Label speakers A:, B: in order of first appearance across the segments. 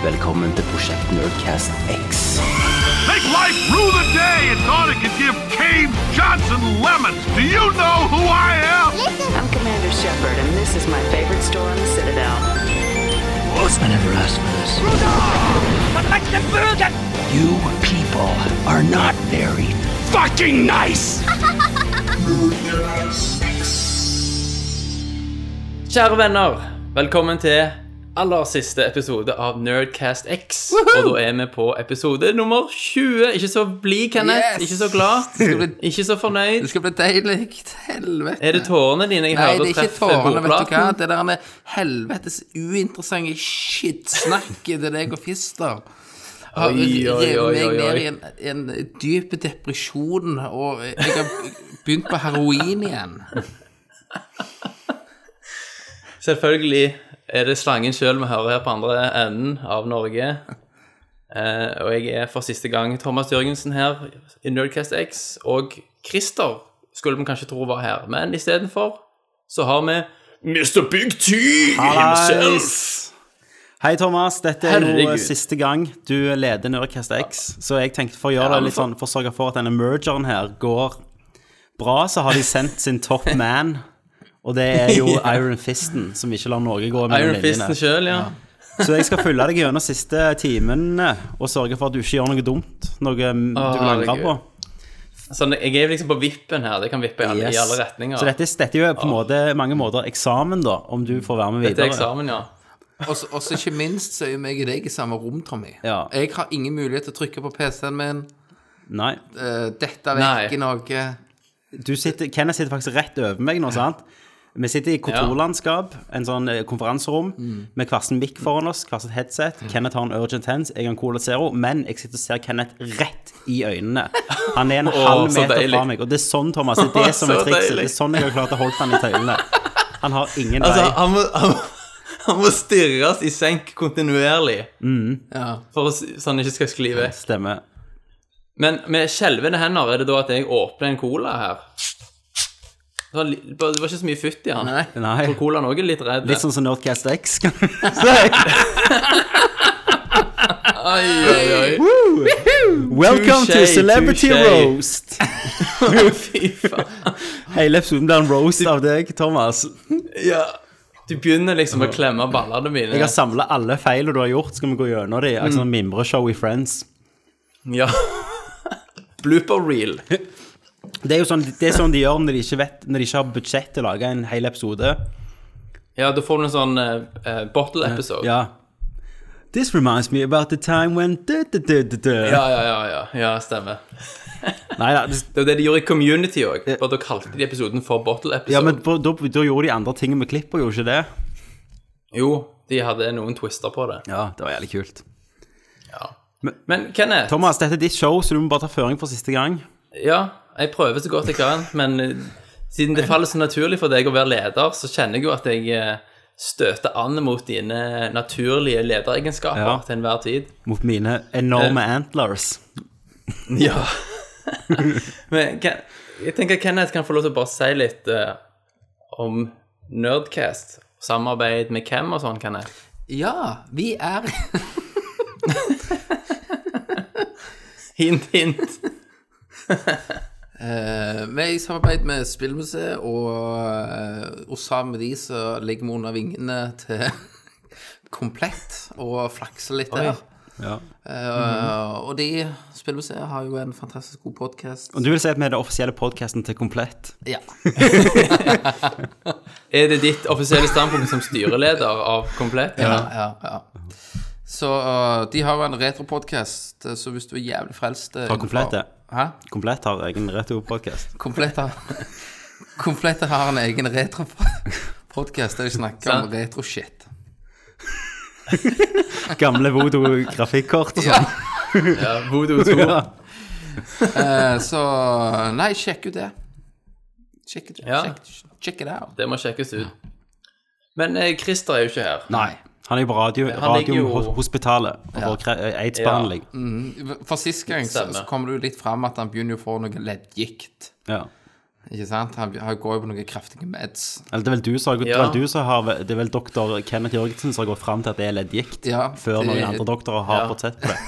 A: velkommen til Prosjekt Nerdcast X.
B: Make life rue the day and thought it could give Cave Johnson lemons. Do you know who I am?
C: I'm Commander Shepard, and this is my favorite store in the Citadel.
D: I never asked for this. You people are not very fucking nice!
E: Kjære venner, velkommen til aller siste episode av Nerdcast X. Og da er vi på episode nummer 20. Ikke så blid, Kenneth.
F: Yes!
E: Ikke så glad.
F: bli-
E: Ikke så fornøyd.
F: Det skal bli deilig. Helvete.
E: Er det tårene dine jeg
F: Nei,
E: hører
F: det er ikke
E: treffer
F: tårene, vet du hva.
E: bordplaten?
F: Det der med helvetes uinteressante skittsnakket til deg og Fister. Har
E: Oi, oi, oi,
F: revet meg
E: oi, oi.
F: ned i en, en dyp depresjon, og jeg har begynt på heroin igjen.
E: Selvfølgelig er det slangen sjøl vi hører her på andre enden av Norge. Eh, og jeg er for siste gang Thomas Jørgensen her i Nerdcast X. Og Christer skulle vi kanskje tro var her, men istedenfor så har vi Mr. Big T himself.
G: Hei, Thomas. Dette er jo eh,
E: Herregud.
G: siste gang du leder Nerdcast X, så jeg tenkte for å gjøre
E: Ja,
G: det
E: men
G: litt
E: for-
G: sånn, for å sørge for at denne mergeren her går bra, så har de sendt sin top man, og det er jo Iron Fisten, som ikke lar Norge gå mellom
E: Iron Fisten
G: linjene.
E: sjøl, ja.
G: Så jeg skal følge deg gjennom siste timene og sørge for at du ikke gjør noe dumt, noe mm, du vil angre på.
E: herregud. Sånn, jeg er jo liksom på vippen her. Det kan vippe i alle,
G: Yes.
E: i alle retninger.
G: Så dette, dette er jo på en måte, mange måter eksamen, da, om du får være med
E: Dette er
G: videre.
E: eksamen, ja.
F: Og så og så ikke minst så er jo meg og deg i samme rom, Tommy.
G: Ja.
F: Jeg har ingen mulighet til å trykke på PC-en min.
G: Nei.
F: eh, Dette er
E: Nei.
F: vekk i noe.
G: du sitter, Kenneth sitter faktisk rett over meg nå, sant? Vi sitter i kontorlandskap, en sånn eh, konferanserom,
E: Mm.
G: med hver sin mic foran oss, hver sitt headset. Kenneth har en Urgent Hands, jeg har en Cola Zero, men jeg sitter og ser Kenneth rett i øynene. Han er en halv
E: så
G: meter
E: deilig.
G: fra meg, og det er sånn, Thomas, det er det som er
E: Så
G: trikset.
E: deilig.
G: Det er sånn jeg har klart å holde han i tøylene. Han har ingen
E: Altså,
G: vei.
E: han må, han, må- han må stirres i senk kontinuerlig
G: Mm.
F: Ja.
E: for å, s- så han ikke skal skli vekk.
G: Stemmer.
E: Men med skjelvende hender er det da at jeg åpner en cola her. Det var, li- det var ikke så mye futt i han.
F: Nei.
G: Nei.
E: For colaen også er litt redd.
G: Litt sånn som Nerdcast X, kan du si.
E: Oi, oi,
G: Welcome to
E: Touché,
G: Celebrity
E: touché.
G: Roast.
E: oi. Fy faen.
G: Hele episoden blir en roast av deg, Thomas.
E: Ja. Du begynner liksom å klemme ballene mine.
G: Jeg har samla alle feilene du har gjort, skal vi gå gjennom de Akkurat som mimreshow i Friends.
E: Ja. Blooper reel.
G: Det er jo sånn, det er sånn de gjør når de ikke, vet, når de ikke har budsjett til å lage en hel episode.
E: Ja, da får du en sånn eh, eh, bottle episode.
G: Ja. This reminds me about the time when du, du, du, du, du.
E: Ja, ja, ja, ja, ja stemmer.
G: Neida, det,
E: Det var det de gjorde i Community òg. Da kalte de episoden for Bottle Episode.
G: ja, men på- da, da gjorde de andre ting med klipper, gjorde de ikke det?
E: Jo, de hadde noen twister på det.
G: Ja, det var jævlig kult.
E: Men Kenneth,
G: Thomas, dette er ditt show, så du må bare ta føring for siste gang.
E: ja, jeg prøver så godt jeg kan, men eh, siden det faller så naturlig for deg å være leder, så kjenner jeg jo at jeg eh, støter an mot dine naturlige lederegenskaper
G: Ja.
E: til enhver tid.
G: Mot mine enorme antlers.
E: Ja. men Ken, jeg tenker Kenneth kan få lov til å bare si litt eh, om Nerdcast. Samarbeid med hvem og sånn, Kenneth.
F: ja, vi er
E: Hint, hint.
F: Eh, Vi er i samarbeid med Spillmuseet, eh, og, og sammen med de så legger vi under vingene til komplett og flakser litt der.
G: Ja.
F: Eh, Og de, Spillmuseet har jo en fantastisk god podkast.
G: Og du vil si at vi er den offisielle podkasten til Komplett?
F: Ja.
E: Er det ditt offisielle standpunkt som styreleder av Komplett?
F: Ja, ja, ja. Så eh, de har jo en retropodkast, eh, så hvis du er jævlig frelst eh,
G: Har Komplett det?
F: Hæ?
G: Komplett har egen reto-podkast.
F: Komplett har Komplett har en egen retropodkast der de snakker om
E: Sant.
F: retro-shit.
G: Gamle voodoo-grafikkort og sånn.
F: Ja.
E: Ja, Voodoo 2.
G: Ja.
F: Eh, Så Nei, sjekk ut det. Check it,
E: Ja.
F: check, check it out.
E: Det må sjekkes ut. Men eh, Christer er jo ikke her.
G: Nei. Han er jo på radio,
E: han ligger jo-
G: Radiohospitalet og får kre- eh, aids-behandling.
F: For sist gang så,
E: Stemmer.
F: så kom det jo litt fram at han begynner jo å få noe leddgikt.
G: Ja.
F: Ikke sant? Han, han går jo på noen kraftige meds.
G: Eller det er vel du som har gått, det
E: Ja.
G: er vel du som har Det er vel doktor Kenneth Jørgensen som har gått fram til at det er leddgikt,
F: Ja,
G: før
F: det-
G: noen andre doktorer har fått sett på det.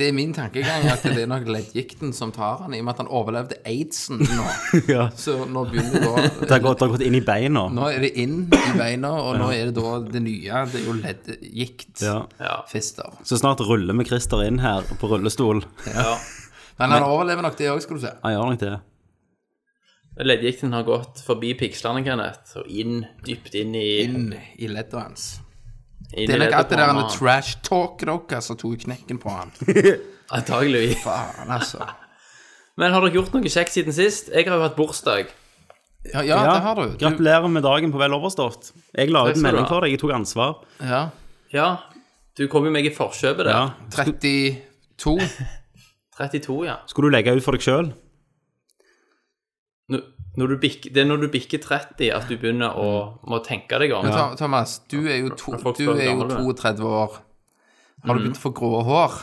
F: Det er min tankegang at det er nok leddgikten som tar han, i og med at han overlevde aidsen nå.
G: Ja.
F: Så nå begynner det
G: Det har
F: da
G: gått, det har gått inn i beina.
F: Nå er det inn i beina, og nå er det da det nye. Det er jo leddgikt.
G: Ja.
E: Ja.
F: Fister.
G: Så snart ruller vi Christer inn her på rullestol.
E: Ja.
F: Men han overlever nok det òg, skal du se.
G: Han gjør nok det.
E: Leddgikten har gått forbi pikslene, Kenneth, og inn, dypt inn i inn,
F: Inn i ledda hans.
E: i
F: Det er nok
E: leddet
F: alt det
E: på
F: der
E: han.
F: med trash talk dere som tok knekken på han.
E: Antageligvis.
F: Faen, altså.
E: Men har dere gjort noe kjekt siden sist? Jeg har jo hatt bursdag.
F: Ja, ja, det har du. du
G: Gratulerer med dagen på vel overstått. Jeg la ut en
E: skal du
G: melding
E: ha.
G: for deg, jeg tok ansvar.
F: ja,
E: Ja, du kom jo meg i forkjøpet der.
G: Ja.
F: 32
E: 32, ja.
G: Skulle du legge ut for deg sjøl?
E: Når, når du bikker, det er når du bikker 30 at du begynner å må tenke deg om.
F: Tho- Thomas, du er jo, to,
E: Når folk
F: du
E: spør hvor
F: er jo
E: gammel du Mhm. er.
F: 32 år. Har du begynt å få grå hår?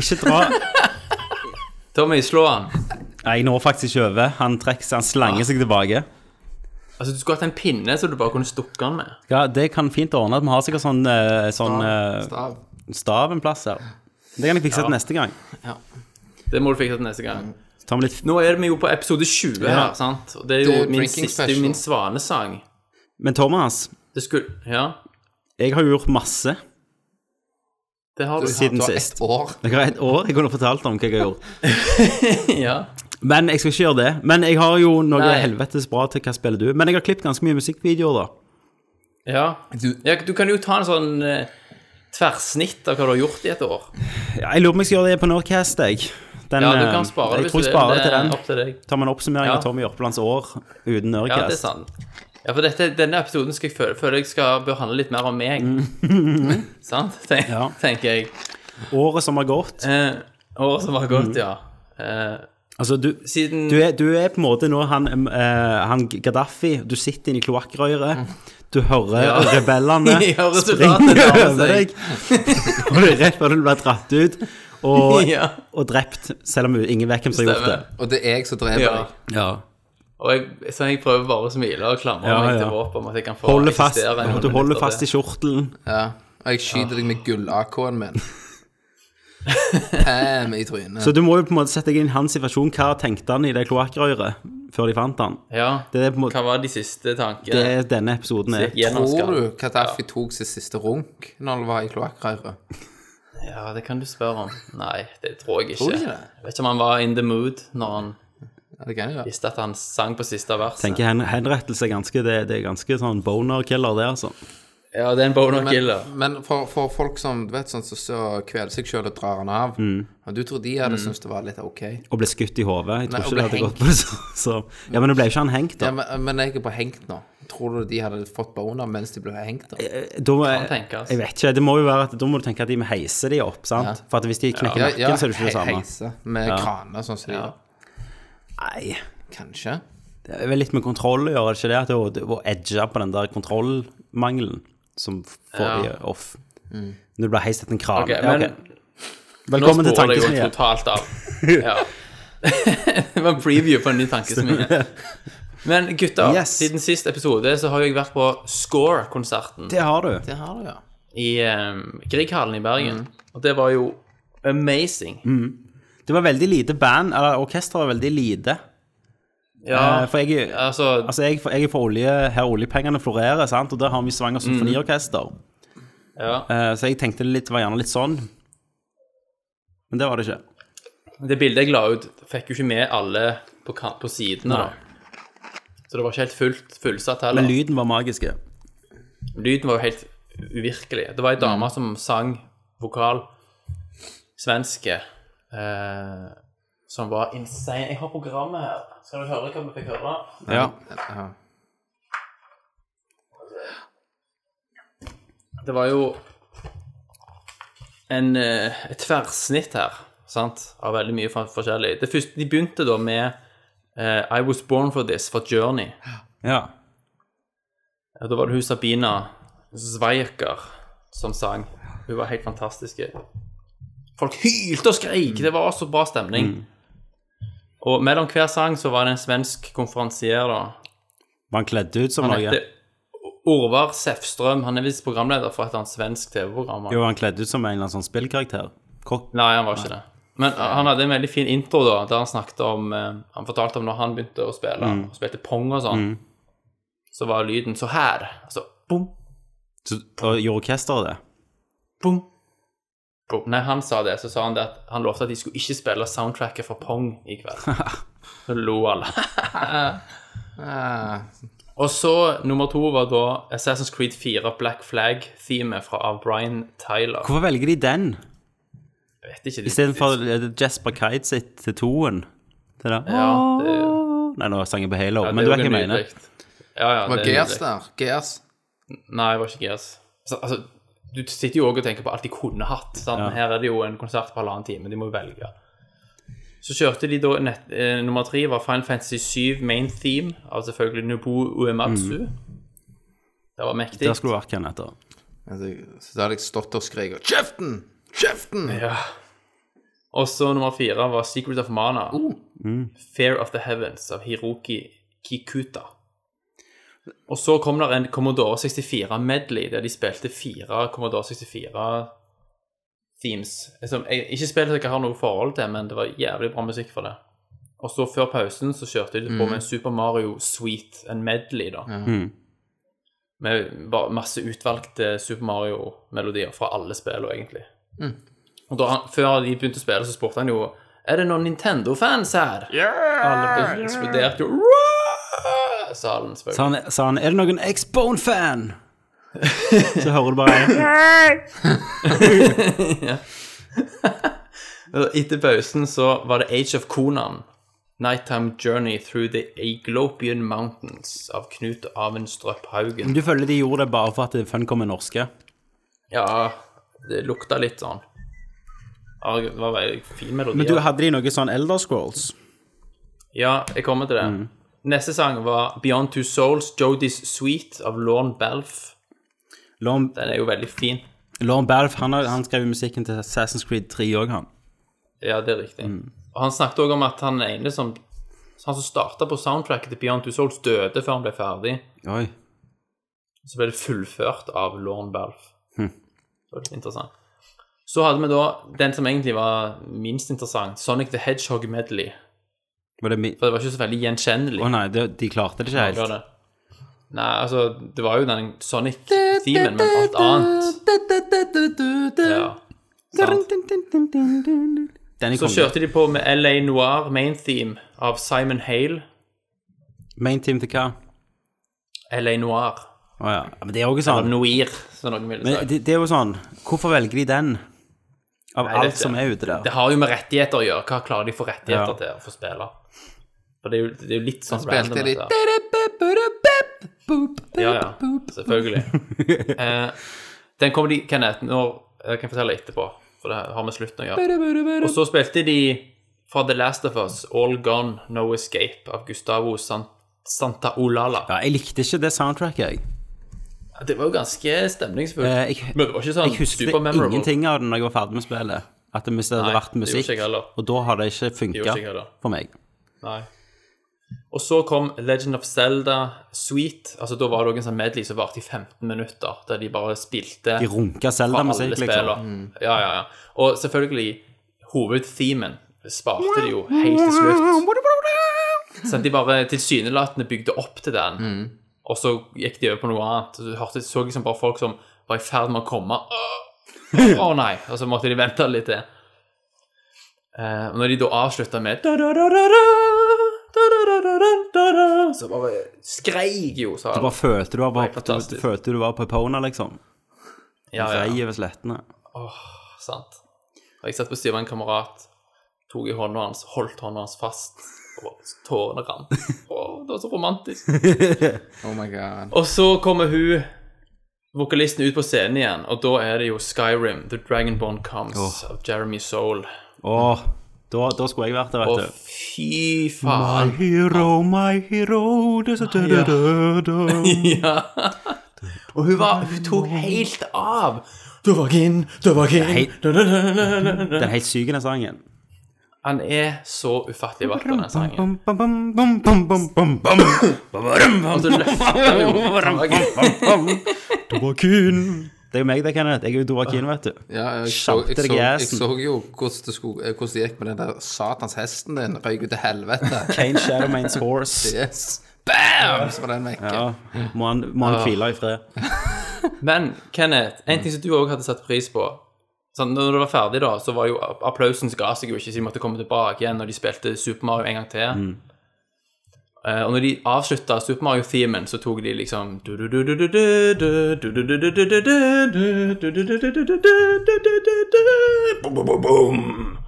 G: Ikke dra
E: Tommy, slå han.
G: Nei, jeg når faktisk ikke over. Han trekker seg, han slanger seg tilbake.
E: Altså, du skulle hatt en pinne så du bare kunne stukke han med.
G: Ja, Det kan fint ordne. at Vi har sikkert sånn, eh, sånn eh,
F: Stav.
G: stav en plass her. Det kan jeg fikse til neste gang.
E: Det må du fikse til neste gang.
G: Så tar vi litt
E: Nå er vi jo på episode 20
G: Ja.
E: her, sant? Og det er jo
F: Det er
E: min
F: drinking
E: siste, det er jo min
F: special.
E: svanesang.
G: Men Thomas,
E: Det skulle, ja,
G: jeg har jo gjort masse
E: det har du.
G: siden
F: Du har
G: sist.
F: ett år.
G: Jeg har et år jeg kunne fortalt om hva jeg har gjort.
E: Ja.
G: Men jeg skal ikke gjøre det. Men jeg har jo noe
E: Nei.
G: helvetes bra til hva spiller du. Men jeg har klippet ganske mye musikkvideoer, da.
E: Ja.
F: Du-
E: ja. Du kan jo ta en sånn eh, tversnitt av hva du har gjort i et år.
G: Ja, jeg lurer på om jeg skal gjøre det på Nordcast, jeg. Den,
E: Ja, du
G: eh,
E: kan spare det hvis
G: jeg tror
E: du vil.
G: jeg sparer
E: Det
G: til
E: er
G: den.
E: opp til deg.
G: Tar vi en oppsummering
E: Ja.
G: av Tommy Jørpelands år uten
E: Ja, det er
G: Nordcast?
E: sant. Ja, for dette, denne episoden skal jeg føle, føler jeg skal bør handle litt mer om meg. sant? Tenk,
G: Mm. Ja.
E: Tenker jeg.
G: Året som har gått.
E: Eh, året som har gått, ja. Eh,
G: Altså, du,
E: siden
G: Mm. du, er, du er på en måte nå han, eh, han Gaddafi. Du sitter inni kloakkrøret. Du hører
E: Mm. Ja.
G: rebellene
E: Ja, resultatet
G: springe
E: nærmer
G: over
E: seg.
G: deg. Og det er rett før du blir dratt ut og,
E: Ja.
G: og drept, selv om ingen vet hvem som har gjort det.
E: Stemmer.
F: Og det er jeg som dreper
E: Ja.
F: deg.
E: Og jeg, så jeg prøver bare å smile og klamre
G: Ja,
E: meg
G: ja.
E: til håp om at jeg kan få
G: Holder fast,
E: eksistere i noen
G: du holder
E: minutter
G: fast i
E: til.
G: kjortelen.
F: Ja. Og jeg skyter deg med gull-AK-en min. Pam i trynet.
G: Så du må jo på en måte sette deg inn i hans situasjon. Hva tenkte han i det kloakkrøret før de fant han?
E: Ja.
G: Det er på en måte
E: Hva var de siste
G: det
E: tankene?
G: er denne episoden er.
F: Tror du Kadafi tok sitt siste runk når han var i kloakkrøret?
E: Ja, det kan du spørre om. Nei, det tror jeg ikke.
F: Tror du ikke det?
E: Jeg vet ikke om han var in the mood når han
F: Ja, det kan jeg gjøre.
E: visste at han sang på siste verset.
G: Tenker hen, henrettelse er ganske, det, det er ganske sånn boner-killer, det, altså.
E: Ja, det er en boner killer.
F: Men, men for, for folk som du vet sånn som så, kveler seg sjøl og drar han av
G: Mm.
F: Og Du tror de hadde syntes det var litt ok?
G: Å bli skutt i hodet. Jeg
F: Nei,
G: tror
F: å
G: ikke
F: bli
G: det hadde
F: hengt.
G: gått på det så, så Ja, men nå ble jo ikke han hengt,
F: Ja,
G: da.
F: men, men jeg er bare hengt nå. Tror du de hadde fått boner mens de ble hengt? da?
G: da
E: Kan tenkes.
G: jeg vet ikke. Det må jo være at, da må du tenke at de må heise de opp, sant? For at hvis de knekker nakken, så er det ikke det
F: he-
G: samme.
F: heise med kraner, sånn som de gjør.
G: Nei.
F: Kanskje.
G: Det er vel litt med kontroll å gjøre, er det ikke det? At det å- det å edge på den der kontrollmangelen som får de off. Når du blir heist etter en kran.
E: Mm. Ok,
G: ja,
E: men
G: ok. Velkommen
E: Nå
G: til
E: sporer jeg jo
G: tankesmien.
E: totalt av. Ja. det var en preview på en ny tankesmie. Men gutter,
G: Yes.
E: siden sist episode så har jo jeg vært på Score-konserten
G: Det har du.
F: Det har du, ja.
E: i um, Grieghallen i Bergen. Og det var jo amazing.
G: Det var veldig lite band, eller orkesteret var veldig lite.
E: Ja,
G: Eh, For jeg, er-
E: altså,
G: altså, jeg, jeg er for olje, her oljepengene florerer, sant? og der har vi
E: Mm.
G: Svanger symfoniorkester.
E: ja.
G: Eh, Så jeg tenkte det litt, var gjerne litt sånn. Men det var det ikke.
E: Det bildet jeg la ut, fikk jo ikke med alle på, kan- på sidene. da. Så det var ikke helt fullt fullsatt heller.
G: Men lyden var magisk.
E: Lyden var jo helt uvirkelig. Det var ei dame som sang vokal, svenske, eh, som var insane. Jeg har programmet her. Skal du høre hva vi fikk høre?
G: Ja.
F: Ja.
E: Det var jo en, eh, et tverrsnitt her, sant, av veldig mye fra- forskjellig. Det første, de begynte da med eh, I Was Born For This fra Journey.
G: Ja.
E: Ja, Da var det hun Sabina Zweierker som sang. Hun var helt fantastisk. Folk hylte og skreik! Det var så bra stemning. Og mellom hver sang så var det en svensk konferansier, da.
G: Var han kledd ut som
E: Han
G: noe?
E: heter Orvar Sefström. Han er visst programleder for et eller annet svensk TV-program. han.
G: Jo, han kledd ut som en eller annen sånn spillkarakter. Kokk.
E: Nei, han var ikke det. Men eh, han hadde en veldig fin intro da, der han snakket om eh, Han fortalte om når han begynte å spille, og spilte pong og sånn, så var lyden så her. Altså bom,
G: Så- Og gjorde orkesteret det?
E: bom, bom. Nei, han sa det, så sa han det at han lovte at de skulle ikke spille soundtracket for pong i kveld. Så lo alle.
G: Ah.
F: Eh,
E: Og så nummer to var da Assassin's Creed 4 Black Flag-themet fra av Brian Tyler.
G: Hvorfor velger de den
E: Jeg vet ikke. de-
G: istedenfor eh, Jesper Kite sitt til toen? Det der.
E: Ja, det,
G: Nei, nå sang jeg på Halo,
E: ja,
G: men
E: det
G: du
E: er
G: vet
E: jo
G: hva jeg mener.
E: nydelig. Ja, ja,
F: det var
E: er
F: Gears
E: nydelig.
F: der. Gears.
E: Nei, det var ikke Gears. Så, altså, du sitter jo òg og tenker på alt de kunne hatt. Sant? Men Her er det jo en konsert på halvannen time, de må jo velge. Så kjørte de da nett, eh, Nummer tre var Final Fantasy 7 main theme, av selvfølgelig Nubo Uematsu. Det var mektig.
G: Mm. Der skulle du vært hvem heter.
F: Altså, Så da hadde jeg stått og skreket 'Kjeften! Kjeften!'
E: Ja. Og så nummer fire var Secret of Mana.
G: Oh. Mm.
E: Fair of the Heavens av Hiroki Kikuta. Og så kom der en Commodore 64 medley, der de spilte fire Commodore 64 themes. Som jeg ikke spill jeg ikke har noe forhold til, men det var jævlig bra musikk for det. Og så før pausen så kjørte de på med en Super Mario Suite, en medley, da. Med ba- masse utvalgte Super Mario-melodier fra alle spillene, egentlig. Og da, han- før de begynte å spille, så spurte han jo Er det noen Nintendo-fans her? Yeah! Alle ble- eksploderte jo «Wow!» Salen,
G: Sa
E: selvfølgelig.
G: han, sa han 'Er det noen X-Bone-fan?' Så hører du bare
E: Og Etter pausen så var det Age of Conan. Nighttime Journey Through the Aglopian Mountains av Knut Avenstrøp Haugen.
G: Du føler de gjorde det bare for at Funcom er norske.
E: Ja, det lukta litt sånn. Ja, Det var veldig fin melodi.
G: Men du,
E: altså.
G: hadde de noe sånn Elder Scrolls?
E: Ja, jeg kommer til det.
G: Mm.
E: Neste sang var Beyond Two Souls, Jodie's Suite av Lorne Balf.
G: Lorne
E: Den er jo veldig fin.
G: Lorne Balf han, har- han skrev jo musikken til Assassin's Creed 3 òg, han.
E: Ja, det er riktig.
G: Mm.
E: Og han snakket også om at han ene som Han som starta på soundtracket til Beyond Two Souls, døde før han ble ferdig.
G: Oi.
E: Så ble det fullført av Lorne Balf.
G: Hm.
E: Det var litt interessant. Så hadde vi da den som egentlig var minst interessant, Sonic the Hedgehog Medley.
G: Var det mi...
E: For det var ikke så veldig gjenkjennelig.
G: Å nei, det, de klarte det ikke
E: Det var
G: helt.
E: det. Nei, altså, det var jo den Sonic-themen, men alt annet. Ja. Sant?
G: Den er
E: Så
G: konge.
E: kjørte de på med LA Noir main theme av Simon Hale.
G: Main team til hva?
E: LA Noir.
G: Å ja. Ja, Men det er jo ikke
E: Eller
G: sånn.
E: Noir, som noen ville
G: Men
E: sagt.
G: det, det er jo sånn Hvorfor velger de den? Av
E: vet
G: alt
E: ikke.
G: som er ute
E: Det
G: der.
E: har jo med rettigheter å gjøre. Hva klarer de for rettigheter
G: Ja.
E: til å få spille? For det er jo, det er jo litt sånn
F: Spilte
E: random.
F: litt
E: dette her. Ja, ja. Selvfølgelig. eh, den kommer de Kenneth, når, jeg kan fortelle etterpå, for det har med slutten å gjøre. Og så spilte de fra The Last of Us, All Gone, No Escape, av Gustavo San Santa Olala.
G: Ja, jeg likte ikke det soundtracket, jeg.
E: Det var jo ganske stemningsfullt.
G: Eh, jeg-
E: Men det var ikke sånn
G: Jeg husker
E: supermemorable.
G: ingenting av det når jeg var ferdig med spillet. At det- hvis det hadde
E: Nei,
G: vært
E: det gjorde
G: musikk,
E: ikke jeg heller.
G: og da har det ikke
E: Det gjorde ikke jeg
G: funka
E: heller.
G: for meg.
E: Nei. Og så kom Legend of Zelda Sweet. Altså, da var det også en sånn medley som varte i 15 minutter, der de bare spilte
G: De runka
E: fra alle
G: Zelda-musikk,
E: spillene.
G: liksom.
E: Ja, ja, ja. Og selvfølgelig, hovedthemen sparte de jo helt til slutt. Så de bare tilsynelatende bygde opp til den,
G: Mm.
E: og så gikk de over på noe annet. Så Du hørte, så liksom bare folk som var i ferd med å komme. Åh, Å nei! Og så måtte de vente litt til. Eh, og når de da avslutta med da-da-da-da-da, da-da-da-da-da, Så bare skreik jo, sa
G: Du bare følte du var,
E: Nei, fantastisk.
G: du følte du var på Pona, liksom.
E: Ja, ja.
G: Rei over slettene.
E: Sant. Og jeg satt på siden av en kamerat, tok i hånda hans, holdt hånda hans fast, og tårene rant. Å, det var så romantisk.
F: Oh my god.
E: Og så kommer hun vokalisten ut på scenen igjen, og da er det jo Skyrim, The Dragonborn Comes av Jeremy Soul.
G: Åh, da, da skulle jeg vært der,
E: Og
G: vet du.
E: fy faen!
G: Hero, my hero da, da, da, da, da.
E: Ja. Og hun, var, hun tok helt av. Du var gin, du var gin
G: Hei.
E: da, da, da, da, da, da.
G: Den helt syke den sangen.
E: Han er så ufattelig vakker, den sangen.
G: Bum, bum, bum, bum, bum, bum, bum, bum.
E: Og så løfter han jo taket.
G: Dovakin. Det er jo meg det, Kenneth. Jeg er jo Dovakin, vet du.
F: Ja, jeg så, jeg,
G: Skjamte
F: så,
G: deg i
F: jeg
G: assen.
F: så jo hvordan det, skulle, eh, hvordan det gikk med den der satans hesten din. Røyk ut til helvete.
G: Kane Shadowmanes Horse.
F: Yes. Bam! Så var den vekke.
G: Ja, må han, må
E: Ah.
G: han hvile i fred.
E: Men Kenneth, en ting som du òg hadde satt pris på sånn, Når det var ferdig, da, så var jo app- applausen som ga seg jo ikke, så de måtte komme tilbake igjen når de spilte Super Mario en gang til. Eh, og når de avslutta Super Mario-themen, så tok de liksom Boom, boom, boom, boom.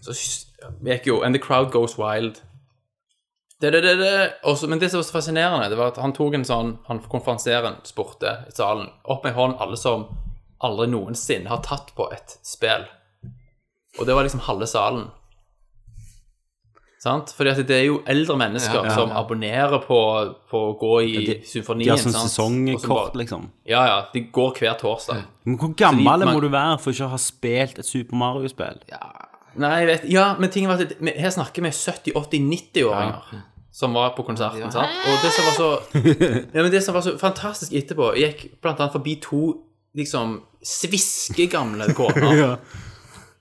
E: Så s- gikk jo And the crowd goes wild. Det, det, det, det. Og så- men det som var så fascinerende, det var at han tok en sånn Han konferansieren spurte i salen opp med en hånd alle som aldri noensinne har tatt på et spill. Og det var liksom halve salen. Sant? Fordi at det er jo eldre mennesker som abonnerer på, på å gå i symfonien.
G: De har sånn
E: sant? Og som
G: sesongkort,
E: bare-
G: liksom.
E: Ja, ja. De går hver torsdag.
G: Men hvor gammel
E: Så de-
G: må du være for ikke å ha spilt et Super Mario-spill?
E: Nei, jeg vet Ja, men tingen var at det- her snakker vi 70-80-90-åringer som var på konserten, sant? Og det som var så Ja, men det som var så fantastisk etterpå, jeg gikk blant annet forbi to liksom sviskegamle koner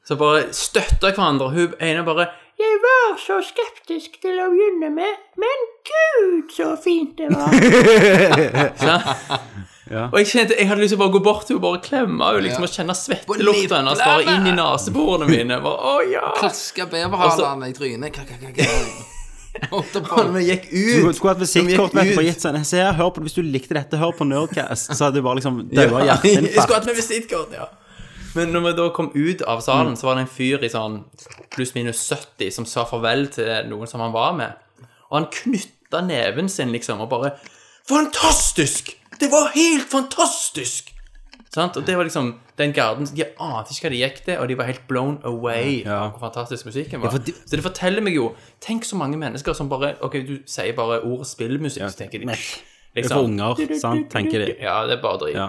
E: som bare støtta hverandre. Hun ene bare 'Jeg var så skeptisk til å begynne med, men gud, så fint det var'. Så- Og jeg kjente, jeg hadde lyst til å bare gå bort til henne og bare klemme henne liksom, og kjenne svettelukta hennes bare inn i neseborene mine. Bare, å ja
F: Klaska beverhalene i trynet. Ka, ka, ka, ka. Holdt det på.
E: når vi gikk
G: Du
E: ut
G: skulle hatt
E: Som
G: visittkort
E: gikk
G: vet du, og
E: ut.
G: gitt sånn Se her, hør på Hvis du likte dette, hør på Nerdcast. Så hadde du bare liksom daua av
E: Jeg skulle hatt
G: hjerteinfarkt.
E: med visittkort, ja. Mm. Men når vi da kom ut av salen, så var det en fyr i sånn pluss-minus 70 som sa farvel til noen som han var med. Og han knytta neven sin, liksom, og bare Fantastisk! Det var helt fantastisk! Sant? Og det var liksom den garden De ante ikke hva de gikk til, og de var helt blown away av hvor fantastisk musikken var.
G: for de-
E: Så det forteller meg jo Tenk så mange mennesker som bare Ok, du sier bare ordet spillmusikk, så tenker de liksom.
G: Det er for unger, sant, tenker de.
E: Ja, det er bare drit.
G: Ja.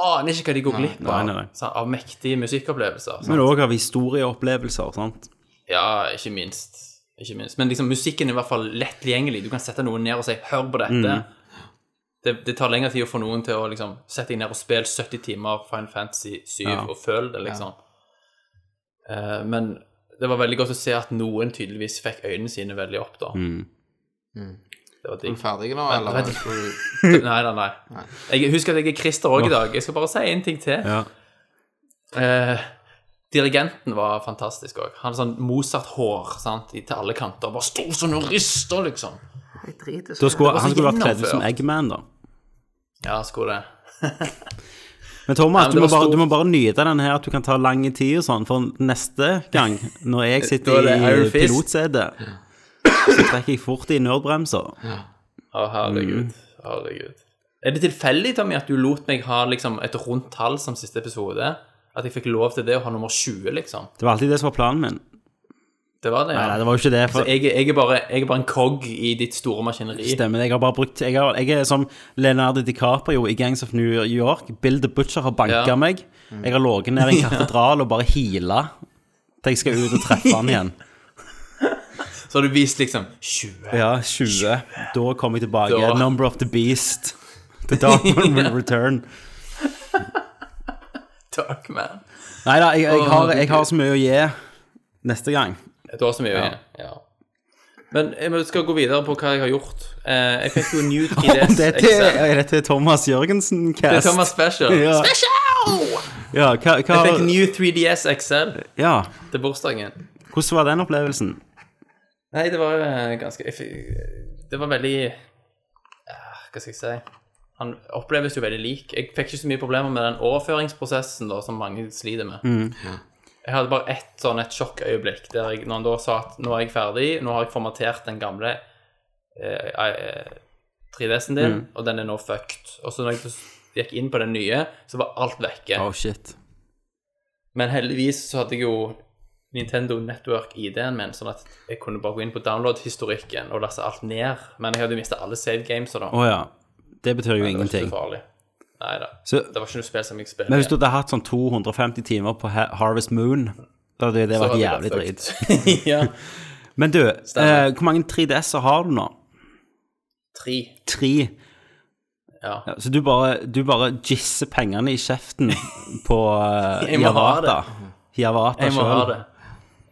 E: Aner ikke hva de går glipp
G: Nei,
E: av
G: nei, nei.
E: sant, av mektige musikkopplevelser. sant?
G: Men òg av historieopplevelser, sant.
E: Ja, ikke minst. Ikke minst. Men liksom, musikken er i hvert fall lett tilgjengelig. Du kan sette noen ned og si 'hør på dette'.
G: Mm.
E: Det, det tar lengre tid å få noen til å liksom, sette deg ned og spille 70 timer Final Fantasy 7 og føle det, liksom. Eh, men det var veldig godt å se at noen tydeligvis fikk øynene sine veldig opp, da.
G: Mm.
E: Det var digg.
F: Ferdig nå, eller?
E: Vent, Nei, nei, nei. Jeg husker at jeg er Christer òg i dag. Jeg skal bare si en ting til.
G: Ja.
E: Eh, dirigenten var fantastisk òg. Han hadde sånn Mozart-hår sant, i- til alle kanter. Bare sto sånn og rista, liksom.
G: Da skulle,
E: var så
G: han skulle vært kledd
E: gjennomført.
G: som Eggman, da.
E: Ja, skulle det.
G: Men Thomas,
E: Ja, men
G: du,
E: det
G: må
E: var
G: bare,
E: stort.
G: du må bare nyte den her at du kan ta lang tid og sånn, for neste gang, når jeg
E: Da er
G: sitter
E: det Iron
G: i
E: Fist.
G: pilotsetet, så trekker jeg fort i nødbremser.
E: Å, herregud.
G: Mm.
E: Herregud. Er det tilfeldig, Tommy, at du lot meg ha liksom, et rundt tall som siste episode? At jeg fikk lov til det å ha nummer 20, liksom?
G: Det var alltid det som var planen min.
E: Det var det,
G: Nei, nei,
E: ja.
G: det var jo ikke det.
E: Så
G: For
E: jeg, jeg, er bare, jeg er bare en kogg i ditt store maskineri.
G: Stemmer. Jeg har bare brukt Jeg, har, jeg er som Leonardo DiCaprio i Gangs of New York. Bill the Butcher har banka
E: Ja.
G: meg. Jeg har ligget ned i en katedral og bare heala til jeg skal ut og treffe han igjen.
E: Så har du vist liksom 20.
G: Ja, 20. Da kommer jeg tilbake.
E: Da-
G: Number of the beast. The dark one will return.
E: Takk, man.
G: Nei da, jeg, jeg, har- jeg har så mye å gi neste gang.
E: Et år som jeg gjør. Ja. Men jeg må- skal gå videre på hva jeg har gjort. Eh, Jeg fikk jo New 3DS
G: Det er til,
E: XL.
G: er det til Thomas Jørgensen-cast.
E: Det er Thomas Special.
G: Ja. Ja, hva, hva,
E: Jeg fikk New 3DS XL
G: ja,
E: til bursdagen.
G: hvordan var den opplevelsen?
E: Nei, det var eh, ganske jeg fikk- Det var veldig eh, Hva skal jeg si Han oppleves jo veldig lik. Jeg fikk ikke så mye problemer med den overføringsprosessen da, som mange sliter med. Jeg hadde bare ett sånn et sjokkøyeblikk der jeg, når han da sa at nå er jeg ferdig, nå har jeg formatert den gamle Mm. eh, eh, 3DS-en din, og den er nå fucked. Og så når jeg gikk inn på den nye, så var alt vekke.
H: Oh, shit.
E: Men heldigvis så hadde jeg jo Nintendo Network-ID-en min, sånn at jeg kunne bare gå inn på download-historikken og laste alt ned. Men jeg hadde mista alle save games og da.
G: Å ja. Det betyr jo
E: det var ikke
G: ingenting.
E: så farlig. Nei da.
G: Så-
E: Det var ikke noe spill som jeg spilte.
G: Men hvis du hadde hatt sånn 250 timer på Ha- Harvest Moon, da hadde det vært jævlig drit.
E: dritt. ja.
G: Men du, eh,
E: Stemmer.
G: hvor mange 3DS-er har du nå?
E: Tre.
G: Tre.
E: Ja.
G: Ja, så du bare, du bare jisser pengene i kjeften på uh,
E: Jeg må ha det.
G: Javata. Javata
E: Jeg må ha
G: selv.
E: det.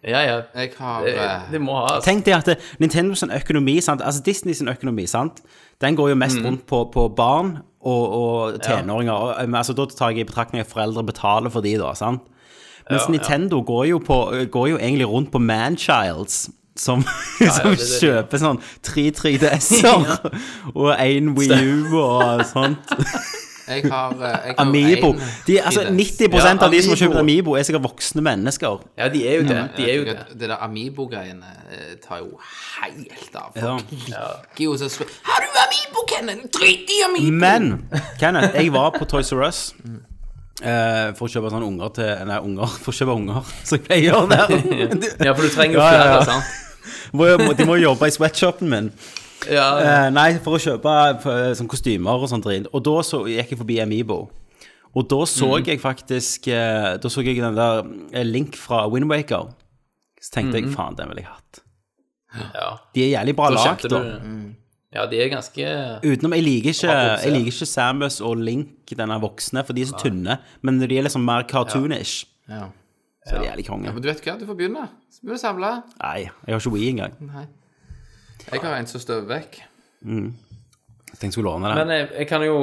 E: Ja, ja.
F: Jeg har
E: Det,
F: eh,
E: det må ha altså.
G: Tenk deg at det, Nintendo sin økonomi, sant? altså Disney sin økonomi, sant? den går jo mest
E: Mm.
G: rundt på, på barn og, og tenåringer. Og, um, altså, da tar jeg i betraktning at foreldre betaler for de, da. sant?
E: Ja,
G: Mens
E: ja.
G: Nintendo Går, jo på, øh, går jo egentlig rundt på manchilds. Som,
E: det
G: som
E: er det.
G: kjøper sånn tre 3DS-er og én WiiU og sånt.
F: Jeg har, eh, jeg har
G: Amibo.
F: en
G: De, altså, 90
E: Ja,
G: av de
E: Amiibo.
G: som har kjøpt Amibo, er sikkert voksne mennesker.
E: Ja, de er jo det. De er jo
F: Jeg
E: det.
F: tenker at Det der Amibo-greiene eh, tar jo helt av.
G: Ja.
F: Folk liker jo så sp- Har du Amibo, Kenneth? Drit i Amibo!
G: Men Kenneth, jeg var på Toys R Us eh, for å kjøpe sånne unger til Nei, unger. For å kjøpe unger, som jeg pleier å gjøre der.
E: Ja, for du trenger jo
G: Ja, ja,
E: flere,
G: ja.
E: sant?
G: Må jo- De må jo jobbe i sweatshopen min.
E: Ja,
G: Eh, nei, for å kjøpe eh, sånn kostymer og sånt dritt. Og da så, gikk jeg forbi Amibo. Og da så
E: Mm.
G: jeg faktisk eh, Da så jeg den der eh, Link fra Windwaker. Så tenkte jeg faen, den ville jeg hatt.
E: ja.
G: De er jævlig bra
E: Da
G: lagd,
E: kjente du
G: da.
E: det. Ja, de er ganske
G: Utenom, jeg liker ikke,
E: Akkurat, ja.
G: jeg liker ikke Samus og Link, denne voksne, for de er så tynne. Men de er liksom mer cartoonish.
F: Ja.
G: Så er de jævlig konge.
F: Men du vet hva, du får begynne. Så må du samle.
G: Nei, jeg har ikke Wii engang.
F: Nei. Jeg har en som støver vekk.
G: Jeg tenkte jeg skulle låne den.
E: Men jeg, jeg kan jo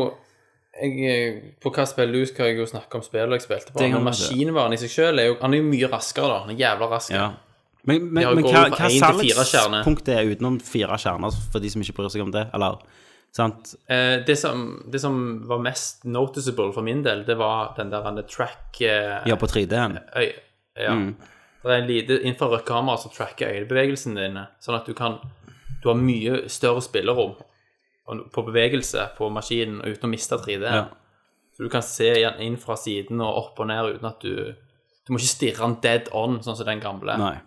E: jeg, eh, På hva spill du skal jeg jo snakke om spill jeg spilte på.
G: Det kan
E: Men
G: man se.
E: maskinvaren i seg selv er jo Han er jo mye raskere, da. Han er jævla rask.
G: ja. Men, men,
E: har jo
G: men
E: gått
G: hva,
E: fra
G: hva
E: en til fire kjerner.
G: salgspunktet er utenom fire kjerner, for de som ikke bryr seg om det? Eller sant?
E: Eh, det, som, det som var mest noticeable for min del, det var den der andre track eh,
G: Ja, på 3D-en.
E: øy, ja.
G: Mm.
E: Det er en lite infrarødt kamera som tracker øyebevegelsene dine, sånn at du kan Du har mye større spillerom og- på bevegelse på maskinen uten å miste 3D.
G: Ja.
E: Så du kan se igjen inn fra siden og opp og ned uten at du Du må ikke stirre den dead on, sånn som den gamle.
G: Nei.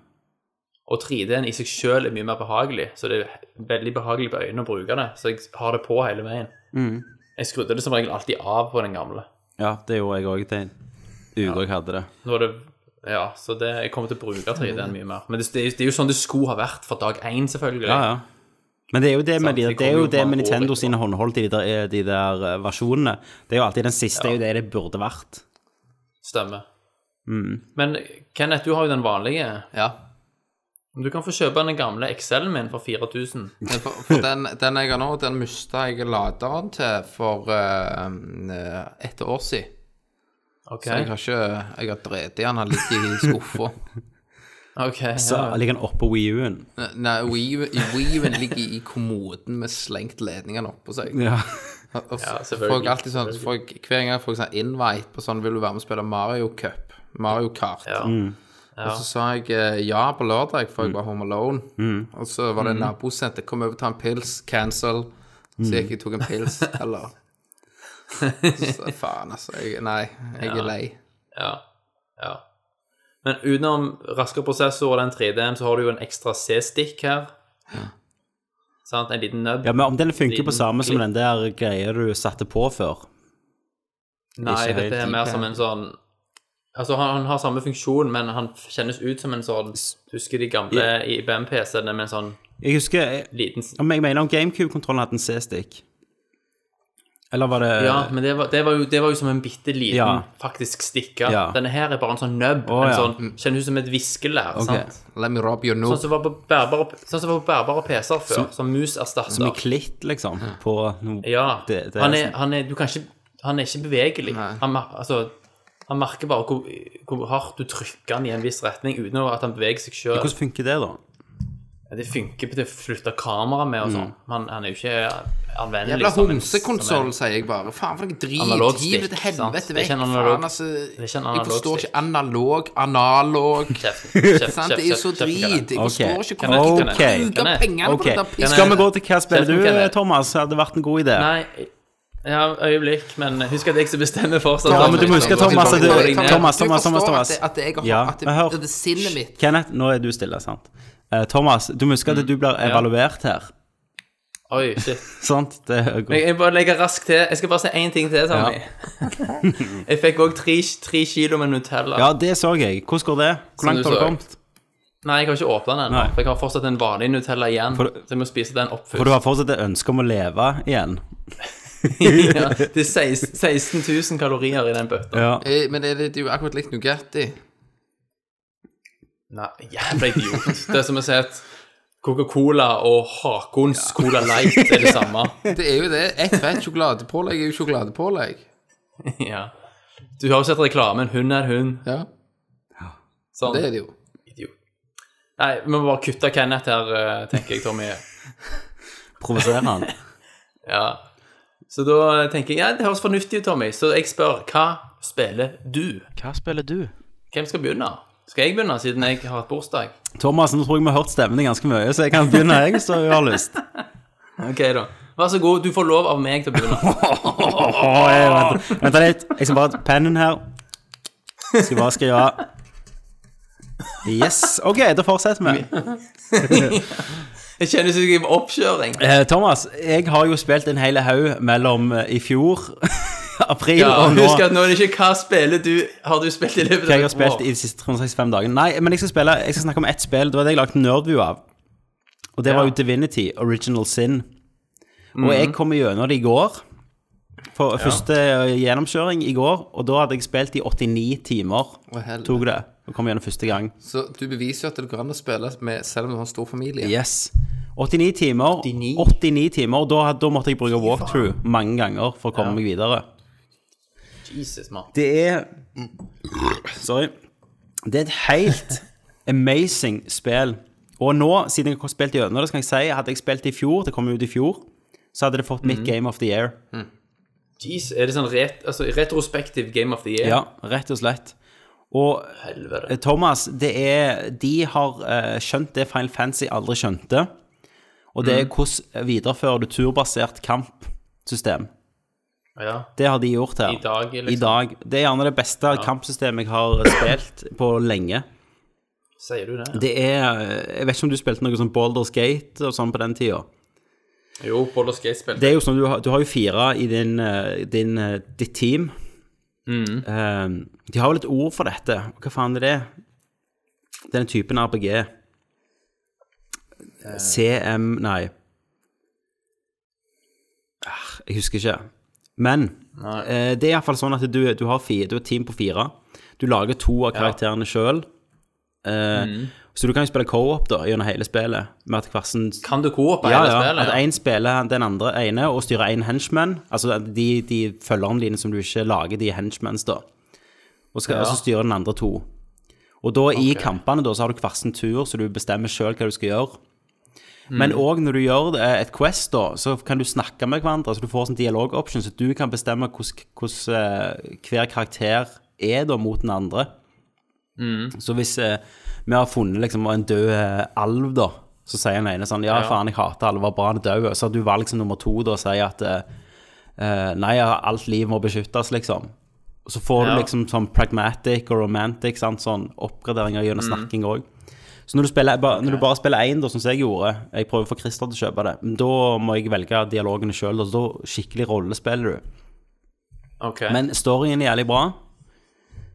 E: Og 3D-en i seg sjøl er mye mer behagelig, så det er veldig behagelig på øynene å bruke det. Så jeg har det på hele veien.
G: Mm.
E: Jeg skrudde det som regel alltid av på den gamle.
G: Ja, det gjorde jeg òg til en uke jeg hadde det.
E: Nå er det Ja, så det, jeg kommer til å bruke 3D-en mye mer. Men det, det, er jo- det er jo sånn det skulle ha vært fra dag én, selvfølgelig.
G: Ja, ja. Men det er jo det med,
E: Sant,
G: de,
E: det
G: det
E: kommer
G: er jo
E: jo
G: det med
E: mange år
G: Nintendo
E: etterpå.
G: sine håndhold til de der, de der eh, versjonene. Det er jo alltid den siste, det er jo det det burde vært.
E: Stemmer.
G: Mm.
E: Men Kenneth, du har jo den vanlige.
F: Ja.
E: Du kan få kjøpe den gamle Excel-en min for 4000.
F: Men For, for den, den jeg har nå, den mista jeg laderen til for eh, um, eh, et år siden.
E: Ok,
F: Så jeg har ikke Jeg har drept i han, han ligger i skuffa.
E: ok,
G: Så
E: ja.
G: ligger den oppå Wii-U-en.
F: Nei, Weaven ligger i kommoden med slengt ledningen oppå seg.
G: Ja.
F: Og- og
E: Ja,
F: så
E: selvfølgelig,
F: får jeg alltid sånn, så får jeg, Hver gang jeg får sånn invite på sånn 'Vil du være med og spille Mario Cup?' Mario Kart.
E: Ja.
F: Og så sa jeg eh, ja på lørdag, for jeg var home alone. Og så
E: Mm.
F: var det en nabo som sendte 'Kom over og ta en pils'. Cancel. Så gikk jeg og tok en pils, eller Så sa jeg, faen, altså. Jeg, nei, jeg er lei.
E: Ja. ja. Men utenom raskere prosessor og den 3D-en, så har du jo en ekstra C-stick her. Sant? En liten nubb.
G: ja, men om den funker
E: Liten
G: på samme som
E: klipp.
G: den der greia du satte på før
E: Nei,
G: ikke
E: dette er
G: helt
E: mer som en sånn Altså, han, han har samme funksjon, men han kjennes ut som en sånn Du husker de gamle IBM-PC-ene med en sånn
G: Jeg husker jeg,
E: liten
G: om jeg mener om GameCube-kontrollen hadde en C-stick. Eller var det
E: Ja, men det var, det var, jo, det var jo som en bitte liten
G: eh, Ja.
E: faktisk stikke.
G: Ja.
E: Denne her er bare en sånn nubb.
G: Å,
E: en
G: ja.
E: sånn, Kjennes ut som et viskelær.
G: Ok.
E: sant?
F: Let me rob you
E: Sånn
F: note.
E: som var på bærbare, sånn som var på bærbare PC-er før, som mus erstatter.
G: som i klitt, liksom? På noe
E: Ja.
G: det- det er
E: han, er,
G: sånn.
E: han, er, du kan ikke, han er ikke bevegelig. Han, mer- altså, han merker bare hvor, hvor hardt du trykker han i en viss retning uten at han beveger seg sjøl.
G: Hvordan funker det, da?
E: Det funker på det å flytte kamera med
G: Mm.
E: og sånn. Han, han er jo ikke anvendelig.
F: Jævla
E: som liksom en- som
F: homsekonsoll,
E: en-
F: sier jeg bare. Faen for noe
E: Analog
F: drit. Gi det til
E: stick, sant?
F: helvete
E: Det er
F: vekk.
E: ikke en analog-
F: Faen, altså.
E: er ikke en
F: Jeg
E: analog
F: forstår
E: stick.
F: ikke analog, analog
E: Kjeft, kjeft,
F: Sant? Det er jo så
E: kjeft, kjeft, kjeft.
F: drit. Jeg
G: Ok.
F: forstår ikke
E: Kan jeg-
F: hvordan
E: kan jeg-
F: du kan
E: kan
F: bruke
E: jeg-
F: pengene på
G: Ok,
F: det der
G: Skal vi
F: pisset.
G: gå til hva spiller
E: Kenneth.
G: du, Thomas? Hadde vært en god idé.
E: Nei, Ja, øyeblikk, men husk at jeg som bestemmer fortsatt.
G: Ja, men du må huske, Thomas, at du,
E: Thomas,
G: Thomas,
F: Du
G: Thomas, Thomas,
F: forstår
G: Thomas.
F: at, det- at jeg har
G: Ja,
F: at det,
G: men hør.
F: det er sinnet mitt
G: Kenneth, nå er du stille, sant? Eh, Thomas, du må
E: Mm.
G: huske at du blir evaluert her.
E: Oi, shit.
G: Sant? Det er
E: Men
G: godt.
E: jeg bare legger raskt til. Jeg skal bare si én ting til, Sami. jeg fikk òg tre, tre kilo med Nutella.
G: Ja, det så jeg. Hvordan går det? Hvor
E: Som du
G: langt har du
E: så.
G: kommet?
E: Nei, jeg har ikke åpna den ennå.
G: Nei.
E: For jeg har fortsatt en vanlig Nutella igjen.
G: For-
E: så jeg må spise den opp
G: For du
E: først.
G: har fortsatt et ønske om å leve igjen.
E: ja, det er 16 16 000 kalorier i den bøtta.
G: Ja.
F: Eh, Men er det, det er jo akkurat likt Nugatti.
E: Nei, jævla idiot. Det er som å si at Coca-Cola og Hakons Cola Light er det samme.
F: Det er jo det. Ett fett sjokoladepålegg er jo sjokoladepålegg.
E: ja. Du har jo sett reklamen. Hun er hun.
F: Ja,
E: Sånn.
F: det er det jo.
E: Idiot. Nei, vi må bare kutte Kenneth her, eh, tenker jeg, Tommy.
G: Provoserer han.
E: Ja. Så da tenker jeg ja, det høres fornuftig ut, Tommy. Så jeg spør hva spiller du?
A: Hva spiller du?
E: Hvem skal begynne? Skal jeg begynne, siden jeg har hatt bursdag?
G: Thomas, nå tror jeg vi har hørt stemmen din ganske mye, så jeg kan begynne jeg hvis du har lyst.
E: Ok, da. Vær så god, du får lov av meg til å begynne.
G: Åh, jeg, vent, vent litt. Jeg skal bare ta pennen her. Jeg skal bare skrive Yes. OK, da fortsetter vi.
E: Jeg kjenner som jeg er på oppkjøring.
G: Eh, Thomas, jeg har jo spilt en hel haug mellom eh, i fjor, april
E: Ja,
G: og nå.
E: husk at nå er det ikke hva spiller du har du spilt i løpet av
G: hva jeg har
E: et
G: spilt
E: år.
G: i de siste 365 dagene. Nei, men jeg skal, spille, jeg skal snakke om ett spill. Det var det jeg lagde Nerdview av. Og det var jo Divinity, Original Sin. Og jeg kom gjennom det i går. For Første eh, gjennomkjøring i går, og da hadde jeg spilt i 89 timer.
F: Å, helvete.
G: tok det. Og kom gjennom første gang.
F: Så du beviser jo at det går an å spille med selv om du har en stor familie.
G: Yes. 89 timer.
E: 89.
G: 89 timer og da, had- da måtte jeg bruke walkthrough mange ganger for å komme meg videre.
E: Jesus, mann.
G: Det er Sorry. Det er et helt amazing spill. Og nå, siden jeg har spilt gjennom det, så kan jeg si hadde jeg spilt i fjor, det kom jo ut i fjor, så hadde det fått mitt Game of the Year.
E: Jeez, er det sånn ret, altså, retrospektiv Game of the Year?
G: Ja, rett og slett. Og
E: Helvete.
G: eh, Thomas, det er De har eh, skjønt det Final Fantasy aldri skjønte. Og det er hvordan viderefører du turbasert kampsystem.
E: Ja.
G: Det har de gjort her.
E: I dag, liksom.
G: I dag. Det er gjerne det beste kampsystemet jeg har spilt på lenge.
E: Sier du det?
G: Det er Jeg vet ikke om du spilte noe sånn Baldur's Gate og sånn på den tida.
E: Jo, Boulder Skate spilte
G: Det er jo sånn, du har, du har jo fire i din, eh, din, eh, ditt team. Eh, de har jo litt ord for dette. Hva faen er det? Det er den typen RPG. CM Eh, Nei. Ah, Jeg husker ikke. Men eh, det er iallfall sånn at du, du har fi- du har et team på fire. Du lager to av karakterene sjøl. Så du kan jo spille co-op da, gjennom hele spillet. Med at hver sin
E: Kan du co-op
G: ja,
E: hele
G: ja,
E: spillet?
G: At én spiller den andre ene og styrer én henchman. Altså at de, de følgerne dine som du ikke lager, de er henchmans, da. Og, skal, og så styrer den andre to. Og da i kampene da, så har du hver sin tur, så du bestemmer sjøl hva du skal gjøre.
E: Mm.
G: Men òg når du gjør det, et quest, da, så kan du snakke med hverandre. Så du får sånn dialogoption, så du kan bestemme hvordan- hvordan eh, hver karakter er da mot den andre. Så hvis eh, vi har funnet liksom, en død eh, alv, da, så sier den ene sånn Ja, faen, jeg hater alver, bra han er død. Så har du valgt som nummer to da, å si at eh, eh, nei, ja, alt liv må beskyttes, liksom. Og Så
E: Ja.
G: får du liksom sånn pragmatic og romantic, sant? sånn oppgraderinger gjennom snakking òg. Så når du, spiller, ba, når du bare spiller én, da, som jeg gjorde Jeg prøver å få Christer til å kjøpe det. Men da må jeg velge dialogene sjøl. Da, så da skikkelig rollespiller du.
E: Ok. Men,
G: Men storyen er jævlig bra.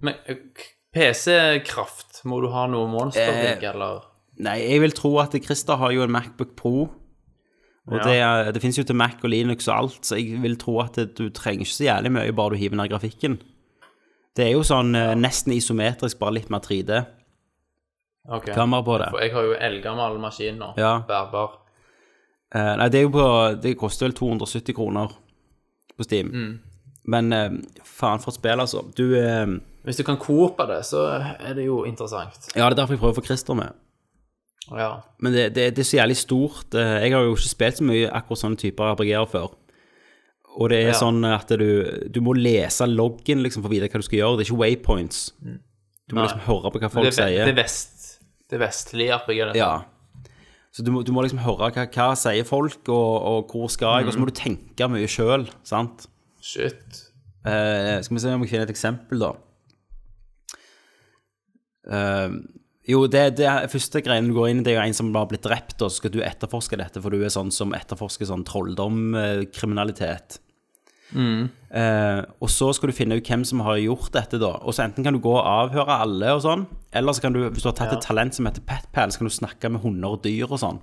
E: eh, k- PC-kraft, må du ha noe monsterbrygg,
G: Eh,
E: eller?
G: Nei, jeg vil tro at Christer har jo en Macbook Pro. Og det, er- det finnes jo til Mac og Linux og alt, så jeg vil tro at det, du trenger ikke så jævlig mye, bare du hiver ned grafikken. Det er jo sånn eh, nesten isometrisk, bare litt mer 3D-kamera
E: Ok.
G: på det.
E: For jeg har jo eldgammel maskin nå.
G: Ja.
E: Bærbar.
G: Eh, nei, det er jo på Det koster vel 270 kroner på Steam. Men eh, faen for et spill, altså. Du eh,
E: Hvis du kan co-ope det, så er det jo interessant.
G: Ja, det er derfor jeg prøver å få Christer med.
E: Ja.
G: Men det, det, det er så jævlig stort. Eh, Jeg har jo ikke spilt så mye akkurat sånne typer RPG-er før. Og det er
E: Ja.
G: sånn at du, du må lese loggen liksom, for å vite hva du skal gjøre. Det er ikke waypoints. Du må
E: Mm. Nei.
G: liksom høre på hva
E: Det,
G: folk
E: er ve-
G: sier.
E: det er vest, det er vestlig RPG, dette.
G: Ja. Så du må,
E: Mm.
G: du må liksom høre hva, hva sier folk, og, og hvor skal jeg, og så må du tenke mye sjøl, sant?
E: Shit.
G: Eh, skal vi se om vi finner et eksempel, da. Eh, jo, det, det er- første greien du går inn i, det er jo en som har blitt drept, og så skal du etterforske dette, for du er sånn som etterforsker sånn trolldomkriminalitet. Eh, og så skal du finne ut hvem som har gjort dette, da. Og så enten kan du gå og avhøre alle og sånn, eller så kan du, hvis du har tatt et talent som heter petpal, så kan du snakke med hunder og dyr og sånn.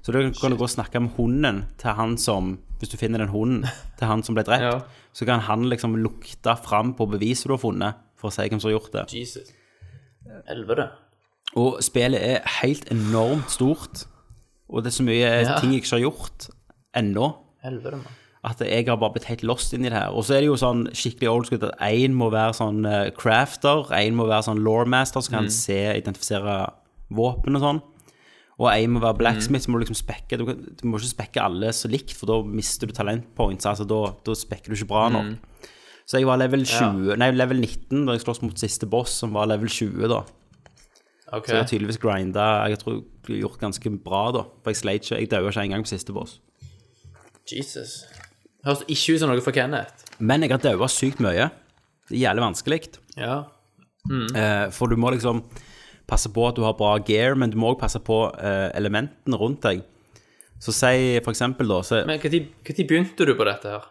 G: Så da kan du gå og snakke med hunden til han som Hvis du finner den hunden til han som ble drept,
E: Ja.
G: så kan han liksom lukte fram på beviset du har funnet, for å si hvem som har gjort det.
E: Jesus. Helvete.
G: Og spillet er helt enormt stort, og det er så mye
E: Ja.
G: ting jeg ikke har gjort ennå,
E: Helvete, mann.
G: at jeg har bare blitt helt lost inn i det her. Og så er det jo sånn skikkelig old school at én må være sånn eh, crafter, én må være sånn lawmaster som kan se, identifisere våpen og sånn. Og én må være blacksmith, så må du liksom spekke. Du, kan, du må ikke spekke alle så likt, for da mister du talentpoints. Altså da, da spekker du ikke bra nok. Så jeg var level 20, nei, level 19 da jeg sloss mot siste boss, som var level 20, da.
E: Ok.
G: Så jeg har tydeligvis grinda Jeg tror jeg har gjort ganske bra, da. For jeg sleit ikke. Jeg daua ikke engang på siste boss.
E: Jesus. Høres ikke ut som noe for Kenneth.
G: Men jeg har daua sykt mye. Det er jævlig vanskelig.
E: Ja.
G: Eh, For du må liksom passe på at du har bra gear, men du må òg passe på eh, elementene rundt deg. Så si for eksempel, da så,
E: Men når begynte du på dette her?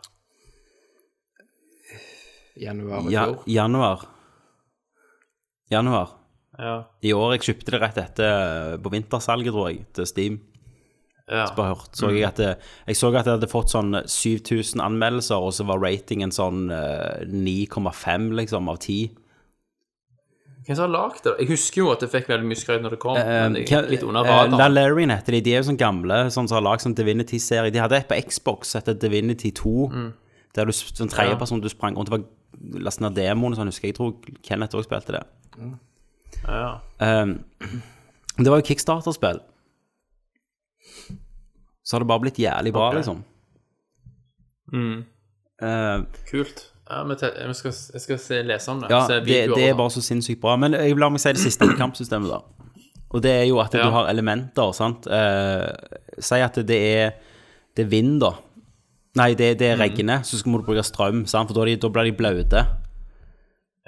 F: Januar i
G: ja,
F: fjor.
G: Januar. Januar.
E: Ja.
G: I år jeg kjøpte det rett etter eh, på vintersalget, tror jeg, til Steam.
E: ja.
G: bare hørt. Så jeg, at det, jeg så at jeg hadde fått sånn 7000 anmeldelser, og så var ratingen sånn eh, 9,5 liksom, av 10.
E: Hvem som har lagd det? Jeg husker jo at det fikk veldig mye skryt når det kom, men det
G: Hva-
E: gikk litt under
G: eh,
E: radaren.
G: Lalarian heter de. De er jo sånn gamle sånn som har lagd sånn Divinity-serie. De hadde et på Xbox som heter Divinity 2. Der du sp- sånn
E: Mm. Ja.
G: tredjeperson du sprang rundt og var lastet ned demoen og sånn, husker jeg. Jeg tror Kenneth òg spilte det.
E: Ja.
G: Um, det var jo Kickstarter-spill. Så har det bare blitt jævlig bra,
E: Ok. Mm.
G: liksom. Eh,
E: Kult. Ja, men te- jeg skal, jeg skal se, lese om det.
G: Ja,
E: se
G: det,
E: Altså, videoer
G: det er
E: og
G: bare så sinnssykt bra. Men jeg la meg si det siste om kampsystemet, da. Og det er jo at
E: Ja.
G: du har elementer, sant. Eh, si at det er, det er vind, da. Nei, det, det
E: Mm.
G: er regnet, så skal- må du bruke strøm, sant? for da, er de, da blir de blaute.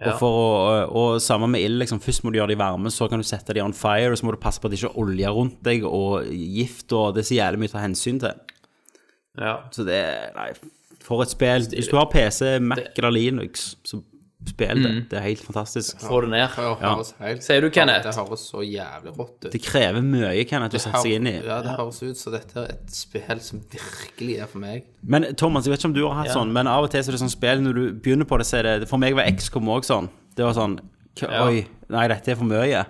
E: Ja.
G: Og, for å, eh, og samme med ild, liksom, først må du gjøre de varme, så kan du sette de on fire, og så må du passe på at det ikke er olje rundt deg, og gift, og det er så jævlig mye å ta hensyn til.
E: sånn. Ja.
G: Så det er Nei, for et spill. Hvis du har PC, Mac eller Linux, så spill det.
E: Mm.
G: Det er helt fantastisk.
E: Få det ned.
F: Det høres helt
E: Sier du, Kenneth?
F: Det høres så jævlig rått ut.
G: Det krever mye Kenneth, å sette seg inn i.
F: Ja, det høres ut som dette er et spill som virkelig er for meg.
G: Men Thomas, jeg vet ikke om du har hatt sånn, men av og til så er det sånn spill når du begynner på det, så er det For meg var XCOM òg sånn. Det var sånn k-
E: Ja.
G: Oi, nei, dette er for mye.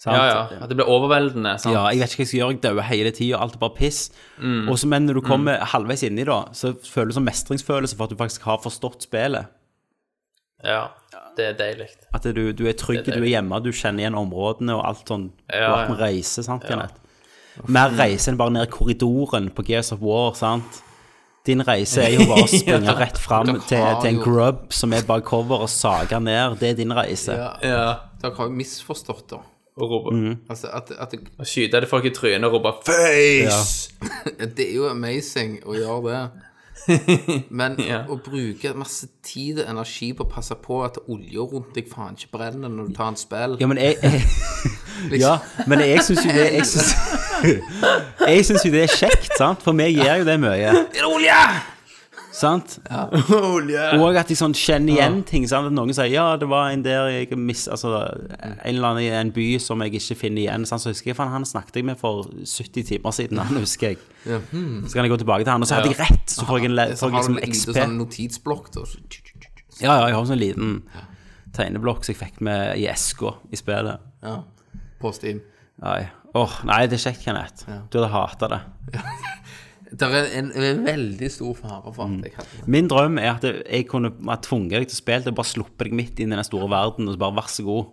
G: Sant?
E: Ja, ja. At det blir overveldende. Sant?
G: Ja, jeg vet ikke hva jeg skal gjøre, jeg dauer hele tida, alt er bare piss.
E: Mm.
G: Og så, men når du kommer halvveis inni, da, så føler du sånn mestringsfølelse for at du faktisk har forstått spillet.
E: ja. Det er deilig.
G: At du, du er trygg,
E: Det er
G: du er hjemme, du kjenner igjen områdene og alt sånn. Du
E: Ja,
G: har vært med
E: ja.
G: reise, sant, Kenneth? Mer reise enn bare ned korridoren på Gears of War, sant? Din reise er jo bare å springe rett fram
F: Dere
G: til,
F: har
G: til en
F: jo-
G: grub som er bare cover og sage ned. Det er din reise.
E: Ja.
F: Dere har jo misforstått det.
E: Og rope.
G: Mhm.
F: Altså, at, at det,
E: Og skyte det folk i trynet og rope 'face'!
F: det er jo amazing å gjøre det. Men
E: Ja.
F: å bruke masse tid og energi på å passe på at olja rundt deg faen ikke brenner når du tar en spill liksom.
G: Ja, men jeg, jeg Ja, men jeg syns jo det Jeg syns jeg synes jo det er kjekt, sant? For meg gjør jo det mye.
F: Er det olje?!
G: Sant? Og at de sånn kjenner igjen ting. Sant? At noen sier ja, det var en der jeg mis, altså, En eller annen i en by som jeg ikke finner igjen. Sant? Så husker jeg faen, han snakket jeg med for 70 timer siden. Han husker jeg. Så kan jeg gå tilbake til han, og så hadde jeg rett. Så får jeg, en, le-
F: hmm. Så
G: får
F: har
G: jeg
F: du
G: liksom
F: en liten
G: XP.
F: sånn notisblokk, da. Så-
G: Ja, ja, jeg har en sånn liten tegneblokk som jeg fikk med i eska i spillet.
F: Ja. På Steam.
G: Nei. Åh, nei, det er kjekt, Kenneth. Du hadde hata det.
F: Det er en, en veldig stor fare for
G: Mm.
F: at jeg hadde det.
G: Min drøm er at jeg kunne ha tvunget deg til å spille det, bare sluppet deg midt inn i den store verden og så bare vær så god,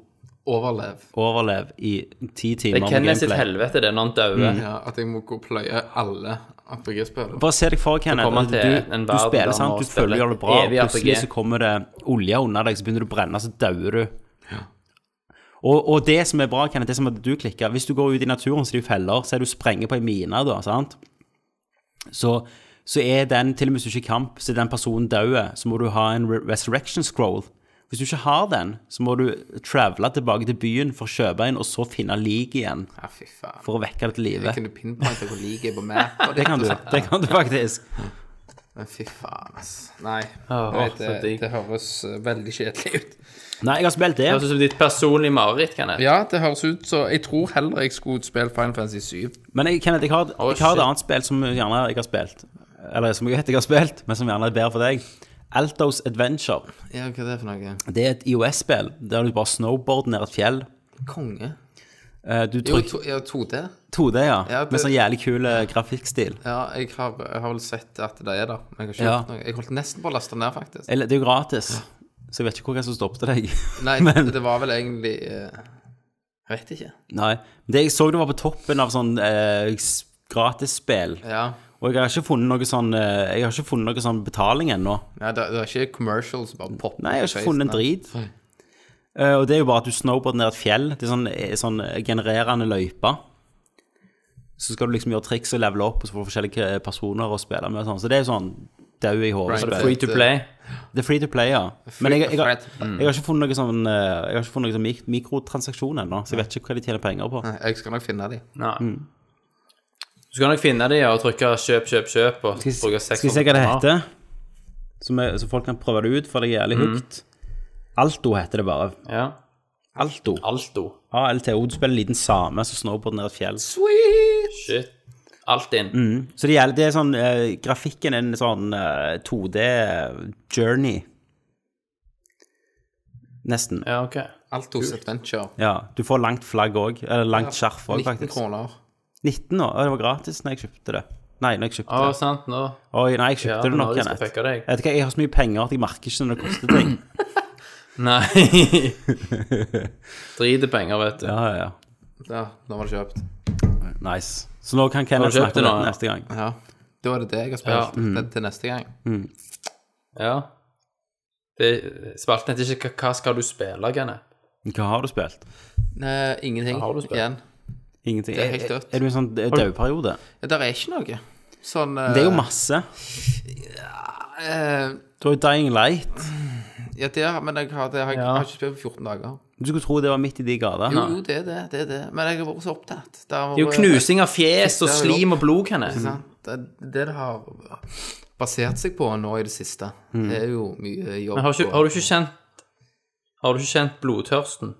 F: Overlev.
G: overlev i ti
E: Det
G: timer med
E: er Kenneth sitt
G: gameplay. Mhm.
E: helvete, det, når han dauer.
F: Ja, at jeg må gå og pløye alle RPG-spillene.
G: Bare se deg for, Kenneth.
E: kommer han
G: Du,
E: til en
G: du
E: verden der
G: spiller,
E: han
G: sant?
E: må
G: Du føler du gjør det bra, og
E: spille evig
G: plutselig
E: RPG.
G: så kommer det olje under deg, så begynner du å brenne, så dauer du. Og, og det som er bra, Kenneth, det som er at du klikker Hvis du går ut i naturen, så er det jo feller, så er du sprenger på ei mine, da, sant? Så så er den, til og med hvis du ikke er i kamp, så er den personen død, så må du ha en re- resurrection scroll. Hvis du ikke har den, så må du travele tilbake til byen for å kjøpe en, og så finne lik igjen
F: Ja, fy faen.
G: for å vekke det til live.
F: Jeg kunne pinpointe hvor like jeg på meg. og
G: Det kan du,
F: og sånt.
G: det kan du faktisk.
F: Men fy faen, ass. Nei.
E: Åh,
F: jeg vet,
E: så
F: det,
E: digg.
F: det høres eh, veldig kjedelig ut.
G: Nei, jeg har spilt det.
E: Det høres ut som ditt personlige mareritt, kan jeg.
F: Ja, det høres ut så Jeg tror heller jeg skulle spille Final Fantasy 7.
G: Men jeg, Kenneth, jeg har,
F: Oh,
G: jeg har
E: shit.
G: et annet spill som gjerne jeg har spilt. Eller som jeg vet jeg har spilt, men som gjerne er bedre for deg. Altos Adventure.
F: Ja, hva er det for noe?
G: Det er et IOS-spill der du bare snowboarder ned et fjell.
F: Konge.
G: Eh, Du
F: Jo,
G: trykker
F: to, ja, 2D.
G: 2D, ja.
F: Ja, det-
G: Med sånn jævlig kul eh, grafikkstil.
F: Ja, jeg har, jeg har vel sett at det er der. Men jeg har ikke
G: Ja.
F: gjort noe. Jeg holdt nesten på å laste den ned, faktisk.
G: Eller, Det er jo gratis, så jeg vet ikke hvor jeg som stoppet deg.
F: Nei,
G: Eh, men,
F: det var vel egentlig eh, Jeg vet ikke.
G: nei. Det jeg så det var på toppen av sånn eh, s- gratisspill.
F: Ja.
G: Og jeg har ikke funnet noe sånn, eh, jeg har ikke funnet noe sånn betaling ennå.
F: Nei, det, det er ikke commercials som bare popper
G: Nei, jeg har
F: på
G: ikke funnet en
F: facen,
G: drit. Eh, og det er jo bare at du snowboarder ned et fjell. Det er sånn, eh, sånn genererende løyper. Så skal du liksom gjøre triks og levele opp, og så får du forskjellige eh, personer å spille med. Og sånn. så det er jo sånn dau i hodet.
F: Right.
G: spill.
E: Free to play.
G: Det er free to play, ja.
F: Free
G: Men
F: to Mm.
G: jeg, jeg, jeg,
F: play.
G: jeg har ikke funnet noe sånn, eh, jeg har ikke funnet noe sånn mik mikrotransaksjon ennå, så jeg vet ikke hva de tjener penger på.
F: Nei, Jeg skal nok finne de.
E: Nei.
G: Mhm.
E: Du skal nok finne de og trykke 'kjøp, kjøp, kjøp' og
G: Skal
E: bruke
G: vi- skal vi
E: 600
G: se hva det
E: kroner.
G: heter? Så, vi- så folk kan prøve det ut, for det er jævlig
F: Mm.
G: hooked. Alto heter det bare.
E: Ja.
G: Alto.
E: Alto.
G: ALTO. Du spiller en liten same som snowboarder ned et fjell.
E: Shit. Alt inn.
G: Så det gjelder, det er sånn, eh, grafikken er en sånn eh, 2D-journey. Nesten. Ja.
E: Ja, OK.
F: Altos Adventure.
G: Du får langt flagg òg. Eller langt skjerf òg,
F: 19
G: faktisk.
F: kroner.
G: 19 år. Å, det var gratis når jeg kjøpte det. Nei, når jeg kjøpte
E: Å,
G: det.
E: sant, nå.
G: Oi, nei, jeg kjøpte
E: Ja,
G: det
E: nå
G: nok,
E: de skal
G: Kenneth.
E: fucke deg.
G: Vet du hva, jeg har så mye penger at jeg merker ikke når det koster ting.
E: Nei. Driter penger, vet du.
G: ja, ja, ja.
F: Ja, nå var det kjøpt.
G: Nice. Så nå kan
E: Har
G: Kenneth
E: du kjøpt
G: snakke om
E: det
G: det
E: nå?
G: neste gang.
F: Ja. Da er det det jeg har
E: Ja.
F: spilt til, til neste gang.
E: Ja. Det, spalten heter ikke 'Hva skal du spille', Kenneth.
G: Hva har du spilt?
F: Nei, Eh, ingenting
E: Hva har du spilt?
F: igjen.
G: Ingenting.
F: Det er helt dødt.
G: Er du i en sånn dauperiode?
F: Ja, Der er ikke noe. Sånn
G: Det er jo masse.
F: eh,
G: Du har jo Dying Light.
F: Ja, det har, men jeg har, det har, jeg har ikke spilt på 14 dager.
G: Du skulle tro det var midt i de gater.
F: Jo, jo, det er det. det er det. Men jeg har vært så opptatt. Det, har
E: Det er jo
F: vært-
E: knusing av fjes og
F: Det er jo-
E: slim og blod, Kenneth.
F: Ikke sant? Det, det det har basert seg på nå i det siste,
G: Mm.
F: det er jo mye jobb.
E: Men har, ikke,
F: og-
E: har du ikke kjent Har du ikke kjent blodtørsten?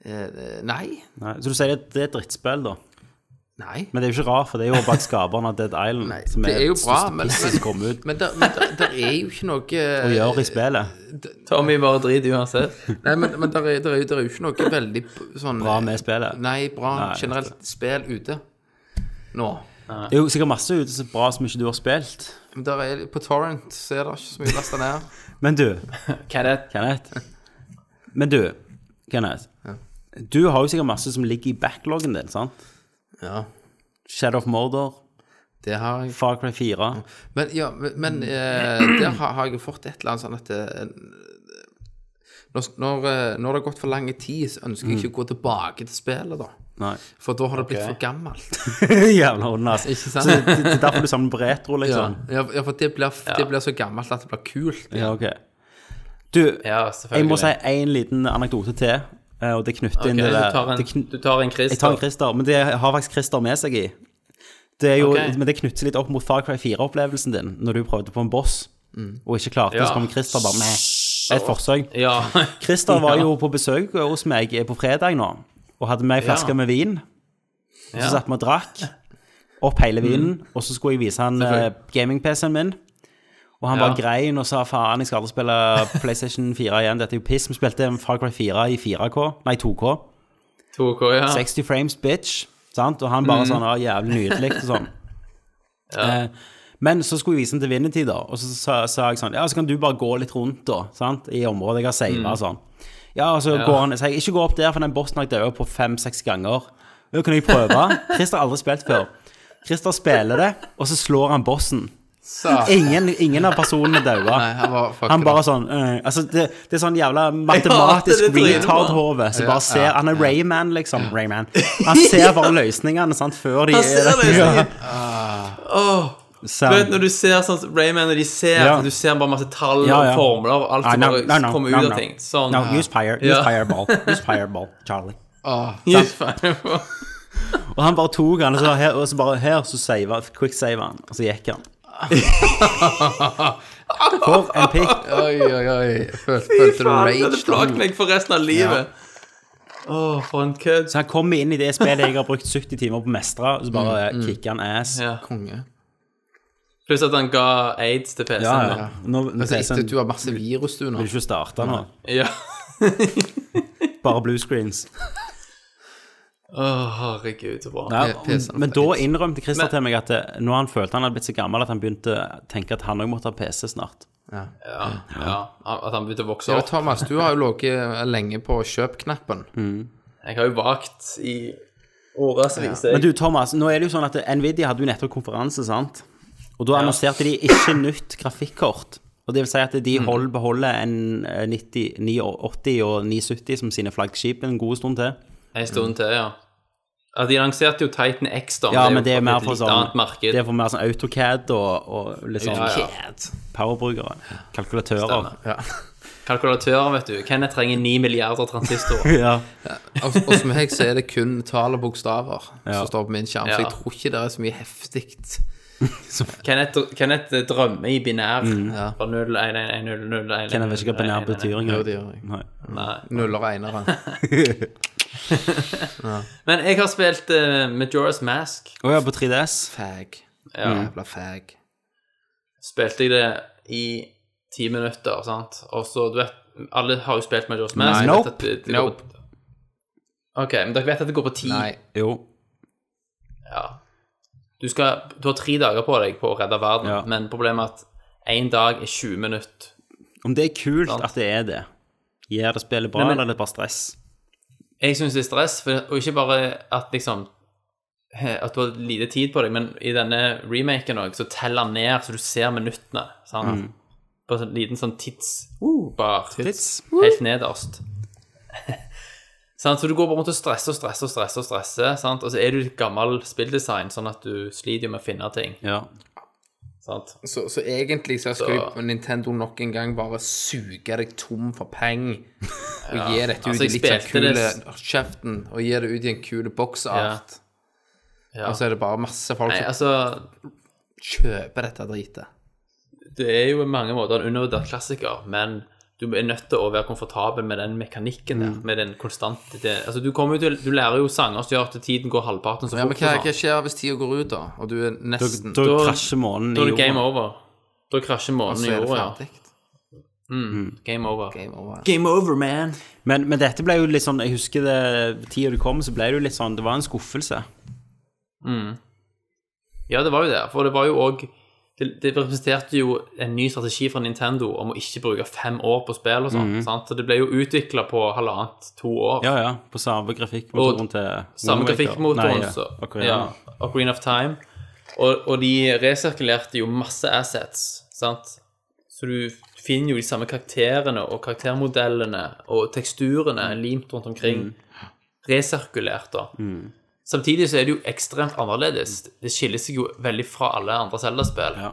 F: eh, Nei.
G: Nei, så du sier at det er et drittspill, da.
F: Nei.
G: Men det er jo ikke rart, for det er jo bak skaperen av Dead Island.
F: Nei,
G: som
F: det er jo
G: det
F: bra,
G: største
F: men-
G: pisset som kom ut
F: Men der, men der, der er jo ikke noe
G: og gjør i spillet.
E: Tommy bare driter uansett.
F: Nei, men, men der, er, der, er, jo- der er jo ikke noe veldig p- sånn
G: Bra med spillet.
F: Nei, bra
G: Nei,
F: generelt spill ute nå.
G: Det er jo sikkert masse ute som er bra som ikke du har spilt.
F: Men der er, på Torrent så er det ikke så mye å laste ned.
G: Men du,
E: Kenneth,
G: Kenneth. Men du, Kenneth. Du har jo sikkert masse som ligger i backloggen din, sant?
F: Ja,
G: Shadow of Mordor,
F: det har jeg.
G: Far Cry 4.
F: Men, ja, men, men eh, der har, har jeg jo fått et eller annet sånn at eh, når, når, eh, når det har gått for lang tid, så ønsker jeg ikke å gå tilbake til spillet, da.
G: Nei.
F: For da har det blitt for gammelt.
G: Jævla hund, altså.
F: Ikke sant?
G: Så det, det er derfor du samler på retro,
F: Ja,
G: liksom?
F: ja, ja, for det blir, det blir så gammelt at det blir kult.
G: Ja, ok. Du,
E: ja,
G: Jeg
E: selvfølgelig.
G: må si en liten anekdote til, eh, og det knytter
E: Ok,
G: inn det
E: du
G: der
E: tar en,
G: det kn-
E: du tar en
G: Jeg tar en
E: Christer.
G: Christer, men det har faktisk Christer med seg i. Det er jo,
E: Ok.
G: Men det knytter litt opp mot Far Cry 4-opplevelsen din, når du prøvde på en boss og ikke klarte,
E: Ja.
G: så kom Christer bare med et forsøk.
E: Ja.
G: Christer var jo på besøk hos meg på fredag nå, og hadde med ei flaske
E: Ja.
G: med vin. Så
E: Ja. Mm.
G: satt vi og drakk opp hele vinen, og så skulle jeg vise han eh, gaming-PC-en min. Og han
E: Ja.
G: bare grein og sa faen, jeg skal aldri spille PlayStation 4 igjen, dette er jo piss. Vi spilte Far Cry 4 i 4K, nei 2K.
E: 2K, ja.
G: 60 frames, bitch. Sant? Og han bare sånn ah, jævlig nydelig og sånn. eh, men så skulle jeg vise den til Vinity, da, og så sa, sa jeg sånn Ja, så kan du bare gå litt rundt, da, sant, i området jeg har sava, og sånn. Ja, og så går han Så jeg ikke gå opp der, for den bossen har jeg dødd på fem-seks ganger. Nå kan jeg prøve. Christer har aldri spilt før. Christer spiller det, og så slår han bossen.
F: Så
G: Ingen, ingen av personene daua.
F: liksom. Nei, han var fuck
G: Han
F: it
G: bare
F: up.
G: sånn eh, altså det, det er sånn jævla
E: Jeg
G: matematisk
E: hater det trynet,
G: retard-hove
F: Ja,
G: som bare ser
F: ja,
G: Han er Rayman, liksom. Rayman. Han ser bare løsningene sant, før de
E: Han ser løsningen.
G: Ja.
E: Åh, Du
G: Sound.
E: vet når du ser sånn som Rayman, og de ser
G: Ja.
E: at du ser bare masse tall
G: Ja,
E: og
G: ja.
E: formler og alt
G: Ah,
E: som
G: no,
E: bare
G: no, no,
E: kommer
G: no,
E: ut av
G: no.
E: ting. Sånn.
G: No, use pyre. Use
E: Ja.
G: fireball. Use fireball, Charlie.
E: Ja. Fireball.
G: Og han bare tok han, og så, her, og så bare her, så save, quick save han, og så gikk han. For en pikk.
F: Oi, oi, oi. Føl, følte du
E: Faen,
F: rage?
E: det plager meg for resten av livet. Åh, for en kødd.
G: Så han kommer inn i det spillet jeg har brukt 70 timer på å mestre, og så bare
F: Mm,
G: kicker han ass.
E: Ja.
F: Konge.
E: Pluss at han ga aids til PC-en.
G: Ja,
E: da.
G: ja. Nå, Sånn. nå
F: Altså,
G: ser jeg
F: etter
G: sånn,
F: at du har masse virus, du nå.
G: vil ikke starte nå.
E: Ja.
G: Bare blue screens.
E: Å, herregud, så bra.
G: Ja,
F: P- PC-en
G: men da
F: for aids.
G: innrømte Christer
E: Men-
G: til meg at eh, når han følte han hadde blitt så gammel at han begynte å tenke at han òg måtte ha PC snart.
E: Ja. Ja. At han begynte å vokse
F: Ja,
E: opp.
F: Thomas, du har jo ligget lenge på kjøp-knappen.
E: Jeg har jo vakt i årevis.
G: Men
E: jeg.
G: du, Thomas, nå er det jo sånn at Nvidia hadde jo nettopp konferanse, sant? Og da annonserte de ikke nytt grafikkort. Og det vil si at de hold, beholder en eh, 90, 980 og 970 som sine flaggskip en god stund til.
E: En stund til, ja. Ja, De lanserte jo Titan X, da.
G: Ja,
E: jo
G: men det er
E: et
G: mer for
E: litt
G: sånn
E: annet marked.
G: Det er for mer sånn AutoCAD og, og litt sånn
E: Ja, ja.
G: powerbrukere. Kalkulatører.
E: Stemmer. Kalkulatører, vet du. Kenneth trenger 9 milliarder transistorer.
G: Ja.
F: Og, og som jeg så er det kun tall og bokstaver
G: Ja.
F: som står på min skjerm, så
E: Ja.
F: jeg tror ikke det er så mye heftig.
E: Kenneth, Kenneth drømmer i binær. Fra 0, 1, 1, 0, 0, 1,
G: Jeg Mm. vet ikke hva binær betyr
F: Jo,
G: engang.
F: det gjør jeg.
G: Nei.
F: Nuller og enere.
E: Men jeg har spilt eh, Majora's Mask.
G: Å ja, på 3DS.
F: Fag. Mm.
E: Ja.
F: Jævla fag.
E: Spilte jeg det i ti minutter, sant. Og så, du vet Alle har jo spilt Majora's Mask.
F: Nei.
E: Jeg vet
G: Nope.
E: at det- det går på- OK, men dere vet at det går på ti.
F: Nei.
G: Jo.
E: Ja. Du, skal, du har tre dager på deg på å redde verden,
G: Ja.
E: men problemet er at én dag er 20 minutter.
G: Om det er kult
E: Sant.
G: at det er det, gjør det spillet bra,
E: Nei, men-
G: eller er det bare stress?
E: Jeg syns det er stress, for, og ikke bare at liksom he- At du har lite tid på deg, men i denne remaken òg, så teller han ned, så du ser minuttene. Sant? På en sånn liten sånn tidsbar
G: tids.
E: helt nederst. sant? Så du går bare rundt og stresser og stresser og stresser, og stresser, sant? og så er du litt gammel spilldesign, sånn at du sliter jo med å finne ting.
G: Ja.
E: Sant?
F: Så, så egentlig så skal
E: Så-
F: jo Nintendo nok en gang bare suge deg tom for penger og gi dette ut
E: altså,
F: i
E: jeg
F: litt sånn
E: spilte
F: kule
E: det-
F: kjeften, og gi det ut i en kule boksart.
E: Ja.
F: Og så er det bare masse folk
E: Nei,
F: som
E: altså
F: kjøper dette dritet.
E: det er jo i mange måter en undervurdert klassiker, men du er nødt til å være komfortabel med den mekanikken
F: Mm.
E: der, med den konstante det, Altså, du kommer jo til Du lærer jo sanger som gjør at tiden går halvparten så
F: Ja, men
E: fort.
F: hva,
E: og
F: hva
E: sånn.
F: skjer hvis tida går ut, da? Og du er nesten
G: Da
E: Da-
G: krasjer månen
E: Da
G: i
E: er det game
G: jorda.
E: over. Da krasjer månen
F: så
E: i
F: er det
E: jorda. ja. Mm.
F: ferdig. Mm.
E: Game over.
F: Game over.
E: Game over, man.
G: Men, men dette ble jo litt sånn Jeg husker det tida det kom, så ble det jo litt sånn Det var en skuffelse.
E: Ja, det var jo det. For det var jo òg det, det representerte jo en ny strategi fra Nintendo om å ikke bruke fem år på spill og
F: Mm.
E: sånn. sant? Så det ble jo utvikla på halvannet, to år.
G: Ja, ja. På samme grafikkmotoren
E: Og
G: til
E: Samme
G: Wind Waker.
E: grafikkmotoren,
G: Nei,
E: så
G: og Korea.
E: ja, Ocarina of Time. Og, og de resirkulerte jo masse assets, sant? Så du finner jo de samme karakterene og karaktermodellene og teksturene limt rundt omkring.
G: Mm.
E: Resirkulert, da. Samtidig så er det jo ekstremt annerledes. Det skiller seg jo veldig fra alle andre Zelda-spill.
G: Ja.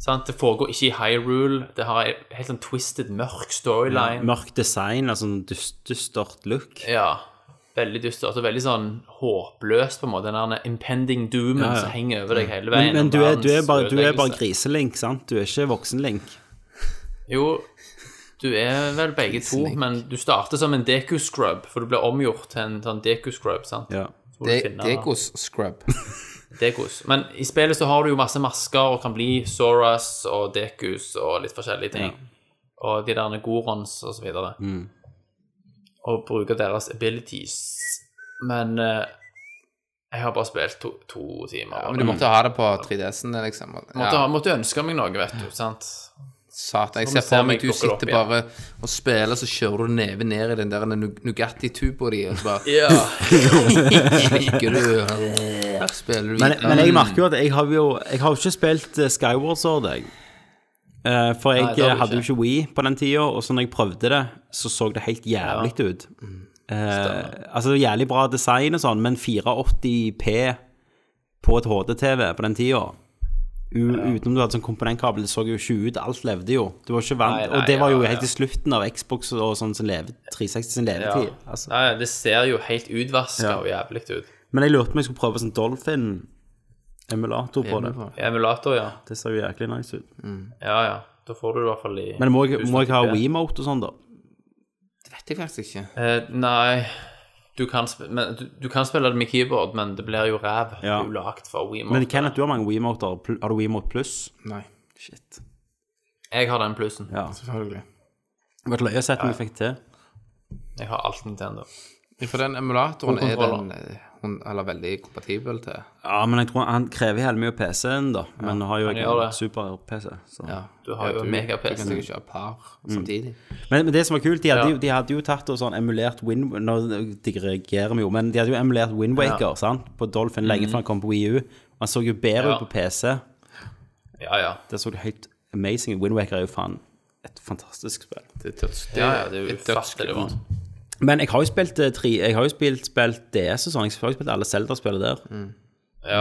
E: Sant? Det foregår ikke i Hyrule. Det har en helt sånn twisted, mørk storyline.
G: Mørk design, altså en dust, dystert look.
E: Ja. Veldig dystert og veldig sånn håpløst, på en måte. Den der impending doomen
G: Ja, ja.
E: som henger over deg hele veien.
G: Men, men
E: og
G: du, er, du, er
E: verdens
G: bare, du er bare
E: ødeleggelse.
G: griselink, sant? Du er ikke voksenlink.
E: Jo, du er vel begge to, men du starter som en Deku Scrub, for du blir omgjort til en sånn Deku Scrub, sant?
G: Ja.
E: Så må du
F: De,
E: finne-
F: Degos scrub.
E: Dekus. Men i spillet så har du jo masse masker og kan bli Soras og Dekus og litt forskjellige ting. Og de der Gorons og så videre.
G: Mm.
E: Og bruke deres abilities. Men eh, jeg har bare spilt to, to timer.
F: Men du måtte ha det på 3DS-en, liksom.
E: Mm. måtte, ha- måtte ønske meg noe, vet du. sant?
F: Satan, jeg
E: Så må vi
F: ser
E: se
F: for
E: om
F: meg
E: jeg
F: du
E: dukker opp
F: sitter
E: igjen.
F: bare og spiller, så kjører du neven ned i den der nu- Nugatti-tuba di, og så bare
E: Ja.
F: slikker du Her spiller du
G: Men,
F: videre.
G: men jeg
E: Um,
G: merker jo at jeg har jo, jeg har jo ikke spilt eh, Skyward Sword, jeg. Eh, For jeg
E: Nei, det har du
G: eh, hadde jo
E: ikke.
G: ikke Wii på den tida, og så når jeg prøvde det, så så det helt jævlig ut. Eh, altså det var jævlig bra design og sånn, men 480P på et HDTV på den tida U Utenom du hadde sånn komponentkabel, det så jo ikke ut. Alt levde jo. Du var ikke vant,
E: Nei, nei,
G: Og det var jo
E: ja, ja.
G: helt til slutten av Xbox og sånn som leve, 360 sin
E: Ja.
G: levetid. Altså.
E: Nei, det ser jo helt utvaska og jævlig ut.
G: Men jeg lurte på om jeg skulle prøve sånn Dolphin-emulator på det.
E: Emulator, ja.
G: Det ser jo jæklig nice ut.
E: Ja, ja. Da får du det i hvert fall i
G: Men må jeg, må jeg ha
E: 1080p.
G: WeMote og sånn, da?
F: Vet jeg faktisk ikke.
E: Eh, nei du kan, sp- men, du, du kan spille det med keyboard, men det blir jo ræv. Det
G: Ja.
E: er jo lagd for WeMo.
G: Men Kenneth, du har mange WeMoter. Pl- Har du WeMote pluss?
F: Nei,
G: Shit.
E: Jeg har den plussen.
G: Ja.
F: selvfølgelig.
G: Vet du hva, jeg har sett noe jeg fikk til.
E: Jeg har alt Nintendo.
F: For den emulatoren
E: Og
F: er den
E: kontroller.
F: eh, hun, eller veldig kompatibel til.
G: Ja, men jeg tror han krever hele mye PC-en, da. Men nå har jo jeg
E: gjør
G: en
E: det.
G: super-PC. så-
F: Ja,
E: Du har jo
F: du-
E: mega-PC.
F: Du kan sikkert kjøre par
G: Mm.
F: samtidig.
G: Men, men det som var kult, de hadde,
E: Ja.
G: jo, de hadde jo tatt og sånn emulert Wind... Nå digregerer vi jo, men de hadde jo emulert Windwaker sant? på Dolphin lenge før han kom på Wii U. Han så jo bedre
E: Ja.
G: ut på PC.
E: Ja, ja.
G: Det så det helt amazing ut. Windwaker er jo faen et fantastisk spill.
F: Det er touch.
E: Ja, ja, det er jo
F: et touch-
E: ufattelig bra.
G: Men jeg har jo spilt, eh, tre, jeg har jo spilt, spilt DS og sånn. Jeg har jo spilt alle Zelda-spillene der.
F: Mm.
E: Ja.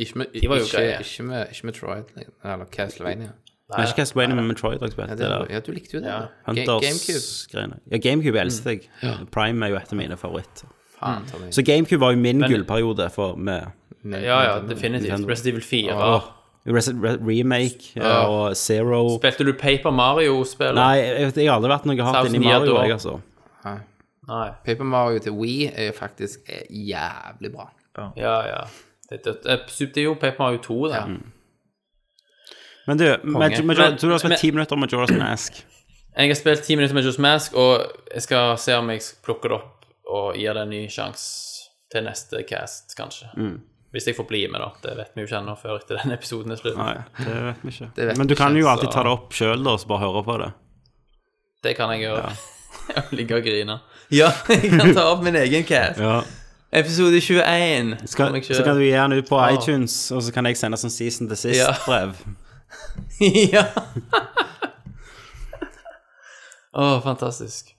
F: Ikke med,
E: var jo
F: ikke,
E: greie.
F: ikke med, ikke med Troid, eller Castlevania.
G: Men ikke Castlevania, men Metroid har jeg spilt.
F: Ja,
G: det
F: det,
G: der.
F: ja du likte jo det. Ga- GameCube.
G: Hunters-greiene. Ja, GameCube elsket jeg. Prime er jo et av mine favoritter.
F: Faen, Tommy.
G: Så GameCube var jo min gullperiode for med
E: ja, ja, definitivt. Resident Evil 4.
G: Res- Re Remake eh, og Zero
E: Spilte du Paper Mario-spillet?
G: Nei, jeg, vet- jeg har aldri vært noe hardt inni
E: Thousand Year
G: Mario,
E: Door.
G: jeg, altså.
E: Nei.
F: Paper Mario til Wii er jo faktisk eh, jævlig bra.
E: Ja, ja. Det er dødt. Eh, Sup- Det er jo Paper Mario 2, det.
G: Men du, Major, Major,
E: Men-
G: tror du har
E: men-
G: spilt ti minutter om Majora's Mask?
E: Jeg har spilt 10 minutter med Just Mask, og jeg skal se om jeg plukker det opp og gir det en ny sjanse til neste cast, kanskje. Hvis jeg får bli med, da. Det vet vi jo ikke ennå før etter den episoden er slutt.
G: Nei, det vet vi
F: Det
G: ikke.
F: vet
G: Men du
F: vi
G: kan
F: ikke,
G: jo alltid
E: så-
G: ta det opp sjøl, da, og så bare høre på det.
E: Det kan jeg gjøre. Jeg ligger og griner. Ja, jeg kan ta opp min egen cast. Episode 21.
G: Skal,
E: Om jeg ikke-
G: så kan du gi den ut på
E: Ja.
G: iTunes, og så kan jeg sende sånn season to
E: Ja.
G: sist-brev.
E: ja. Å, fantastisk.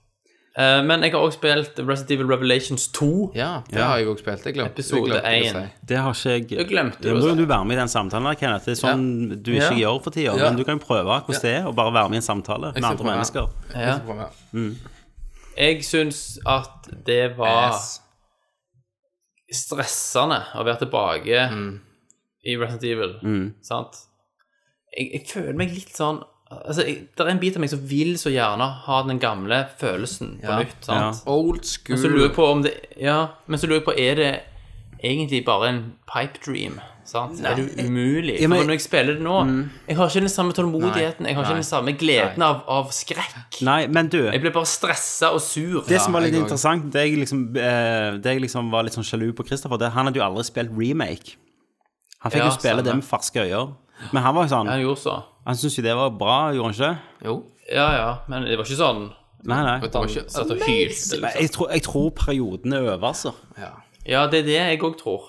E: Eh, men jeg har også spilt Resident Evil Revelations 2.
F: Ja, det har jeg òg spilt. Jeg glemte
E: Episode
F: jeg glemte å
E: én.
F: si.
G: Det har ikke jeg
E: Jeg glemte
G: Da
E: det,
G: må
E: altså.
G: du være med i den samtalen, der, Kenneth. Det er sånn du ikke
E: Ja.
G: gjør for tida.
F: Ja.
G: Men du kan jo prøve hvordan det er å bare være med i en samtale med
F: skal
G: andre
F: prøve.
G: mennesker.
E: Ja.
F: Kom her.
E: Jeg syns at det var
F: Ass.
E: stressende å være tilbake
G: Mm.
E: i Resident Evil. Sant? Jeg, jeg føler meg litt sånn Altså, jeg, Det er en bit av meg som vil så gjerne ha den gamle følelsen på nytt. sant?
F: Old
E: Men så lurer jeg
F: school.
E: på om det Ja, men så lurer jeg på Er det egentlig bare en pipe dream? Sant? Er det umulig?
G: Ja, men- Mm.
E: For når jeg spiller det nå Jeg har ikke den samme tålmodigheten, jeg har ikke den samme gleden av, av skrekk.
G: Nei, men du
E: Jeg blir bare stressa og sur.
G: det som var litt
F: jeg også.
G: interessant, det jeg liksom, eh, det jeg liksom var litt sånn sjalu på Christopher, det han hadde jo aldri spilt remake. Han fikk
E: Ja,
G: jo spille
E: stemmer.
G: det med ferske øyne. Men han var jo sånn
E: Han gjorde så.
G: Han syntes jo det var bra, gjorde han ikke det?
F: Jo.
E: Ja, ja, men det var ikke sånn
G: Nei, nei.
F: Det var ikke
E: satt og hylte.
G: Men Jeg tror, jeg tror perioden er over, altså.
F: Ja.
E: Ja, det er det jeg òg tror.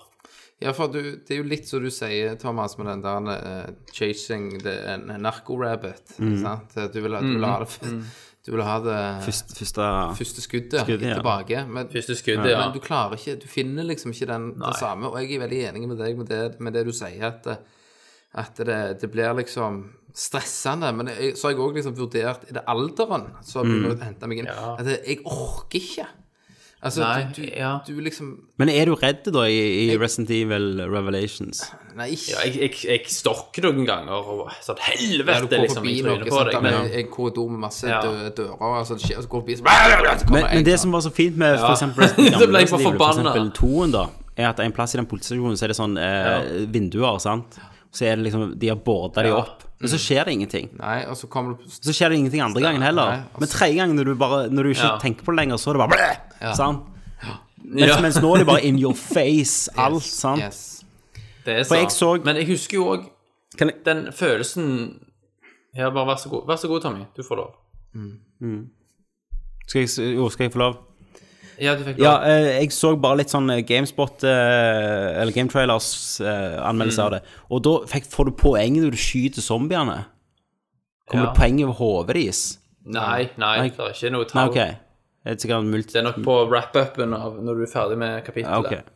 F: ja, for du, det er jo litt som du sier, Thomas, med den der eh, 'chasing the eh, narco-rabbit'. sant? Du vil, ha- du
E: Mm.
F: vil ha det Du vil ha det
G: Først- Første
F: første skuddet,
G: Skuddet, ja.
F: tilbake. Men,
E: Første skuddet, ja.
F: men du klarer ikke Du finner liksom ikke den, det samme. Og jeg er veldig enig med deg med det, med det du sier, at, at det, det blir liksom stressende. Men jeg, så har jeg òg liksom vurdert Er det alderen som begynner å hente meg inn? At jeg orker ikke. Altså,
E: Nei,
F: du, du,
E: ja.
F: du liksom
G: Men er du redd, da, i, i Resident Evil Revelations?
F: Nei, ikke
E: Ja, jeg, jeg, jeg stokker noen ganger og sånn
F: Ja, du
E: Helvete,
F: går
E: liksom, i
F: forbi noe
E: trynet på
F: sånt,
E: deg.
F: der
E: Men,
F: med en korridor med masse
E: Ja.
F: dø- dører og sånn skjer, og så går du forbi så
G: Men, men det som var så fint med for eksempel Resident
E: Så ble jeg
G: Evil,
E: bare
G: for
E: forbanna.
G: eksempel toen, da, er at en plass i den politistasjonen så er det sånn eh, vinduer, sant. Så er det liksom De har borda de
E: Ja. Mm.
G: opp. Men så skjer det ingenting.
F: Nei, og så kommer du
G: Så skjer det ingenting andre gangen heller.
F: Nei, altså.
G: Men tredje gangen når du, bare, når du ikke
E: Ja.
G: tenker på det lenger, så er det bare blæh! Sant? Mens,
E: ja,
G: mens nå er det bare in your face, alt, sant.
F: Yes.
E: det er
G: For jeg
E: sant.
G: så-
E: Men jeg husker jo òg
G: Kan jeg,
E: den følelsen Ja, bare vær så god. Vær så god, Tommy. Du får lov.
G: skal, jeg, s- jo, skal jeg få lov?
E: Ja, du fikk lov.
G: Ja, eh, jeg så bare litt sånn eh, GameSpot eh, Eller GameTrailers eh, anmeldelse
E: Mm.
G: av det. Og da fikk, får du poeng når du skyter zombiene. Kommer
E: Ja.
G: det poeng over hodet deres?
E: Nei, nei, det er ikke noe
G: Nei,
E: tall.
G: OK. Det er sikkert en multi...
E: Det er nok på wrap-upen av når du er ferdig med kapittelet.
G: Ok.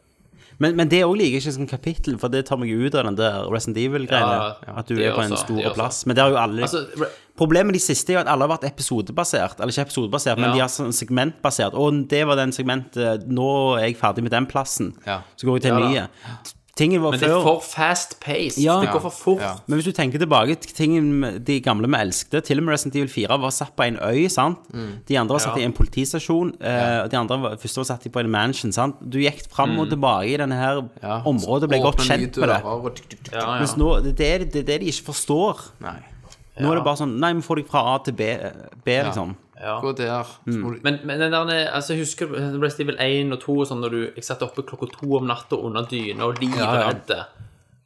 G: Men, men det òg liker jeg ikke som kapittel, for det tar meg ut av den der Resident Evil-greiene.
E: Ja,
G: at du
E: det
G: er på en
E: også, det
G: stor
E: også.
G: plass. Men det har jo alle
E: Altså, re-
G: Problemet de siste er jo at alle har vært episodebasert. Eller ikke episodebasert, men
E: Ja.
G: de har sånn segmentbasert. Og det var den segmentet Nå er jeg ferdig med den plassen.
F: Ja.
G: Så går jeg til
E: Ja,
G: en
E: da.
G: nye. Tingen var
E: Men det er
G: før
E: for fast paced.
G: Ja.
E: Det går for fort.
F: Ja.
G: men hvis du tenker tilbake til tingen de gamle vi elsket Til og med Resident Evil 4 var satt på en øy, sant? De andre var satt
E: Mm. Ja.
G: i en politistasjon. eh, og de andre var, første var satt på en mansion, sant? Du gikk fram
E: Mm.
G: og tilbake i denne her området og ble godt
F: Åpne nye
G: kjent med det.
F: dører og tuk, tuk, tuk.
E: Ja, ja.
G: Mens nå, det det er det, det er det de ikke forstår.
F: Nei.
G: Nå er det bare sånn Nei, vi får deg fra A til B, B liksom.
E: Ja.
F: Gå der. så
G: Mm.
F: må du-
E: Men, men den der, altså, jeg husker du Resident Evil 1 og 2 og sånn, når du, jeg satt oppe klokka to om natta under dyna og livredde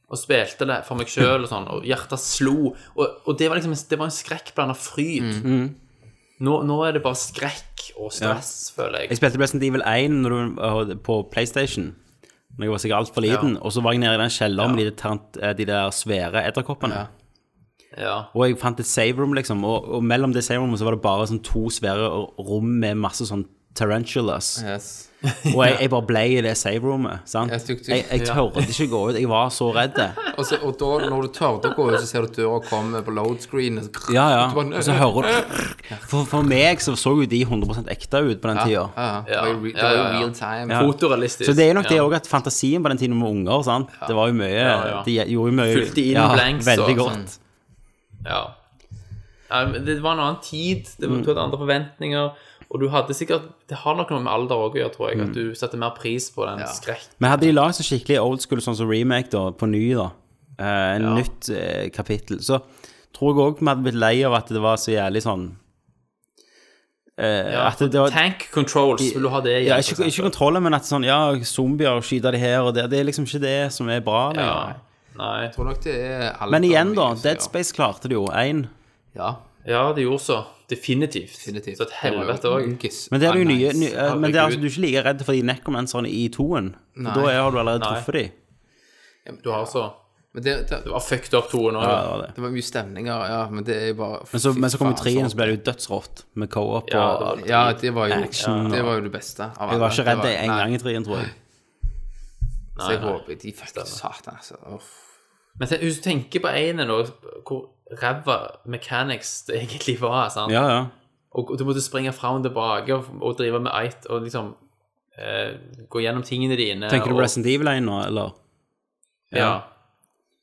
E: og spilte det for meg sjøl og sånn, og hjertet slo. Og, og det var liksom det var en skrekk blanda fryd.
G: Mm,
E: Nå, nå er det bare skrekk og stress, føler
G: Jeg
E: jeg.
G: spilte Resident Evil 1 når du, øh, på PlayStation. Når jeg var sikkert altfor liten. Og så var jeg nede i den kjelleren med de, der tarant- eh, de der svære edderkoppene.
E: Ja.
G: Og jeg fant et save room, liksom. Og, og mellom det save roomet så var det bare sånn to svære rom med masse sånn tarantulas.
F: Yes.
G: Og jeg, jeg bare ble i det save roomet. sant?
F: Ja,
G: Jeg,
F: tuk-tuk.
G: jeg tørde ikke gå ut. Jeg var så redd.
F: Og, så, og da, når du tørde å gå ut, så ser du døra komme på load screen. og så-
G: Ja, ja.
F: Du bare-
G: Og så hører du For, for meg så så jo de 100 ekte ut på den
F: Ja,
G: tida.
F: ja. Det
E: Ja.
F: var jo re- det
E: Ja,
F: var jo
E: ja, ja.
F: real time.
E: Fotorealistisk.
G: Så det er nok det
E: Ja.
G: òg at fantasien på den tiden med unger sant? Det var jo mye
E: Ja, ja.
G: De gjorde jo mye
E: Fylte inn blanks og
G: Veldig
E: sånn.
G: godt.
E: Ja. Ja, men Det var en annen tid, det var, du hadde andre forventninger, og du hadde sikkert Det har nok noe med alder òg å gjøre, tror jeg,
G: Mm.
E: at du setter mer pris på den skrekken.
G: Men hadde de lagd så skikkelig old school sånn som remake da, på ny, da, eh, en nytt eh, kapittel, så tror jeg òg vi hadde blitt lei av at det var så jævlig sånn eh,
E: Ja, altså.
G: At det, det var
E: Tank controls, vil du ha det igjen?
G: ja,
E: for
G: ikke, ikke
E: eksempel?
G: kontrollen, men at sånn Ja, zombier og skyte de her og der. Det er liksom ikke det som er bra. lenger.
E: ja. Nei.
F: Jeg tror nok det er alt
G: Men igjen, da.
F: mye som
G: Dead
F: gjør.
G: Space klarte det jo. Én.
F: Ja,
E: ja, det gjorde så. Definitivt.
F: definitivt.
E: Så et helvete òg.
G: Men det er
F: Ah,
G: jo nye, nye eh, Men det
E: herregud.
G: er altså, du er ikke like redd for de necromancerne i toen. For
F: Nei.
G: Da er, har du allerede
E: Nei.
G: truffet de. altså-
E: Du har så
F: Men det, det,
E: Det var fucked up toen òg.
G: Ja, det var det.
F: det var mye stemninger, ja, men det er bare
G: Men så, men så kom jo
F: Fy faen,
G: treen, så ble det jo dødsrått med co-op
E: Ja, det var
G: og
E: det.
F: Ja, det var jo
G: Action,
F: Det
G: og-
F: var jo det beste av alle.
G: Jeg var ikke redd
F: Det
G: en
F: nei,
G: gang i treen, tror jeg.
F: Så jeg
E: Nei, nei.
F: håper de fikk Satan, altså. Uff.
E: Men ten- hvis du tenker på Einen òg, hvor ræva mechanics det egentlig var, sant?
G: Ja, ja.
E: Og og du måtte springe fram og tilbake og, og drive med eit og liksom eh, gå gjennom tingene dine.
G: Tenker du
E: og,
G: Resident Evil 1 nå, eller?
E: Ja.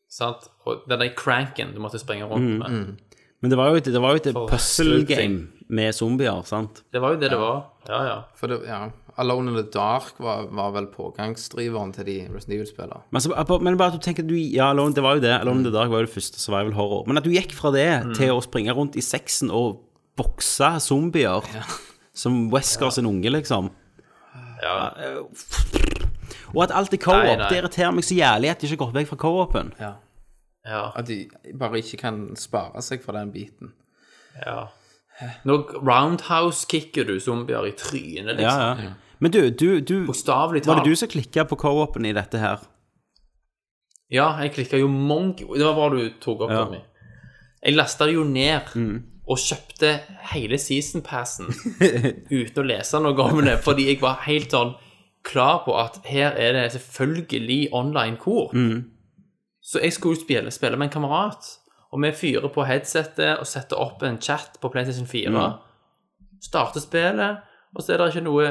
E: Sant? Og den der cranken du måtte springe
G: Mm,
E: rundt med.
G: Men det var jo et, det var jo et
E: For
G: puzzle game
E: sluting.
G: med zombier, sant?
E: Det var jo det det var. Ja, ja.
F: For det, ja, Alone in the Dark var, var vel pågangsdriveren til de Resident Evil-spillere.
G: Men, så, eh, men bare at du tenker at du, ja, Alone, det var jo det. Alone in the Dark var jo det første survival horror. Men at du gikk fra det
E: Mm.
G: til å springe rundt i seksen og bokse zombier som Wesker sin unge, liksom. eh,
E: ja.
G: Og at alt er co-op.
E: Nei, nei.
G: Det irriterer meg så jævlig at de ikke har gått vekk fra co-open.
E: ja,
F: At de bare ikke kan spare seg for den biten.
E: ja. Nå roundhouse-kicker du zombier i trynet,
G: Ja,
E: liksom.
G: ja. Men du, du, du
E: Bokstavelig
G: Var
E: talt.
G: det du som klikka på co-open i dette her?
E: Ja, jeg klikka jo mange Det var bra du tok opp
G: Ja.
E: Tommy. Jeg lasta det jo ned og kjøpte hele season passen uten å lese noe om det, fordi jeg var helt sånn klar på at her er det selvfølgelig online kor. Så jeg skulle jo spille, spille med en kamerat, og vi fyrer på headsetet og setter opp en chat på PlayStation 4. Starter spillet, og så er det ikke noe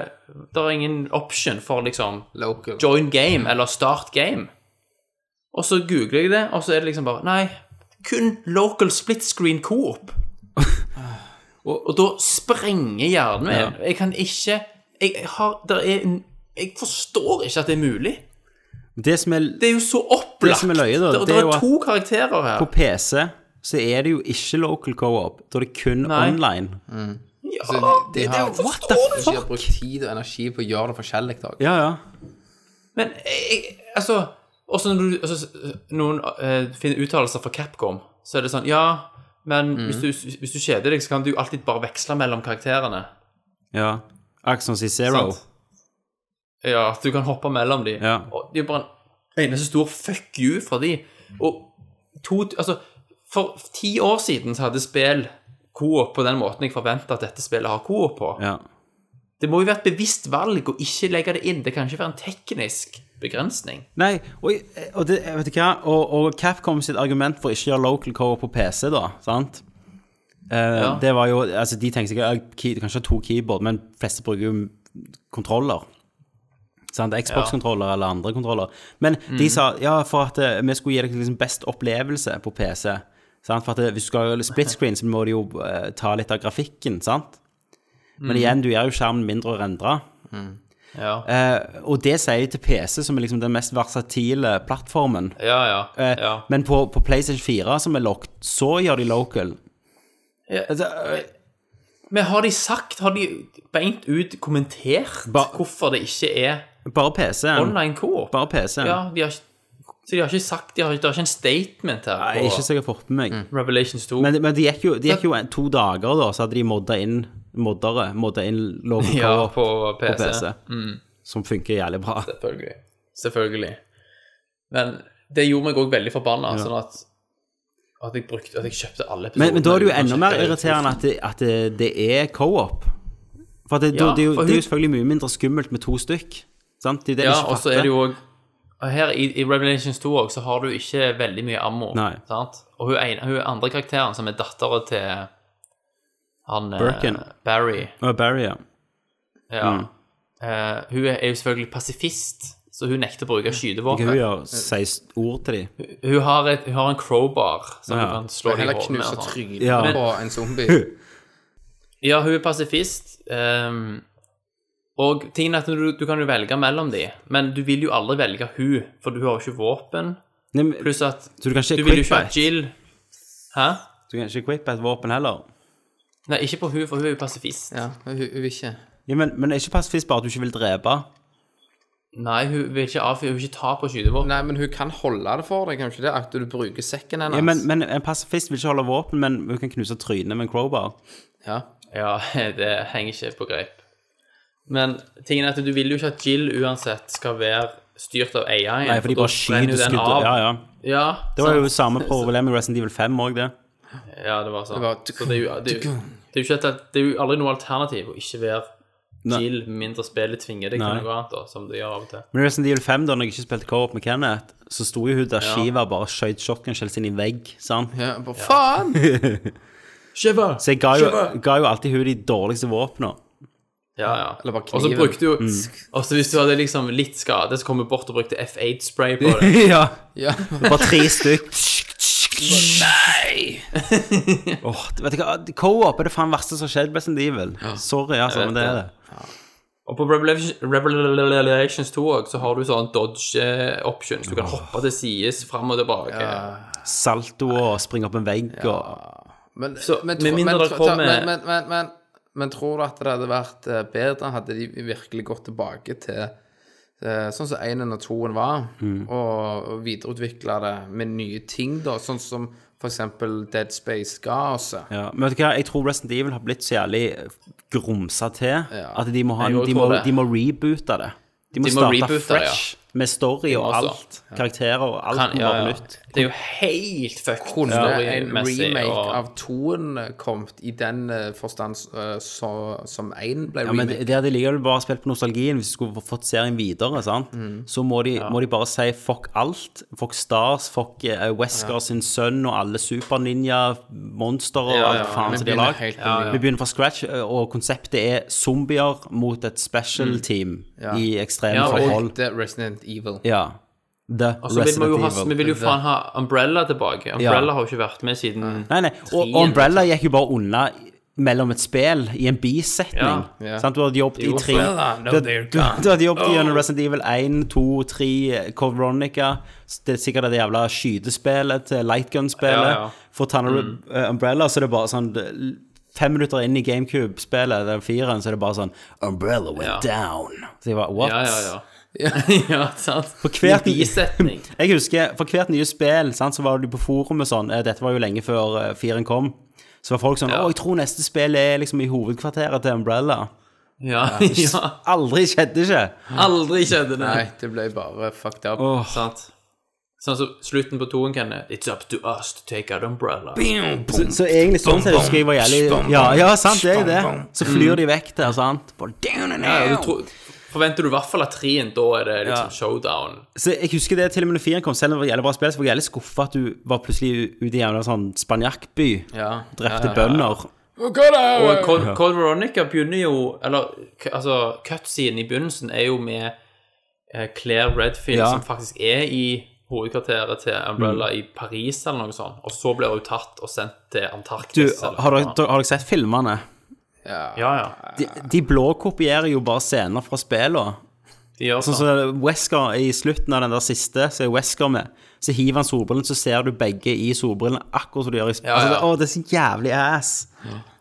E: Det er ingen option for liksom
F: Local.
E: join game eller start game. Og så googler jeg det, og så er det liksom bare Nei, kun local split screen coop. og, og da sprenger hjernen min. Jeg kan ikke Jeg, jeg har der er, en- Jeg forstår ikke at det er mulig.
G: Det som er
E: Det er jo så opplagt.
G: Det som er løye, da,
E: Der-
G: det
E: der
G: er
E: er,
G: jo at-
E: to karakterer her.
G: På PC så er det jo ikke local co-op. Da er det kun
E: Nei.
G: online.
E: Ja,
F: Så de, de har,
E: det
G: What the
F: de har
G: fuck?
F: brukt tid og energi på å gjøre det forskjellig. Da.
G: Ja, ja.
E: Men jeg, jeg- altså Også når du altså, noen eh, finner uttalelser fra Capcom, så er det sånn Ja, men
G: Mm.
E: hvis, du, hvis du kjeder deg, så kan du alltid bare veksle mellom karakterene.
G: ja. Axon C Zero.
E: Sant? Ja, at du kan hoppe mellom de.
G: Ja.
E: Og det er bare en eneste stor fuck you fra de. Og to Altså, for ti år siden så hadde spill Coop på den måten jeg forventa at dette spillet har Coop på.
G: Ja.
E: Det må jo være et bevisst valg å ikke legge det inn. Det kan ikke være en teknisk begrensning.
G: Nei, og, eh, og det, vet du hva? Og, og Capcom sitt argument for ikke å gjøre local core på PC, da, sant? Eh, Det var jo, altså De tenkte sikkert ja, key- du kan ikke ha to keyboard, men fleste bruker jo kontroller. Sant? Xbox-kontroller eller andre kontroller. Men de sa ja, for at eh, vi skulle gi deg liksom best opplevelse på PC. Sant? For at eh, Hvis du skal ha split screen, så må du jo eh, ta litt av grafikken. sant? Men igjen, du gjør jo skjermen mindre å rendre.
E: Ja,
G: Eh, og det sier de til PC, som er liksom den mest versatile plattformen.
E: ja. ja,
G: Eh,
E: ja.
G: Men på, på PlayStation 4, som er locked, så gjør de local.
E: Ja.
G: Altså, eh,
E: Men har de sagt, har de beint ut kommentert
G: Ba-
E: hvorfor det ikke er
G: bare PC.
E: online coop?
G: Bare PC.
E: Ja, de har, ikke- så de har ikke sagt, de har, det er ikke en statement her
G: Nei,
E: på
G: ikke så jeg har fått med meg.
E: Mm. Revelations 2.
G: Men, men det gikk jo, det gikk jo en, to dager, da, så hadde de modda inn moddere. Modda inn local
E: ja, Mm.
G: co-op
E: på PC.
G: på PC. Som funker jævlig bra.
E: Selvfølgelig. Selvfølgelig. Men det gjorde meg òg veldig forbanna, sånn at at jeg, brukte, at jeg kjøpte alle episodene.
G: Men, men da er det jo
E: uten å
G: enda mer
E: sjekke.
G: irriterende at det, at det, det er co-op. For at det,
E: Ja,
G: det, er jo,
E: for
G: det er
E: hun-
G: jo selvfølgelig mye mindre skummelt med to stykk. Sant? Det er det jeg
E: Ja,
G: ikke
E: og så
G: fatter.
E: er det jo òg Her i, i Revelations 2 også, så har du ikke veldig mye ammo.
G: Nei.
E: Sant? Og hun, ene, hun andre karakteren, som er dattera til han eh,
G: Birkin. Mm.
E: Barry
G: Og Barry, ja.
E: ja. Eh, Hun er er jo selvfølgelig pasifist, så hun nekter å bruke
G: Hva
E: skytevåpen.
G: hun gjør, sier ord til dem.
E: Hun, har et, hun har en crowbar som
G: Ja.
E: hun kan slå deg i
F: Heller
E: hodet med.
F: knuse
E: og sånn.
F: trynet
G: Ja.
F: på en zombie.
E: Ja, hun er pasifist. ehm, og tingen er at du, du kan jo velge mellom de, men du vil jo aldri velge hun, for du har jo ikke våpen.
G: Nei, men-
E: Pluss at
G: Så du kan ikke
E: du vil jo ikke ha
G: equip et-
E: Jill Hæ?
G: Du kan ikke equippe et våpen heller.
E: Nei, ikke på hun, for hun er jo pasifist.
F: Ja, hun hun vil ikke.
G: Ja, men, men er ikke pasifist bare at du ikke vil drepe?
E: Nei, hun vil ikke avfyre, hun vil ikke ta på skytevåpen.
F: Nei, men hun kan holde det for deg, kan hun ikke det? At du bruker sekken hennes.
G: Ja, men, men En pasifist vil ikke holde våpen, men hun kan knuse trynet med en crowbar.
F: Ja.
E: Ja, det henger ikke på greip. Men tingen er at du vil jo ikke at Jill uansett skal være styrt av AI.
G: Nei, for de
E: da brenner
G: bare skyter
E: jo den
G: skudd.
E: av.
G: Ja, ja.
E: ja.
G: Det var
E: sant.
G: jo samme problem med Resident Evil 5 òg, det.
E: Ja, det var sånn.
F: Det var-
E: så det er jo, det er jo, det er jo, ikke et, det er jo aldri noe alternativ å ikke være
G: Nei.
E: chill, med mindre spillet tvinger deg
G: Nei.
E: til noe annet, da, som det gjør av og til.
G: Men Resident Evil 5, da når jeg ikke spilte co-op med Kenneth, så sto jo hun der Shiva bare skjøt shotgun-shells inn i en vegg. sant?
F: ja bare, Faen!
G: Så jeg ga jo, ga jo alltid hun de dårligste våpnene.
E: Ja, ja.
F: Eller bare
E: Og så
F: kniven.
E: brukte jo Og så hvis du hadde liksom litt skade, så kom vi bort og brukte F8-spray på det.
G: ja.
F: Ja.
G: Bare tre stykk. Nei! Åh, vet du hva, Co-op er det faen verste som har skjedd med Resident Evil. Sorry, altså,
E: Jeg vet
G: men det er
E: det.
G: det.
E: Og på Revelation- Revelations 2 også, så har du sånn dodge eh, options. Du kan hoppe til sides, fram og tilbake.
G: Salto og springe opp en vegg og
F: Men,
E: Så,
F: men,
E: med
F: tro-
E: mindre
F: men,
E: det
F: tro-
E: kommer-
F: men, men, men, men, men tror du at det hadde vært eh, bedre hadde de virkelig gått tilbake til eh, sånn som 1 og 2 var,
E: Mm.
F: og, og videreutvikla det med nye ting, da, sånn som for eksempel Dead Space ga oss?
G: ja. Men vet du hva, jeg tror Resident Evil har blitt så jævlig grumsa til at de må, ha,
E: Jeg
G: en-
E: også
G: de, må,
E: tror det.
G: de må reboote det. De må,
E: De må
G: starte
E: reboote det,
G: fresh med story og
E: også.
G: alt. Karakterer og alt
E: Kan,
G: må
E: ja,
G: være
E: ja.
G: nytt.
E: Det er jo helt fucked
F: Kunne en
E: storymessig.
F: remake
E: og-
F: av 2 kommet i den eh, forstand eh, så, som 1 ble
G: Ja, men
F: remake?
G: det hadde likevel bare spilt på nostalgien hvis de skulle fått serien videre. sant?
E: Mm.
G: Så må de, må de bare si fuck alt. Fuck Stars, fuck eh, Wesker sin sønn og alle superninja-monstre og
E: Ja, ja,
G: alt faen
F: vi
G: som de har
F: begynner
G: lagd.
F: helt på Ja, ny.
G: Vi begynner fra scratch, eh, og konseptet er zombier mot et special team i
E: Mm.
G: ekstreme
E: Ja, og-
G: forhold.
F: Det er Resident Evil.
G: Ja. The
E: Og så vil vi
G: Resident
E: jo, ha, vi
G: Evil.
E: vil jo faen ha Umbrella tilbake. Umbrella har jo ikke vært med siden
G: Nei, nei. Og og Umbrella
E: liksom.
G: gikk jo bare unna mellom et spill i en bisetning.
E: Ja,
F: ja.
G: Sant? Du hadde jobbet i
E: Jo,
G: tre
E: for-
G: du, du, du hadde jobbet gjennom Resident Evil 1, 2, 3, Covronica Det er sikkert det jævla skytespillet til Lightgun-spillet.
E: Ja, Mm. ja.
G: For Tanner eh, Umbrella så er det bare sånn det- Fem minutter inn i GameCube-spillet, den fireren, så er det bare sånn Umbrella went
E: Ja.
G: down. Så jeg bare, what?
E: Ja, ja, ja. ja, sant.
G: For hvert-
E: I bisetning.
G: Jeg husker, for hvert nye spill sant, så var du på forumet sånn eh, Dette var jo lenge før eh, firen kom. Så var folk sånn
E: Ja.
G: Å, jeg tror neste spill er liksom i hovedkvarteret til Umbrella.
E: Ja, ja.
G: Aldri skjedde ikke.
E: Aldri skjedde det.
F: Nei, det ble bare fucked up.
E: Sant. Sånn som slutten på toen, Kenneth. It's up to us to take out umbrella.
G: Så, så egentlig sånn sett husker jeg var jævlig Ja, ja sant, det er jo det. Så flyr de vekk der, sant. Bare down
E: Mm.
G: and
E: Ja, du
G: out.
E: tror, forventer du i hvert fall at treen, da er det liksom showdown.
G: Så jeg husker det til og med når firen kom, selv om det var jævlig bra spill, så var jeg jævlig skuffa at du var plutselig ute i en jævla sånn spanjakkby,
E: Ja.
G: drepte bønder.
E: Og Code, Code Veronica begynner jo Eller k- altså, cutscenen i begynnelsen er jo med eh, Claire Redfield,
G: Ja. Mm.
E: som faktisk er i hovedkvarteret til Umbrella i Paris eller noe sånt, og så blir hun tatt og sendt til
G: Du,
E: Antarktis. eller
G: har dere,
E: noe.
G: har dere sett filmene?
E: Ja, ja.
G: De, de blå kopierer jo bare scener fra spillene.
E: De gjør
G: Sånn
E: sånn.
G: som Wesker i slutten av den der siste, så er Wesker med. Så hiver han solbrillen, så ser du begge i solbrillene, akkurat som du gjør i spillet.
E: Ja, ja.
G: Altså, det- å, det er så jævlig ass.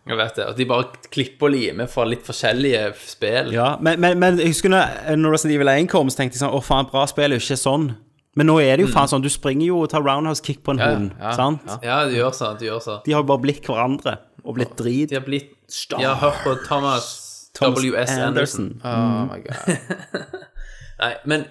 E: Jeg vet det. At de bare klipper og limer fra litt forskjellige spill.
G: Ja, men, men, men jeg husker når, når Resident Evil 1 kom, så tenkte jeg sånn Å, faen, bra spill er jo ikke sånn. Men nå er det jo faen sånn. Du springer jo og tar roundhouse kick på en hund, sant?
E: Ja, de gjør sånn. De gjør sånn.
G: De har jo bare blitt hverandre og blitt drit.
E: De har blitt De har hørt på Thomas,
G: Thomas
E: W.S. Anderson.
F: Oh my god.
E: Nei, men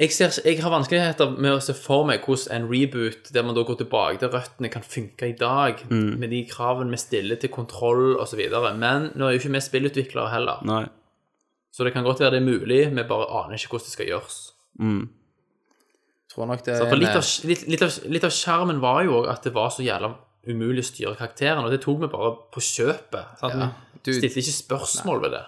E: jeg, ser, jeg har vanskeligheter med å se for meg hvordan en reboot der man da går tilbake til røttene, kan funke i dag,
G: Mm.
E: med de kravene vi stiller til kontroll osv. Men nå er jo ikke vi spillutviklere heller,
G: Nei.
E: så det kan godt være det er mulig, vi bare aner ikke hvordan det skal gjøres.
F: Tror nok det
E: For litt
F: er
E: av, litt, litt av, litt av skjermen var jo også at det var så jævla umulig å styre karakteren, og det tok vi bare på kjøpet. Sant?
F: Du-
E: Vi stilte ikke spørsmål ved det.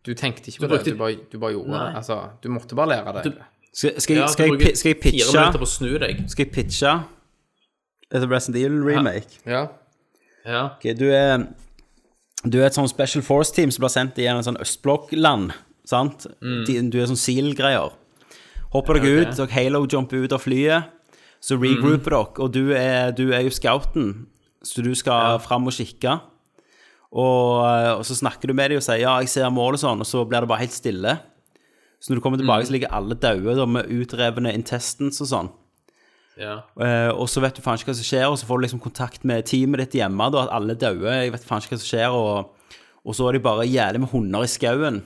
F: Du tenkte ikke på det,
E: brukte-
F: du bare, du bare gjorde
E: Nei.
F: det. Altså, du måtte bare lære det.
G: Skal, skal, jeg-
E: Ja, du
G: skal, jeg, pi-
E: bruker
G: skal jeg
E: Fire minutter
G: pitche
E: på å snu deg.
G: Skal jeg pitche et Resident Evil remake?
F: Ja.
E: Ja.
G: Ok, du er Du er et sånn Special Force-team som blir sendt i en sånn østblokkland. Sant? De- Du er sånn SEAL-greier. Hopper dere ut, dere halo-jumper ut av flyet. Så regrouper dere, og du er, du er jo scouten, så du skal fram og kikke. Og, og så snakker du med dem og sier 'ja, jeg ser målet', sånn, og så blir det bare helt stille. Så når du kommer tilbake, så ligger alle døde da, med utrevne intestines og sånn.
E: ja.
G: Eh, og så vet du faen ikke hva som skjer, og så får du liksom kontakt med teamet ditt hjemme, da, at alle dauer, jeg vet faen ikke hva som skjer, og, og så er de bare jævlig med hunder i skauen.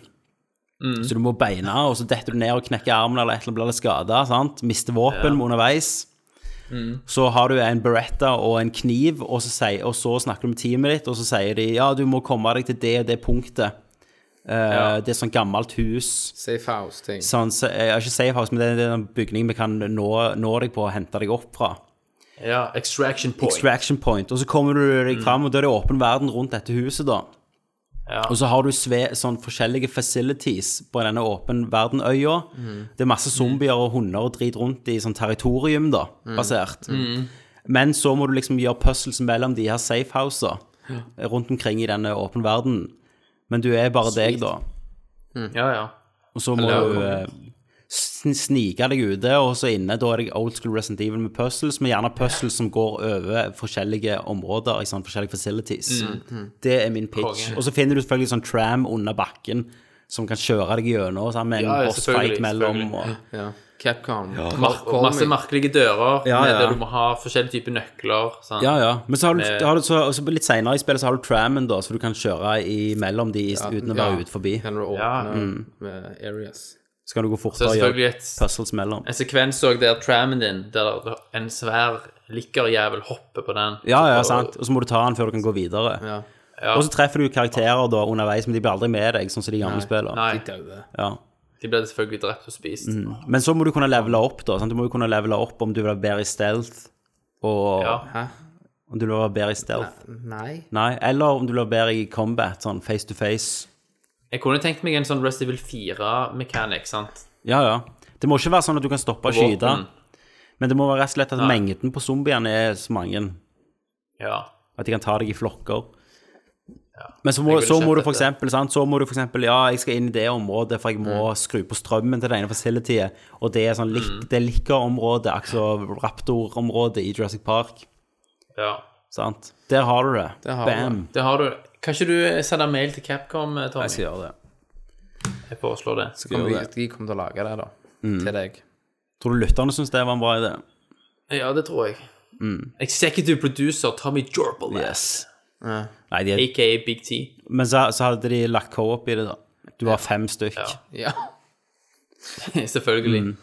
G: Så du må beina, og så detter du ned og knekker armen eller et eller annet, blir litt skada, sant? Mister våpen underveis. Så har du en beretta og en kniv, og så, sier, og så snakker du med teamet ditt, og så sier de ja, du må komme deg til det og det punktet. Eh, Det er sånn gammelt hus
F: Safe house-ting.
G: sånn, så, eh, ikke safe house, men det er en bygning vi kan nå, nå deg på og hente deg opp fra.
E: ja. Extraction point. Mm.
G: Extraction point. Og så kommer du deg fram, og da er det åpen verden rundt dette huset, da.
E: Ja.
G: Og så har du sve, sånn forskjellige facilities på denne åpen verden-øya.
E: Mm.
G: Det er masse zombier og hunder og drit rundt i sånn territorium, da,
E: Mm.
G: basert. Men så må du liksom gjøre puzzles mellom de her safehousa rundt omkring i denne åpen verden. Men du er bare deg, da.
E: ja, ja.
G: Og så må
E: Eller-
G: du eh, sn- snike deg ute, og så inne da er det old school Resident Evil med puzzles, men gjerne puzzles som går over forskjellige områder i sånn forskjellige facilities. Det er min pitch.
E: Mm, Konge.
G: Og så finner du selvfølgelig sånn tram under bakken som kan kjøre deg gjennom sånn, med en
E: Ja, ja,
G: boss
E: selvfølgelig,
G: fight mellom. Og,
F: Ja. Capcom. Ja.
E: Mar masse merkelige dører
G: Ja,
E: med
G: ja.
E: der du må ha forskjellige typer nøkler. Sant?
G: ja, ja. Men så har du, har du så, og så litt senere i spillet så har du trammen, da, så du kan kjøre imellom de i- uten å være ut forbi.
F: Kan du åpne
E: Ja,
F: med areas.
G: Så kan du gå
E: Så
G: fortere og
E: selvfølgelig
G: gjøre
E: et,
G: puzzles mellom.
E: en sekvens òg der trammen din, der en svær likkerjævel hopper på den.
G: Ja, ja, sant. Og så må du ta den før du kan gå videre.
F: Ja.
E: Ja.
G: Og så treffer du karakterer da underveis, men de blir aldri med deg, sånn som de gamle spiller.
E: Nei,
F: Daue.
G: Ja. Mm.
E: de ble selvfølgelig drept og spist.
G: Men så må du kunne levele opp, da. Sant? Du må jo kunne levele opp om du vil være bedre i stealth, og
E: Ja.
G: om du vil være bedre i stealth.
F: Nei.
G: Nei, eller om du vil være bedre i combat, sånn face to face.
E: Jeg kunne tenkt meg en sånn Rest Evil 4-mechanic, sant.
G: Ja, ja. Det må ikke være sånn at du kan stoppe og skyte,
E: Våpen.
G: men det må være rett og slett at mengden på zombiene er så mange
E: Ja.
G: at de kan ta deg i flokker. Men så
E: jeg
G: må,
E: ville sett
G: så må du for
E: dette.
G: eksempel, sant? så må du for eksempel, ja, jeg skal inn i det området, for jeg må skru på strømmen til det ene facilityet, og det er sånn lik, det er likkerområdet, altså raptorområdet i Jurassic Park,
E: ja.
G: sant? Der har du det.
F: har
G: Bam.
E: Det har du. Kan ikke du sende mail til Capcom, eh, Tommy?
G: Jeg skal gjøre det.
E: Jeg foreslår det.
F: Så kommer vi,
G: gjør
F: de kommer til å lage det, da. Til deg.
G: Tror du lytterne synes det var en bra idé?
E: Ja, det tror jeg. Executive producer Tommy Jorpel,
G: Nei, de,
E: aka Big T.
G: men så, så hadde de lagt co-op i det da. Du har fem stykk.
E: Ja.
F: Ja.
E: Selvfølgelig.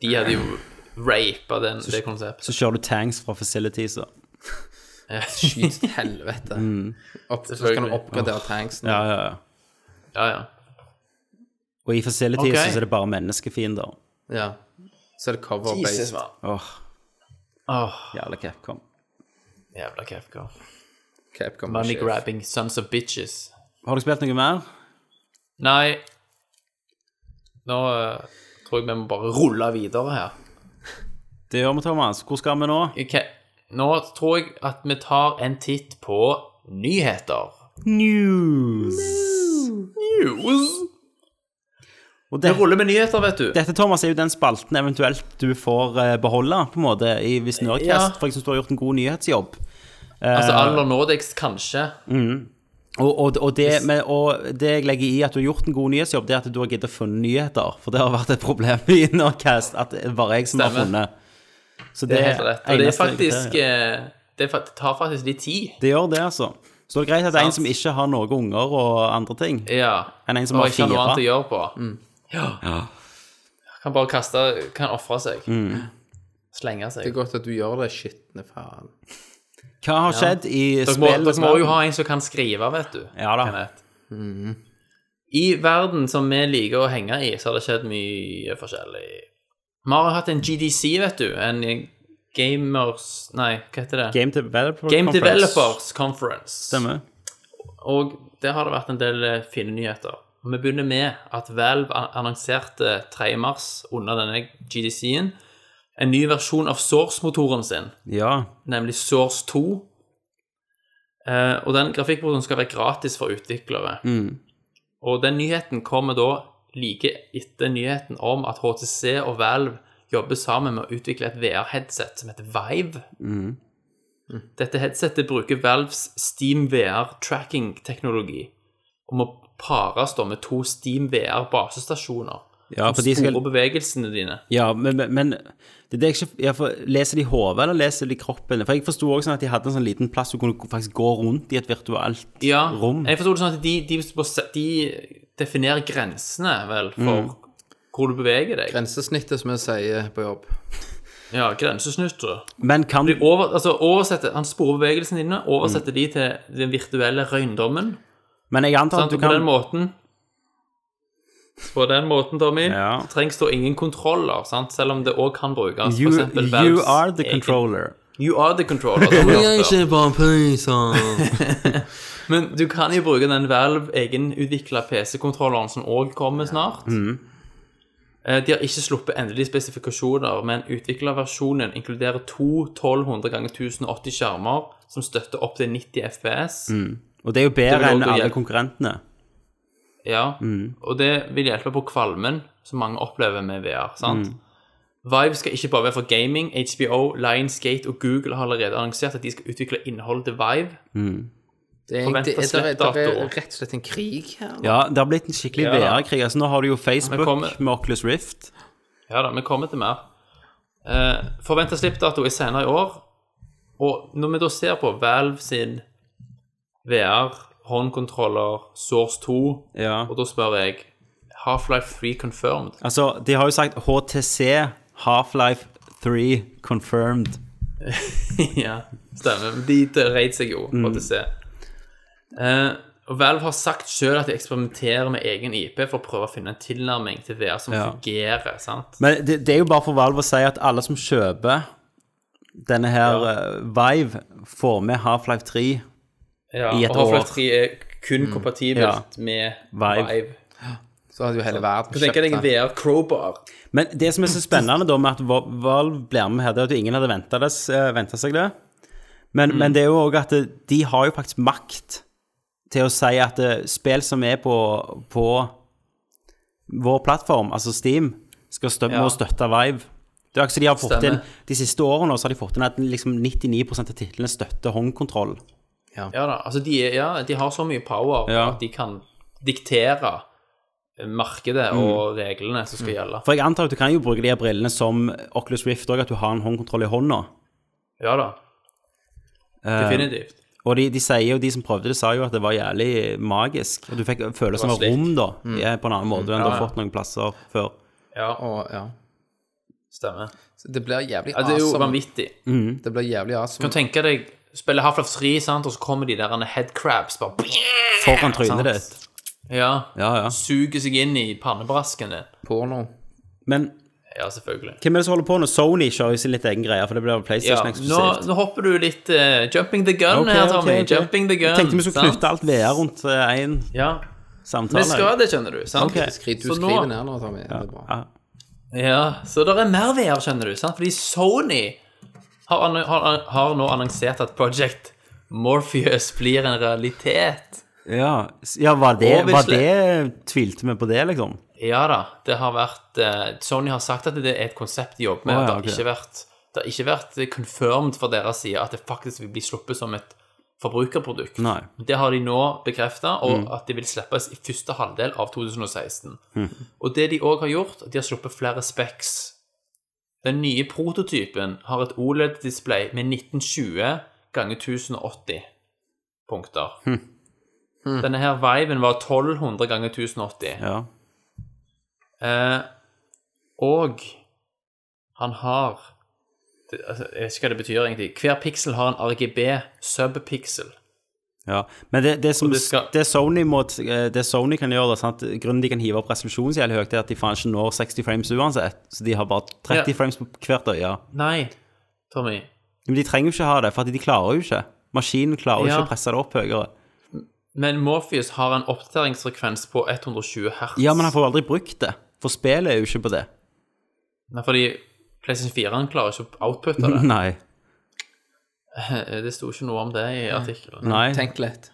E: De hadde jo rape den, det konseptet.
G: Så kjører du tanks fra facilities. og-
F: Skyt til helvete.
E: Mm.
F: Opp, så skal du
E: Selvfølgelig.
F: oppgradere tanksen.
G: Ja, ja, ja.
E: Ja, ja.
G: Eh, Og i facilities
E: Ok.
G: så er det bare menneskefiender.
F: Ja. Så er det
E: Jesus,
F: cover-based.
E: mann.
G: Åh,
E: Åh,
G: jævla Capcom.
E: jævla Kefka.
F: Capcom og
E: Money
F: shit.
E: grabbing sons of bitches.
G: Har du spilt noe mer?
E: Nei, nå eh, tror jeg vi må bare rulle videre her.
G: Det gjør vi, Thomas. Hvor skal vi nå?
E: Ok, Nå tror jeg at vi tar en titt på nyheter.
G: News.
E: News.
G: Og
E: Vi
G: det,
E: ruller med nyheter, vet du.
G: dette, Thomas, er jo den spalten eventuelt du får eh, beholde, på en måte, i, hvis Nerdcast
E: Ja.
G: For jeg syns du har gjort en god nyhetsjobb.
E: Altså aller nådigst, kanskje.
G: Og, og, og, det, men, og det jeg legger i at du har gjort en god nyhetsjobb, det er at du har giddet å funne nyheter. For det har vært et problem i Nordcast at det var jeg som har
E: Stemmer.
G: funnet. Så
E: Det er helt rett. Og det er
G: eneste
E: faktisk
G: kriteriet.
E: eh, det, er fa- det tar faktisk litt tid.
G: Det gjør det, altså. Så det er greit at det er en
E: Sant.
G: som ikke har noen unger og andre ting,
E: Ja.
G: enn en som
E: Og
G: har
E: ikke har noe annet å
G: fire. Mm.
E: gjøre på. Ja. Kan bare kaste Kan ofre seg.
G: Mm.
E: Slenge
F: Det er
E: seg.
F: godt at du gjør det, skitne faen.
G: Hva har skjedd i
E: Dere må,
G: spillet?
E: dere må jo ha en som kan skrive, vet du.
G: Ja da.
E: Kenneth. I verden som vi liker å henge i, så har det skjedd mye forskjellig. Vi har hatt en GDC, vet du. En Gamers Nei, hva heter det?
G: Game Developer
E: Game
G: Conference.
E: Developers Conference.
G: Stemmer.
E: Og der har det vært en del eh, fine nyheter. Og Vi begynner med at Valve an- annonserte 3. mars under denne GDC-en en ny versjon av Source-motoren sin,
G: Ja.
E: nemlig Source 2. Eh, og den grafikkmotoren skal være gratis for utviklere.
G: Mm.
E: Og den nyheten kommer da like etter nyheten om at HTC og Valve jobber sammen med å utvikle et VR-headset som heter Vive.
G: Mm.
E: Dette headsetet bruker Valves Steam VR tracking-teknologi om å pares da med to Steam VR basestasjoner.
G: Ja, for
E: som
G: de
E: sporer
G: skal,
E: bevegelsene dine.
G: ja, men, men- men det er det jeg ikke ja, for, Leser de hodet, eller leser de kroppen? For jeg forsto også sånn at de hadde en sånn liten plass du kunne faktisk gå rundt i et virtuelt
E: Ja,
G: rom.
E: jeg forstod det sånn at de, de, må se- de definerer grensene, vel,
G: Mm.
E: for hvor du beveger deg.
F: Grensesnittet, som vi sier på jobb.
E: Ja, grensesnutter.
G: Men kan
E: De Over, altså, oversetter, han sporer bevegelsene dine, oversetter
G: Mm.
E: de til den virtuelle røyndommen.
G: Men jeg antar
E: Sant?
G: at Sånn, du
E: Og på den
G: kan
E: måten På den måten, Tommy,
G: Ja.
E: så trengs det ingen kontroller, sant? selv om det òg kan brukes.
G: You,
E: for eksempel
G: you
E: Valves
G: are the
E: egen-
G: controller.
E: You are the controller. som vi har hørt før. Men du kan jo bruke den Valve egenutvikla PC-kontrolleren som òg kommer snart. Eh, De har ikke sluppet endelige spesifikasjoner, men utviklerversjonen inkluderer to 1200 ganger 1080 skjermer som støtter opp til 90 FPS.
G: Og det er jo
E: Det vil
G: bedre
E: også
G: enn
E: da
G: alle
E: hjelpe.
G: konkurrentene.
E: Ja, og det vil hjelpe på kvalmen som mange opplever med VR, sant? Vive skal ikke bare være for gaming. HBO, Lionsgate og Google har allerede annonsert at de skal utvikle innhold til Vive.
F: Det er,
E: Forvent
F: det,
E: å
F: er, det,
E: slette
F: er, det er
E: datoer.
F: rett og slett en krig her.
G: Ja, det har blitt en skikkelig
E: Ja.
G: VR-krig. Altså, nå har du jo
E: Men
G: Facebook
E: kommer-
G: med Oculus Rift.
E: Ja da, vi kommer til mer. Eh, Forventa slippdato er senere i år. Og når vi da ser på Valve sin VR, håndkontroller, Source 2,
G: Ja.
E: og da spør jeg Half-Life 3 confirmed?
G: Altså, de har jo sagt HTC Half-Life 3 confirmed.
E: ja, stemmer. De dreit seg jo,
G: Mm.
E: for å se. Eh, og Valve har sagt sjøl at de eksperimenterer med egen IP for å prøve å finne en tilnærming til VR som
G: Ja.
E: fungerer. sant?
G: Men det, det er jo bare for Valve å si at alle som kjøper denne her eh, Vive, får med Half-Life 3.
E: Ja,
G: I et
E: og Half-Life
G: år. Mm.
E: 3 er kun kompatibelt med
G: Vive.
E: Vive.
F: Så hadde jo hele verden
E: Du tenker deg en
F: det.
E: VR crowbar.
G: Men det som er så spennende da med at Va- Valve blir med her, det er at jo ingen hadde venta seg det. Men,
E: Mm.
G: men det er jo òg at det- de har jo faktisk makt til å si at eh, spill som er på, på vår plattform, altså Steam, skal stø
E: Ja.
G: må støtte Vive. Det er akkurat som de har fått
E: Stemmer.
G: inn De siste årene så har de fått inn at liksom 99 av titlene støtter håndkontroll.
E: Ja da, altså de, er- ja, de har så mye power
G: Ja.
E: at de kan diktere eh, markedet
G: Mm.
E: og reglene som skal gjelde.
G: For jeg antar at du kan jo bruke de her brillene som Oculus Rift òg, at du har en håndkontroll i hånda.
E: Ja da,
G: Eh.
E: definitivt.
G: Og de, de sier jo, de som prøvde det, sa jo at det var jævlig magisk. Og du fikk følelsen
E: var Mm.
G: av rom, da, ja, på en annen måte enn du
E: ja.
G: har fått noen plasser før.
E: Ja,
F: Og, ja.
E: Stemmer.
F: Så Det blir jævlig
E: Ja, det er jo
F: awesome.
E: vanvittig.
F: Det blir jævlig
E: Du
F: awesome.
E: kan tenke deg spille Half-Life 3, sant, og så kommer de der headcrabs bare
G: Foran trynet
E: Sant.
G: ditt.
E: Ja.
G: Ja, ja.
E: Suger seg inn i pannebrasken din.
F: Porno.
G: Men
E: Ja, selvfølgelig.
G: hvem er det som holder på nå? Sony kjører jo sin litt egen greie, for det blir jo
E: Ja,
G: PlayStation
E: nå,
G: eksklusivt.
E: nå hopper du litt eh, Jumping the gun
G: Ok,
E: her,
G: ok,
E: Tommy.
G: ok.
E: Jumping the gun.
G: Jeg tenkte vi skulle
E: sant?
G: knytte alt VR rundt én
E: Ja.
G: samtale.
E: Vi skal det, skjønner du. Sant?
G: Ok.
F: Skriv, du
E: Så nå-
F: skriver ned nå, Tommy. Det er bra.
E: Ja, så det er mer VR, skjønner du, sant? Fordi Sony har, ann- har, har nå annonsert at Project Morpheus blir en realitet.
G: Ja, s- ja var, det,
E: Og hvis
G: var
E: le-
G: det Tvilte vi på det, liksom?
E: Ja da, det har vært eh, Sony har sagt at det er et konsept de jobber med.
G: Å,
E: og
G: ja,
E: det, har
G: ok.
E: ikke vært, det har ikke vært confirmed fra deres side at det faktisk vil bli sluppet som et forbrukerprodukt.
G: Nei.
E: Det har de nå bekrefta, og at det vil slippes i første halvdel av 2016. Og det de òg har gjort, de har sluppet flere specs. Den nye prototypen har et OLED-display med 1920 ganger 1080 punkter. Hm. Denne her Viven var 1200 ganger 1080.
G: Ja.
E: Eh, og han har det, altså, Jeg vet ikke hva det betyr egentlig. Hver piksel har en RGB subpixel.
G: ja. Men det, det som
E: Og det skal-
G: det Sony, må, t- eh, det Sony kan gjøre, da, sant? grunnen de kan hive opp resolusjonen så jævlig høyt, er at de faen ikke når 60 frames uansett. Så de har bare 30
E: Ja.
G: frames på hvert øye.
E: Nei, Tommy.
G: Men de trenger jo ikke ha det, for at de klarer jo ikke. Maskinen klarer jo
E: Ja.
G: ikke å presse det opp høyere.
E: Men Morpheus har en oppdateringsfrekvens på 120 hertz.
G: Ja, men han får jo aldri brukt det, for spillet er jo ikke på det.
E: Nei, fordi PlayStation 4 han klarer ikke å outputte det.
G: Nei.
E: Det sto ikke noe om det i artikkelen.
G: Nei.
F: Tenk litt.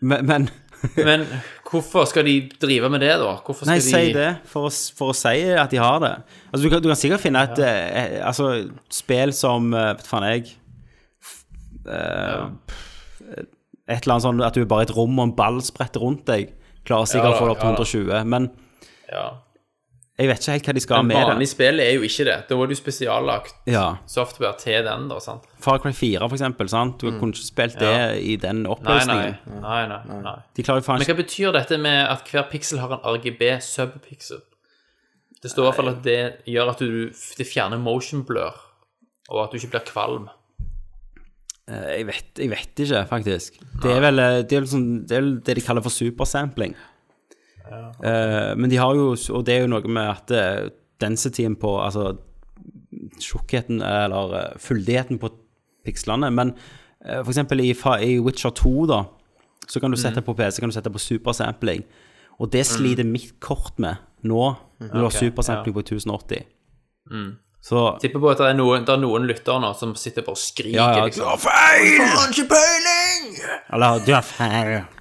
G: Men, men
E: Men hvorfor skal de drive med det, da? Hvorfor skal
G: Nei,
E: de
G: si det, for å, s- for å si at de har det. Altså, du kan, du kan sikkert finne et eh, eh, altså, spill som eh, Vet faen jeg f- eh, Et eller annet sånn at du er bare i et rom og en ball spretter rundt deg. Klarer
E: da,
G: sikkert å få det opp
E: ja da.
G: til 120, men
E: Ja.
G: jeg vet ikke helt hva de skal med
E: Vanlig
G: det.
E: spill er jo ikke det. Da var det jo spesiallagt
G: Ja.
E: software til den, da. sant?
G: Far Cry 4, for eksempel. Sant? Du kunne ikke spilt det i
E: Mm. Nei,
G: den
E: nei.
G: oppløsningen.
E: nei, nei, nei.
G: De klarer jo faen
E: Men hva
G: ikke
E: betyr dette med at hver piksel har en RGB subpixel? Det står i hvert fall at det gjør at du, det fjerner motion blur, og at du ikke blir kvalm.
G: Eh, jeg vet, jeg vet ikke, faktisk. Det er vel eh, det, er vel sånn, det, er vel det de kaller for supersampling. Eh, men de har jo Og det er jo noe med at eh, densityen på Altså tjukkheten eller eh, fyldigheten på pikslene. Men eh, for eksempel i, fa- i Witcher 2, da, så kan du sette på PC kan du sette på supersampling. Og det sliter mitt kort med nå, når du har supersampling på 1080. Så
E: Tipper på at det er noen, det er noen lyttere nå som sitter bare og skriker.
G: Ja, ja.
E: liksom.
G: Eller du har feil.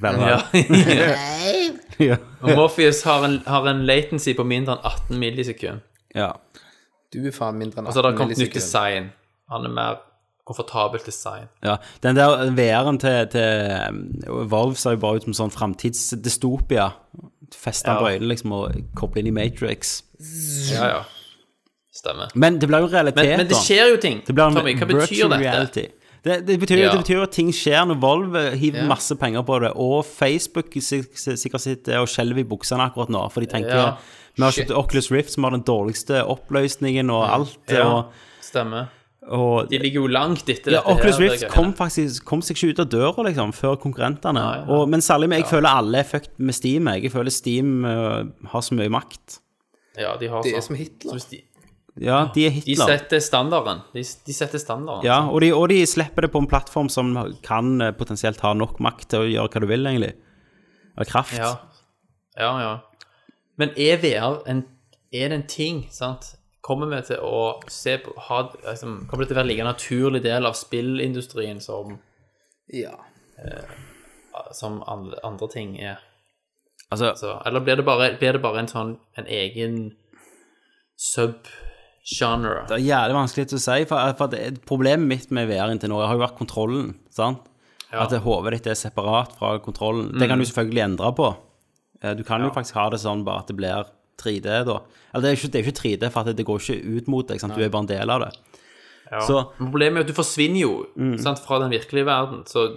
G: Vel,
E: Ja.
G: vel. Ja.
E: Og Morpheus har en, har en latency på mindre enn 18 millisekund.
G: ja.
F: Du er faen mindre enn
E: Og så har Altså, det
F: 18
E: kommet nytt
F: millisekunder.
E: design. Han er mer komfortabel design.
G: Ja, den der VR-en til, til um, Valve ser jo bare ut som sånn framtidsdystopia. Feste
E: Ja.
G: på øynene liksom og koble inn i Matrix.
E: Ja, ja. Stemmer.
G: Men det blir jo realitet,
E: Men, men det
G: da.
E: skjer jo ting.
G: Det blir en
E: Tommy, hva betyr
G: virtual
E: dette?
G: reality. Det, det, betyr,
E: Ja.
G: det betyr at ting skjer når Volve hiver masse penger på det, og Facebook sik- sik- sikkert sitter og skjelver i buksene akkurat nå, for de tenker
E: Ja.
G: Vi har kjøpt Oculus Rift, som har den dårligste oppløsningen og alt.
E: Ja.
G: Og,
E: Stemmer.
G: og
E: De ligger jo langt etter
G: Ja,
E: dette. her,
G: Oculus
E: det
G: Rift
E: greiene.
G: kom faktisk kom seg ikke ut av døra liksom, før konkurrentene.
E: Nei, nei.
G: Og, men særlig med, jeg føler alle er fucked med Steam. Jeg Jeg føler Steam øh, har så mye makt.
E: Ja, de har
F: Det er
E: sånn.
F: som Hitler.
E: Så hvis de,
G: Ja, de er
E: de
G: Hitler.
E: setter standarden. De, de setter standarden.
G: ja, og, de, og de slipper det på en plattform som kan øh, potensielt ha nok makt til å gjøre hva du vil, egentlig. Eller kraft.
E: ja. Ja, ja. Men er VR en, er det en ting, sant? Kommer vi til å se på ha, liksom, Kommer det til å være like en naturlig del av spillindustrien som, eh,
F: Ja.
E: som andre, andre ting er?
G: Altså,
E: Så, eller blir det, bare, blir det bare en sånn en egen sub-genre?
G: det er jævlig vanskelig til å si, for, eh, for det, problemet mitt med VR inntil nå har jo vært kontrollen. sant? At det- hodet ditt er separat fra kontrollen. Det
E: Mm.
G: kan du selvfølgelig endre på. Eh, Du kan jo faktisk ha det sånn bare at det blir 3D, da. Eller det er jo ikke, det er jo ikke 3D, for at det går ikke ut mot deg. sant? Du er bare en del av det. Så
E: Men Problemet er jo at du forsvinner jo
G: Mm.
E: sant, fra den virkelige verden, så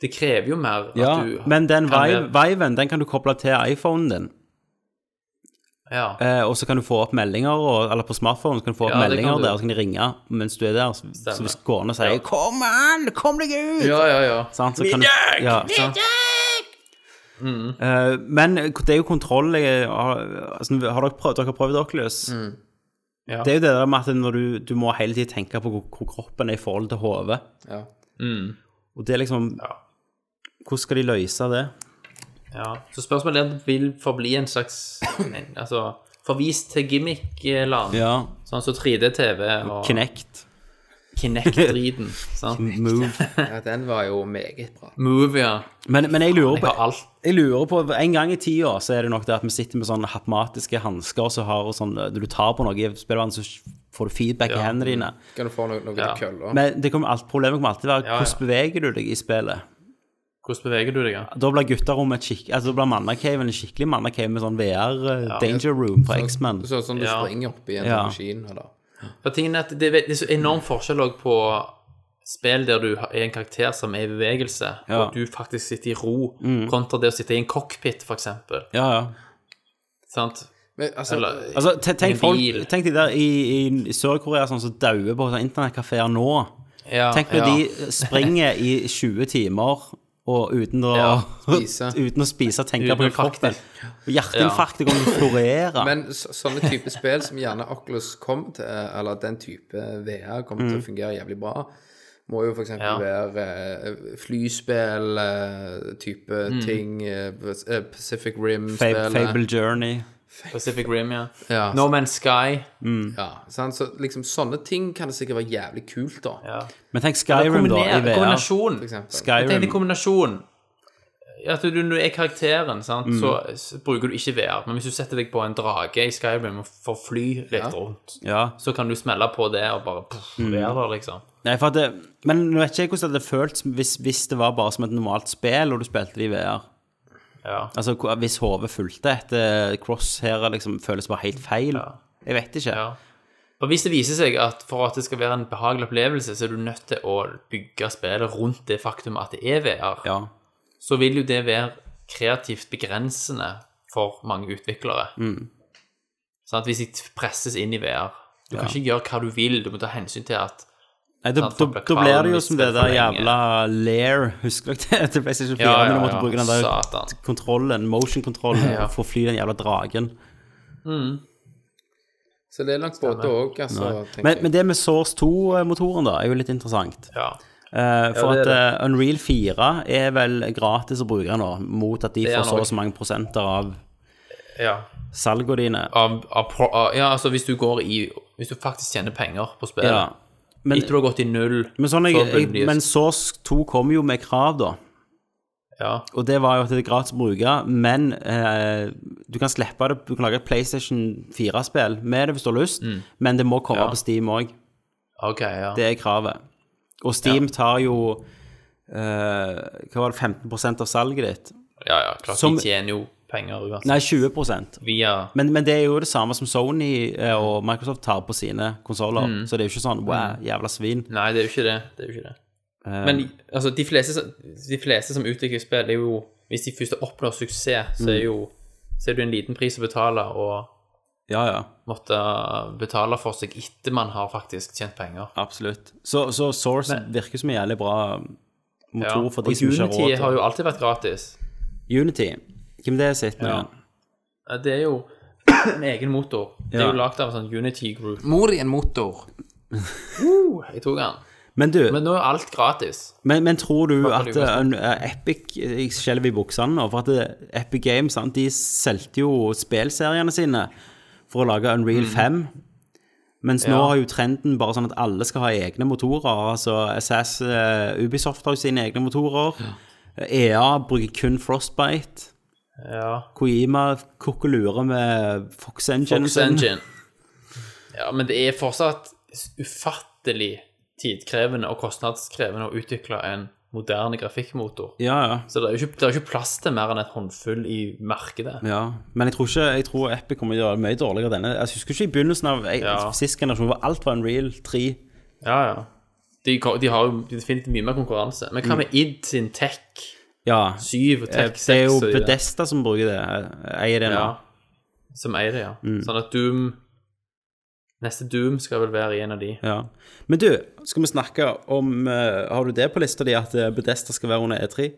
E: det krever jo mer at
G: ja,
E: du
G: men den
E: kan
G: Vive- Viven, den kan du koble til iPhonen din.
E: Ja.
G: Eh, og så kan du få opp meldinger, og, eller på smartphone så kan du få opp
E: Ja, det
G: meldinger
E: kan du.
G: der, og så kan de ringe mens du er der. Så, så hvis gående sier
E: Ja.
G: 'Kom an, kom deg ut!'
E: ja, ja, ja.
G: Sant, så kan du, ja, sant. Eh, men det er jo kontroll jeg, har, altså, har dere prøvd Dere har prøvd Oculus?
E: Ja.
G: Det er jo det der med at når du, du må hele tiden tenke på hvor, hvor kroppen er i forhold til hodet.
F: Ja.
G: Og det er liksom Hvordan skal de løse det?
E: ja. Så spørsmålet er om det vil forbli en slags en- Altså forvist til gimmick-land.
G: Ja.
E: Sånn som 3D-TV og
G: Knekt.
E: Kinect-driten. sant?
G: Move.
F: ja, den var jo meget bra.
E: Move, ja.
G: Men, men jeg lurer
E: Jeg har
G: på
E: alt.
G: Jeg lurer på, En gang i tida så er det nok det at vi sitter med sånne hapmatiske hansker som har sånn Når du tar på noe i spillverden, så får du feedback i hendene dine.
F: Kan du få noe, noe
E: Ja.
F: til kølla?
G: Men det kommer alt, problemet kommer alltid være
E: Ja, ja.
G: hvordan beveger du deg i spillet.
E: Hvordan beveger du deg? Ja?
G: Da blir gutterommet et skikk- altså, da blir mannacaven en skikkelig mannacaven med sånn VR eh, danger room fra X-Men.
F: Sånn som du
E: Ja.
F: springer opp i en
G: Ja.
F: maskin, eller
E: For tingen er at det, det er så enorm forskjell også på spill der du har- er en karakter som er i bevegelse,
G: Ja. Mm.
E: og du faktisk sitter i ro, kontra det å sitte i en cockpit, for eksempel.
G: Ja, ja.
E: Sant?
F: Men altså,
E: Eller-
G: Altså, te-
E: En
G: tenk, folk,
E: bil.
G: tenk de der i, i Sør-Korea sånn som dauer på sånn internettkafeer nå.
E: Ja,
G: Tenk når
E: ja.
G: de springer i 20 timer og uten å,
E: Ja,
F: spise.
G: uten å spise tenke
E: Uten
G: på
E: å frakte.
G: kroppen. Og Hjerteinfarkt det kommer til å florere.
F: Men så, sånne type spill som gjerne Oculus kommer til, eh, eller den type VR kommer til å fungere jævlig bra, må jo f.eks.
E: Mm. Ja.
F: være eh, flyspill, eh, type
E: Mm.
F: ting, eh, eh, Pacific
G: Fab-
F: Rim-spillet
G: Fable Journey.
E: Pacific Rim, ja.
F: eh, Ja.
E: No Man's Sky.
F: Ja, sant? Så liksom sånne ting kan det sikkert være jævlig kult, da.
E: Ja.
G: Men tenk Skyrim, da, i
E: Kombiner-
G: VR.
E: Kombinasjon.
F: For eksempel.
E: Jeg tenker
G: Skyrim.
E: litt kombinasjon. At du, du er karakteren, sant? Så, så bruker du ikke VR. Men hvis du setter deg på en drage i Skyrim og får fly litt rundt,
G: Ja. Mm.
E: så kan du smelle på det og bare pff, være der, liksom.
G: Nei, for at det, men nå vet ikke jeg hvordan det hadde føltes hvis, hvis det var bare som et normalt spill og du spilte det i VR.
E: Ja.
G: Altså hvor- hvis hodet fulgte etter crosshairet, liksom føles bare helt feil. Jeg vet ikke.
E: Ja. Og hvis det viser seg at for at det skal være en behagelig opplevelse, så er du nødt til å bygge spillet rundt det faktum at det er VR,
G: Ja.
E: så vil jo det være kreativt begrensende for mange utviklere.
G: Mm.
E: Sånn at hvis de presses inn i VR Du kan ikke gjøre hva du vil, du må ta hensyn til at
G: Nei, da,
E: Sant,
G: da,
E: folk blir
G: da blir det
E: kvalm
G: jo
E: hvis
G: som
E: det
G: det
E: er for
G: der
E: lenge.
G: jævla lair, husker dere det? Til PlayStation 4,
E: Ja, ja,
G: når du måtte
E: ja.
G: bruke den der
E: Satan.
G: kontrollen, motion-kontrollen,
E: Ja.
G: for å fly den jævla dragen.
F: Så det er langt både òg, altså. tenker
G: Men,
F: jeg.
G: men det med Source 2-motoren, da, er jo litt interessant.
E: Ja.
G: Eh, for
E: det er
G: at eh, Unreal 4 er vel gratis å bruke nå, mot at de
E: Det er
G: får så
E: nok.
G: og så mange prosenter av
E: ja.
G: salgene dine.
E: Av, av, pro- av, ja, altså hvis du går i Hvis du faktisk tjener penger på spillet
G: Ja. Men,
E: Etter du har gått i null
G: men, sånn,
E: så
G: jeg,
E: blir det
G: jeg,
E: nye-
G: men Source 2 kom jo med krav, da.
E: ja.
G: Og det var jo at det er gratis å bruke, men eh, du kan slippe det. Du kan lage et PlayStation 4-spill med det hvis du har lyst, men det må komme på Steam òg.
E: OK, ja.
G: Det er kravet. Og Steam tar jo eh, Hva var det, 15 av salget ditt?
E: ja, ja klart
G: Som-
E: de tjener jo penger uansett.
G: Nei, 20 men,
E: Via
G: men det er jo det samme som Sony eh, og Microsoft tar på sine konsoller. Så det er jo ikke sånn wow, jævla svin.
E: Nei, det er jo ikke det. det, er jo ikke det.
G: Eh.
E: Men altså, de, fleste, som- de fleste som utvikler spill, er jo Hvis de først oppnår suksess, så er
G: Mm.
E: jo så er det jo en liten pris å betale og
G: Ja, ja.
E: måtte betale for seg etter man har faktisk tjent penger.
G: Absolutt. Så, så Source virker som en jævlig bra
E: Ja.
G: motor
E: Og
G: for de som ikke har
E: Unity
G: råd.
E: har
G: til-
E: jo alltid vært gratis.
G: Unity. Hvem det sitter med?
E: Ja.
G: igjen?
E: Ja, Det er jo en egen motor. Det er
G: Ja.
E: jo lagd av en sånn Unity Group.
F: Mor i en motor.
E: Jeg tok den.
G: Men du,
E: Men
G: men,
E: nå er jo alt gratis.
G: men, tror du
E: Hva kan
G: at
E: du gjøre?
G: eh, en- eh, Epic Jeg skjelver i buksene nå, for at eh, Epic Games sant, de solgte jo spillseriene sine for å lage Unreal 5. Mens nå
E: Mm. Ja.
G: har jo trenden bare sånn at alle skal ha egne motorer. Altså SAS, eh, Ubisoft har jo sine egne motorer. EA bruker kun Frostbite.
E: Ja.
G: Koima kokkelurer med Fox Engine. sånn.
E: Fox Engine. Ja, men det er fortsatt ufattelig tidkrevende og kostnadskrevende å utvikle en moderne grafikkmotor.
G: Ja, ja.
E: Så det er jo ikke, det er jo ikke plass til mer enn et håndfull i markedet.
G: Ja, men jeg tror ikke Jeg tror Epic kommer til å gjøre det mye dårligere denne. Jeg husker ikke i begynnelsen av jeg,
E: Ja.
G: sist generasjon hvor alt var Unreal 3.
E: Ja, ja. De, ko- de har jo definitivt mye mer konkurranse. Men hva med id sin Tech
G: Ja.
E: 7 og
G: eh,
E: Tech 6?
G: Mm. Det er jo
E: og de der?
G: Bedesta som bruker det. Jeg eier det nå.
E: Ja. Som eier det, ja.
G: Mm.
E: Sånn at Doom Neste Doom skal vel være i en av de.
G: Ja. Men du, skal vi snakke om eh, Har du det på lista di at eh, Bethesda skal være under E3?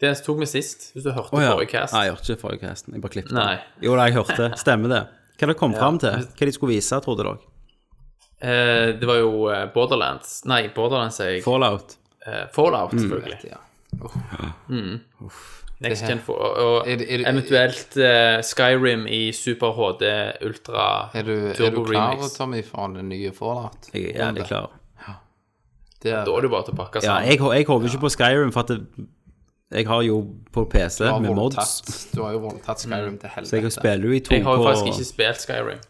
E: Det tok vi sist, hvis du hørte
G: Å, ja.
E: forrige cast.
G: Nei, jeg hørte ikke forrige casten. Jeg bare klippet.
E: Nei.
G: Jo da, jeg hørte. Stemmer det. Hva det kom fram til? Hva de skulle vise, trodde dere?
E: Eh, det var jo eh, Borderlands Nei, Borderlands sier jeg.
G: Fallout.
E: eh, Fallout,
G: Mm.
E: selvfølgelig.
F: Ja.
E: Next
F: Det her-
E: Gen for, og, og
F: Er det- er det-
E: eventuelt eh, Skyrim i Super HD Ultra
F: Er du, er du
E: Turbo
F: klar,
E: Remix.
F: Tommy, for den nye Fallout?
G: Jeg, jeg, jeg er klar.
F: Det er
E: Da er det bare til å pakke
G: Ja,
E: sammen.
G: jeg, jeg håper ikke på Skyrim, for at det, jeg har jo på PC
F: du har
G: med mods.
F: voldtatt- Du har jo voldtatt
E: Mm.
F: Skyrim til
G: Så jeg
F: helvete.
G: spiller jo i to
E: Jeg har jo
G: på
E: faktisk ikke spilt Skyrim.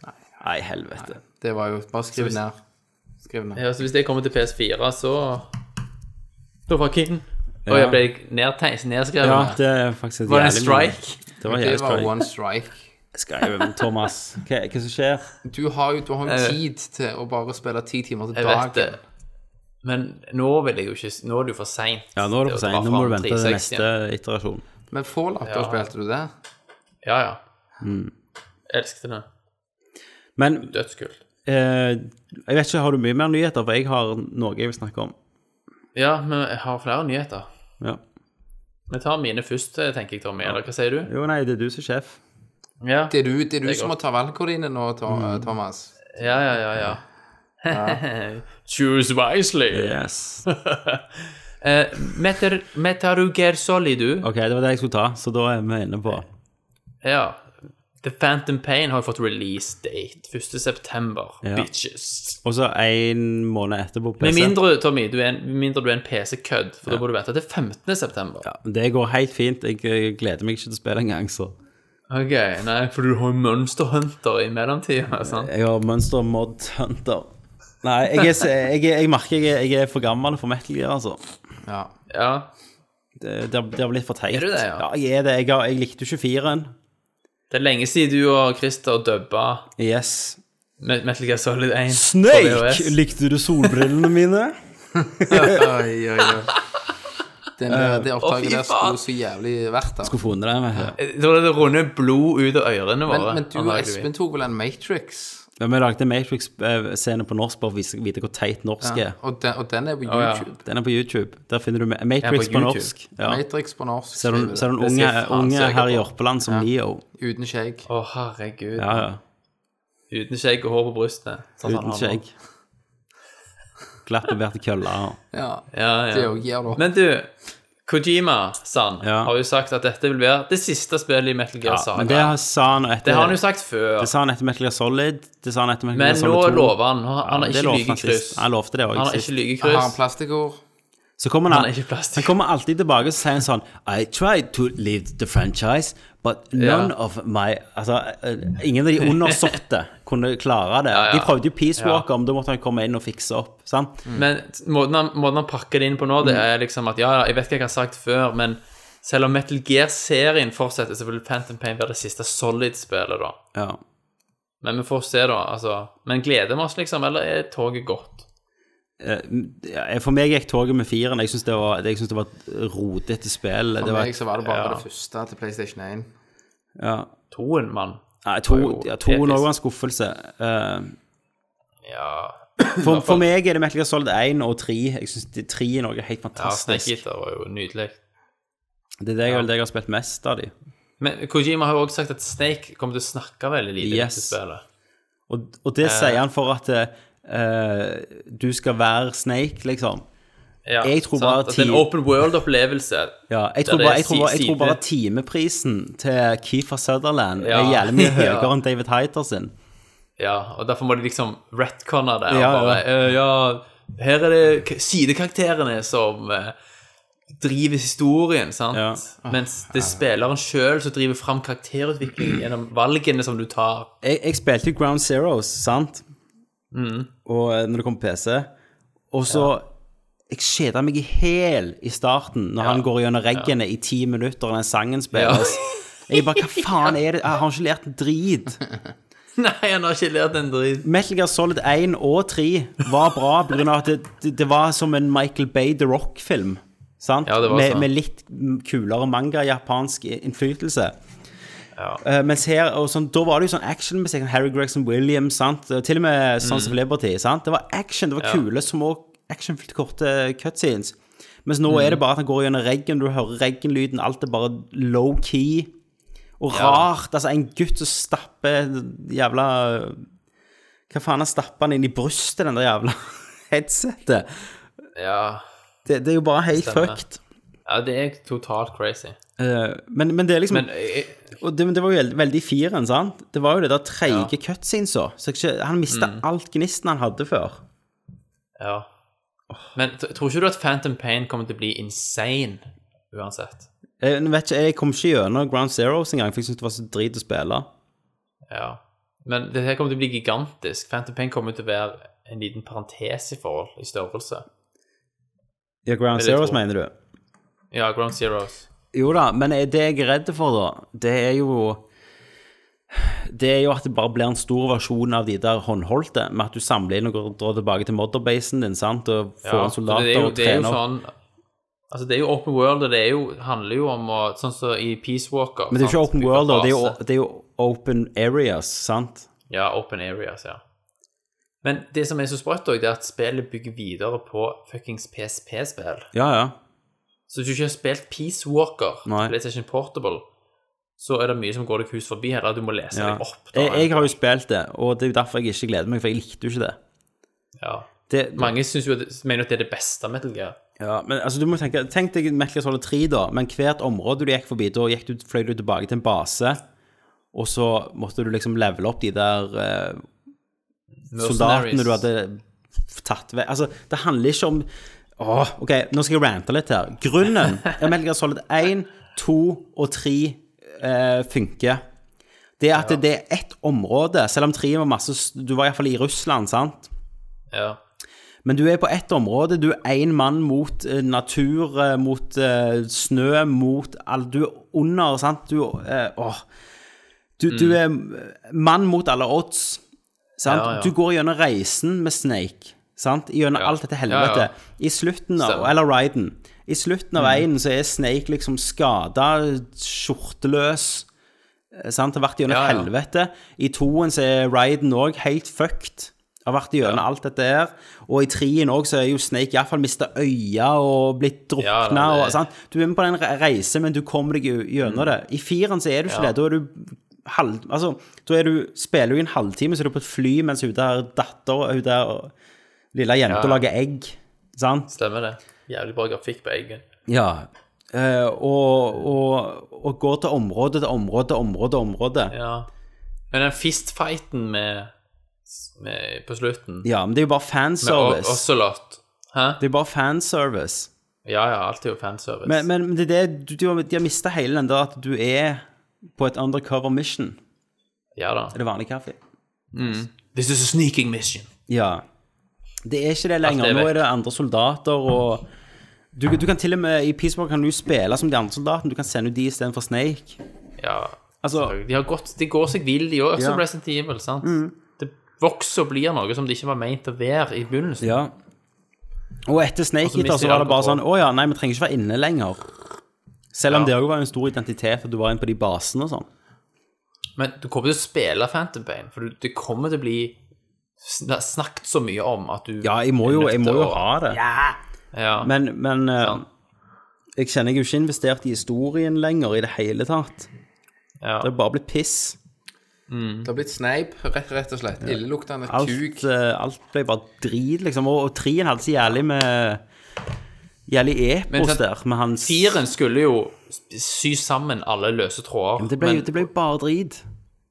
G: Nei, helvete.
F: Det var jo Bare skriv ned. Skriv ned.
E: Ja, så hvis det kommer til PS4, så Da var jeg keen. Og
G: Ja.
E: jeg ble nedtegnet, nedskrevet.
G: Ja, det er faktisk et
E: var det en
G: jævlig-
E: strike?
G: Det var en
F: Det
G: jævlig
F: var
G: strike.
F: one strike.
G: Skyrim, Thomas. Hva, hva som skjer?
F: Du har jo, du har jo
E: Jeg-
F: tid til å bare spille ti timer til
E: Jeg vet det.
F: dagen.
E: Men nå vil jeg jo ikke Nå er det jo for seint.
G: Ja, nå er det for sent. Nå må du vente til neste iterasjon.
F: Men Fallout, da
E: Ja.
F: spilte du det?
E: Ja, ja.
G: Mm.
E: Elsket det.
G: Men
E: Dødskult.
G: eh, jeg vet ikke, har du mye mer nyheter? For jeg har noe jeg vil snakke om.
E: Ja, men jeg har flere nyheter.
G: Ja.
E: Vi tar mine først, eh, tenker jeg, Tommy. Eller hva sier du?
G: Jo, nei, det er du som er sjef.
E: Ja,
F: Det er du, det er du
E: Det er
F: som må ta valgene dine nå, Tom-
E: Mm.
F: Thomas.
E: ja, ja. ja, ja. Choose wisely.
G: Yes.
E: Eh, Meter, Metaruger Solidu.
G: OK, det var det jeg skulle ta, så da er vi inne på
E: Ja. The Phantom Pain har jo fått release date 1. september.
G: Ja.
E: Bitches.
G: Og så en måned etterpå PC.
E: Med mindre, Tommy, du er en, med mindre du er en PC-kødd, for da må du vente til 15. september.
G: Ja, det går helt fint. Jeg, jeg gleder meg ikke til å spille engang, så
E: Ok, nei, for du har jo Monster Hunter i mellomtida, sant?
G: Jeg har Monster Mod Hunter. Nei, jeg, er, så- jeg, er- jeg merker jeg er, jeg er for gammel for metal gear, altså.
F: Ja.
E: Ja.
G: Det, det, har- det har blitt for teit.
E: Er du det, ja?
G: jeg er det. Jeg, har, jeg likte jo 24-en.
E: Det er lenge siden du og Christer dubba
G: Yes.
E: Me- Metal Gear Solid 1. på VHS.
G: Snake! Likte du solbrillene mine?
F: Oi, oi, oi. Den, der- det
E: Å, fy
F: opptaket der
E: faen.
F: skulle så jævlig vært der.
G: Skulle funnet dem. vet du.
E: Da var det runde blod ut av ørene
F: Men,
E: våre.
F: men du og
E: antageligvis.
F: Espen tok vel en Matrix?
G: Men vi lagde Matrix-scene på norsk bare for å vise- vite hvor teit norsk er.
F: Og den, og den er på
E: ja.
F: YouTube.
G: Den er på YouTube. Der finner du Ma- Matrix
E: på
G: på,
E: YouTube.
G: norsk. Ja.
F: Matrix på norsk.
G: Ser du,
F: skriver
G: ser du en
E: Det skal
G: unge,
E: jeg faen
G: unge
E: søke
G: her i
E: på.
G: Jørpeland som Neo?
F: det. Uten skjegg.
E: Å, herregud.
G: Ja, ja.
E: Uten skjegg og hår på brystet. sånn som han
G: Uten
E: har nå.
G: skjegg. Glattbarberte køller.
F: Ja.
E: Ja, ja.
F: Det òg gir det opp.
E: Men du, Kojima San
G: Ja.
E: har jo sagt at dette vil være det siste spillet i Metal Gear
G: Ja,
E: Saga.
G: men det har- sa han etter
E: Det har han jo sagt før,
G: Det sa han etter Metal Gear Solid. Det sa han etter Metal Gear
E: men nå
G: Solid 2.
E: lover han. Han, han
G: Ja,
E: har
G: det
E: ikke
G: lovte han
E: lygekryss.
G: sist. Han lovte det
E: Han
G: også
E: har
G: sist.
E: ikke
F: Jeg har en
E: lygekryss.
F: plastikkord.
G: Så kommer han,
E: Han er ikke plastikk.
G: han kommer alltid tilbake og sier han sånn I tried to leave the franchise, but none
E: Ja.
G: of my Altså, eh, ingen av de undersåtte kunne klare det.
E: ja. Mm.
G: De prøvde jo Peace Walker, men da måtte han komme inn og fikse opp. sant?
E: Men måten han, måten han pakker det inn på nå, det er liksom at ja, ja, jeg vet ikke hva jeg har sagt før, men selv om Metal Gear-serien fortsetter, så vil Phantom Pain være det siste Solid-spillet, da.
G: Ja.
E: Men vi får se, da. altså. Men gleder vi oss, liksom? Eller er toget gått?
G: Eh, For meg gikk toget med firen. Jeg syns det var, jeg synes det var et rotete spill.
F: For
G: Det var,
F: meg så var det bare
E: ja.
F: det første til PlayStation 1.
G: ja.
E: Toen, mann.
G: Nei, to,
E: var jo
G: ja, to
E: episk.
G: nå var en skuffelse. Eh,
E: Ja.
G: For, for meg er det Metal Gear Solid 1 og 3. Jeg syns 3 er noe helt
E: ja Snake
G: fantastisk.
E: Eater var jo nydelig.
G: det er det jeg, vel det jeg har spilt mest av de.
E: Men Kojima har jo også sagt at Snake kommer til å snakke veldig lite i
G: Yes.
E: dette spillet.
G: Og, og det sier han for at eh, du skal være Snake, liksom.
E: Ja,
G: Jeg tror bare
E: sant? At det er en
G: ti-
E: open world-opplevelse.
G: Ja, jeg,
E: Der
G: tror
E: det
G: bare,
E: er
G: jeg, tror bare,
E: si-
G: jeg tror bare
E: side-
G: timeprisen til Keefer Sutherland er
E: Ja.
G: jævlig mye
E: Ja.
G: høyere enn David Hyter sin.
E: Ja, og derfor må de liksom retconne det.
G: Ja,
E: Ja,
G: ja.
E: bare, «Eh, ja, her er det k- sidekarakterene som eh, driver historien, sant?
G: Ja. Ah.
E: Mens det er spilleren sjøl som driver fram karakterutviklingen gjennom valgene som du tar.
G: Jeg, jeg spilte jo Ground Zeroes, sant? Og eh, når det kom på PC. Og så Jeg kjeda meg i hæl i starten, når han går gjennom reggene i ti minutter, og den sangen spilles. Jeg bare Hva faen er det? Jeg har ikke lært en drit.
E: Nei, han har ikke lært en dritt.
G: Metal Gear Solid 1 og 3 var bra pga. at det, det, det var som en Michael Bay The Rock-film. Sant?
E: Ja, det var
G: med,
E: sånn.
G: med litt kulere manga-japansk innflytelse. Eh, mens her, og sånn, Da var det jo sånn actionmusikk. sånn Harry Gregson Williams, sant? Eh, til og med Sons
E: Mm.
G: of Liberty. sant? Det var action. Det var kule, små actionfylte, korte cutscenes. Mens nå er det
E: Mm.
G: bare at han går gjennom reggen, du hører reggenlyden, alt er bare low-key. Og rart. Altså, en gutt som stapper jævla Hva faen, han stapper han inn i brystet, den der jævla headsetet.
E: Ja.
G: Det, det er jo bare helt
E: Stemmer.
G: fucked.
E: ja, det er totalt crazy.
G: Eh, men, men det er liksom
E: Men eh, jeg,
G: Og det, men det var jo veldig, veldig i firen, sant? Det var jo det der treige cutscenesa. Så ikke, han mista
E: Mm.
G: alt gnisten han hadde før.
E: ja. Men t- tror ikke du at Phantom Pain kommer til å bli insane uansett?
G: Jeg, jeg vet ikke, jeg kom ikke gjennom Ground Zeroes engang, for jeg syntes det var så drit å spille.
E: Ja. Men det her kommer til å bli gigantisk. Phantom Pain kommer til å være en liten parentes i forhold i størrelse.
G: Ja, Ground
E: Det er litt
G: Zeroes,
E: hårdt.
G: mener du?
E: Ja, Ground Zeroes.
G: Jo da, men er det jeg er redd for, da, det er jo Det er jo at det bare blir en stor versjon av de der håndholdte, med at du samler inn og går, drar tilbake til modderbasen din, sant, og får en
E: for
G: soldater
E: det er jo,
G: og
E: det er jo
G: trener.
E: sånn Altså, det er jo open world, og det er jo, handler jo om å Sånn som i Peace Walker.
G: Men det er jo ikke
E: sant?
G: open
E: Bygge
G: world, da. Det er
E: base.
G: jo, det er jo open areas, sant?
E: Ja, open areas, ja. Men det som er så sprøtt, også, det er at spillet bygger videre på fuckings PSP-spill.
G: Ja, ja.
E: Så hvis du ikke har spilt Peace Walker,
G: Nei.
E: PlayStation Portable, så er det mye som går deg hus forbi, eller du må lese
G: Ja.
E: deg opp.
G: Jeg, jeg har jo spilt det, og det er jo derfor jeg ikke gleder meg, for jeg likte jo ikke det.
E: ja.
G: det
E: Mange synes jo at, mener jo at det er det beste Metal Gear.
G: ja, men altså, du må tenke, Tenk deg Metal Gear Solid 3, da, men hvert område du gikk forbi, da gikk du, fløy du tilbake til en base, og så måtte du liksom levele opp de der eh, soldatene
E: Mercenaries.
G: du hadde tatt vekk. Altså, det handler ikke om Åh, OK, nå skal jeg rante litt her. Grunnen er Metal Gear Solid 1, 2 og 3 eh, funker. Det er at det er ett område, selv om 3 var masse s- Du var iallfall i Russland, sant?
E: Ja.
G: Men du er på ett område. Du er én mann mot eh, natur, eh, mot eh, snø, mot all, Du er under, sant? Du, eh, åh. du, du
E: Mm.
G: er eh, mann mot alle odds. Sant?
E: Ja, ja.
G: Du går gjennom reisen med Snake. Sant? Gjennom alt dette helvete.
E: Ja, ja.
G: I slutten av
E: Stemmer. Mm.
G: Eller Ryden. I slutten av veien så er Snake liksom skada, skjorteløs. eh, Sant? Har vært gjennom
E: Ja, ja.
G: helvete. I toen så er Ryden òg helt fucked. Har vært gjennom alt dette her. Og i treen òg så er jo Snake iallfall mista øya og blitt
E: Ja, da,
G: drukna.
E: det- Mm.
G: og, sant? Du er med på den re- reise, men du kommer deg jo gjennom det. I firen så er du ikke det. Da er du halv... Altså, da er du, spiller du i en halvtime, så er du på et fly mens hun der datter og hun der lille jenta
E: Ja.
G: lager egg. Sant?
E: Stemmer det. Jævlig bra grafikk på eggen.
G: Ja. Eh, og, og, og går til område til område, område, område. Ja.
E: Ja. Men den fistfighten med, med På slutten
G: men det er jo bare
E: Med O-
G: fanservice.
E: Ocelot. Hæ?
G: Det er bare fanservice.
E: Ja, ja, alt er jo fanservice.
G: Men, men men det er det, du, du har, de har mista hele den der at du er på et undercover mission.
E: ja da.
G: Er det vanlig kaffe?
E: Mm. This is a sneaking mission.
G: Ja. Det er ikke det
E: Alt
G: lenger.
E: er
G: Nå er
E: vekk.
G: det andre soldater og du, du kan til og med i Peace Walker kan du spille som de andre soldatene. Du kan sende ut de istedenfor Snake.
E: Ja.
G: Altså,
E: De, har gått, de går seg vill, de òg,
G: Ja. Mm.
E: som Resident Evil. sant? Det vokser og blir noe som det ikke var meint å være i begynnelsen.
G: ja. Og etter Snake
E: Og så Altså, mister
G: Eater så
E: de
G: var det bare
E: alt
G: sånn Å ja, nei, vi trenger ikke være inne lenger. Selv om
E: Ja.
G: det òg var en stor identitet at du var inne på de basene og sånn.
E: Men du kommer til å spille Phantom Pain, for du- det kommer til å bli sn- snakket så mye om at du
G: Ja, jeg må jo, jeg må jo ha det.
E: ja.
G: Men, men eh, jeg kjenner jeg er jo ikke investert i historien lenger i det hele tatt.
E: ja.
G: Det er bare blitt piss.
F: Det har blitt sneip, rett, rett og slett. Illeluktende kuk.
G: Mm. Alt, eh, alt ble bare drit, liksom. Og, og trien hadde så jævlig med Jævlig
E: Men
G: epos
E: sant,
G: der, med hans
E: Firen skulle jo sy sammen alle løse tråder.
G: Det ble, jo- det ble jo bare drit.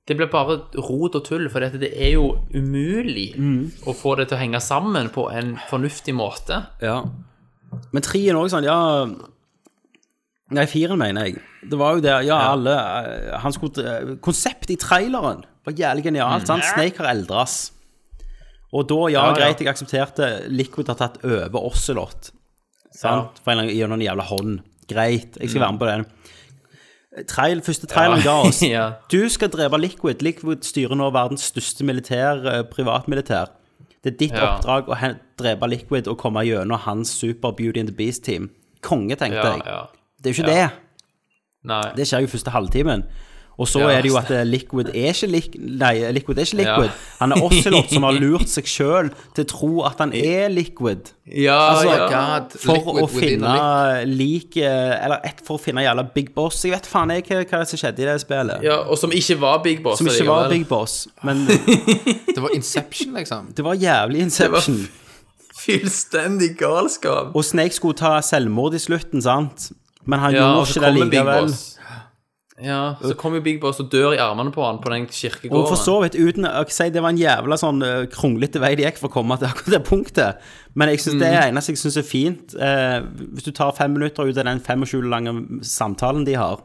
E: Det blir bare rot og tull, for dette, det er jo umulig
G: Mm.
E: å få det til å henge sammen på en fornuftig måte.
G: Ja. Men trien òg sånn, ja Nei, firen, mener jeg. Det var jo der, ja, alle eh, Han skulle eh, Konseptet i traileren var jævlig genialt. sant? Snake har eldres. Og da, Mm. ja,
E: Ja, ja.
G: greit, jeg aksepterte Liquid har tatt over Ocelot. Sant? For en eller annen, gjennom en jævla hånd. Greit, jeg skal være med på den. Trail, første traileren ga oss
E: Ja.
G: Du skal drepe Liquid. Liquid styrer nå verdens største militær, eh, privatmilitær. Det er ditt
E: Ja.
G: oppdrag å hen- drepe Liquid og komme gjennom hans Super Beauty and the Beast-team. Konge, tenkte
E: Ja,
G: jeg.
E: ja.
G: Det er jo ikke
E: Ja.
G: det.
E: Nei.
G: Det skjer jo første halvtimen. Og så
E: Ja,
G: er det jo at eh, Liquid er ikke, lik, nei, Liquid, er ikke liquid.
E: Ja.
G: Han er Ocelot som har lurt seg sjøl til å tro at han er Liquid.
E: Ja,
G: Altså,
E: ja.
F: God,
G: For
F: liquid
G: å
F: within
G: finne lik eh, Eller et, for å finne jævla Big Boss. Jeg vet faen jeg hva, hva som skjedde i det spillet.
E: ja. Og som ikke var Big Boss.
G: Som ikke var
E: allikevel.
G: Big Boss, men
F: a- Det var Inception, liksom.
G: det var jævlig Inception.
E: Fullstendig galskap.
G: Og Snake skulle ta selvmord i slutten, sant? Men han
E: Ja, og så
G: gjorde ikke det
E: kommer Big
G: likevel.
E: Boss. Ja, så kommer jo Big Boss og dør i armene på han på den kirkegården.
G: Og for så vidt, uten å si det var en jævla sånn eh, kronglete vei de gikk for å komme til akkurat det punktet, men jeg synes det
E: Mm.
G: er det eneste jeg syns er fint. Eh, hvis du tar fem minutter ut av den 25 lange samtalen de har,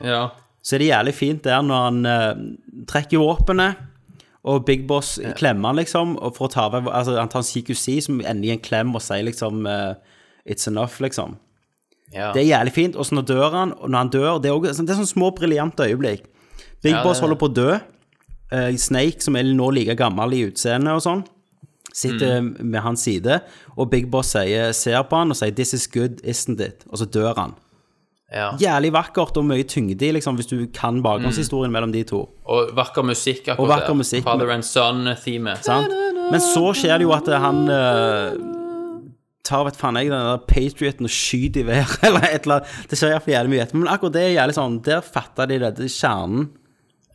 E: ja.
G: så er det jævlig fint der når han eh, trekker våpenet, og Big Boss klemmer han liksom, og for å ta av altså, Han tar en CQC som ender i en klem og sier liksom eh, It's enough, liksom.
E: Ja.
G: Det er jævlig fint. Og så når dør han, og når han dør Det er, også, det er sånne små briljante øyeblikk. Big
E: det-
G: Boss holder på å dø. Eh, Snake, som er nå like gammel i utseendet og sånn, sitter
E: Mm.
G: med hans side, og Big Boss sier, ser på han og sier 'This is good, isn't it?' Og så dør han.
E: ja.
G: Jævlig vakkert og mye tyngde i, liksom, hvis du kan bakgrunnshistorien mellom de to.
E: Og vakker musikk akkurat
G: Og vakker
E: der.
G: musikk.
E: Father and Son-themet.
G: Sant? Men så skjer det jo at han eh, tar, vet faen jeg, den der Patrioten og skyter i været, eller et eller annet. Det skjer iallfall jævlig mye etterpå. Men akkurat det er jævlig sånn, der fatta de det, det er kjernen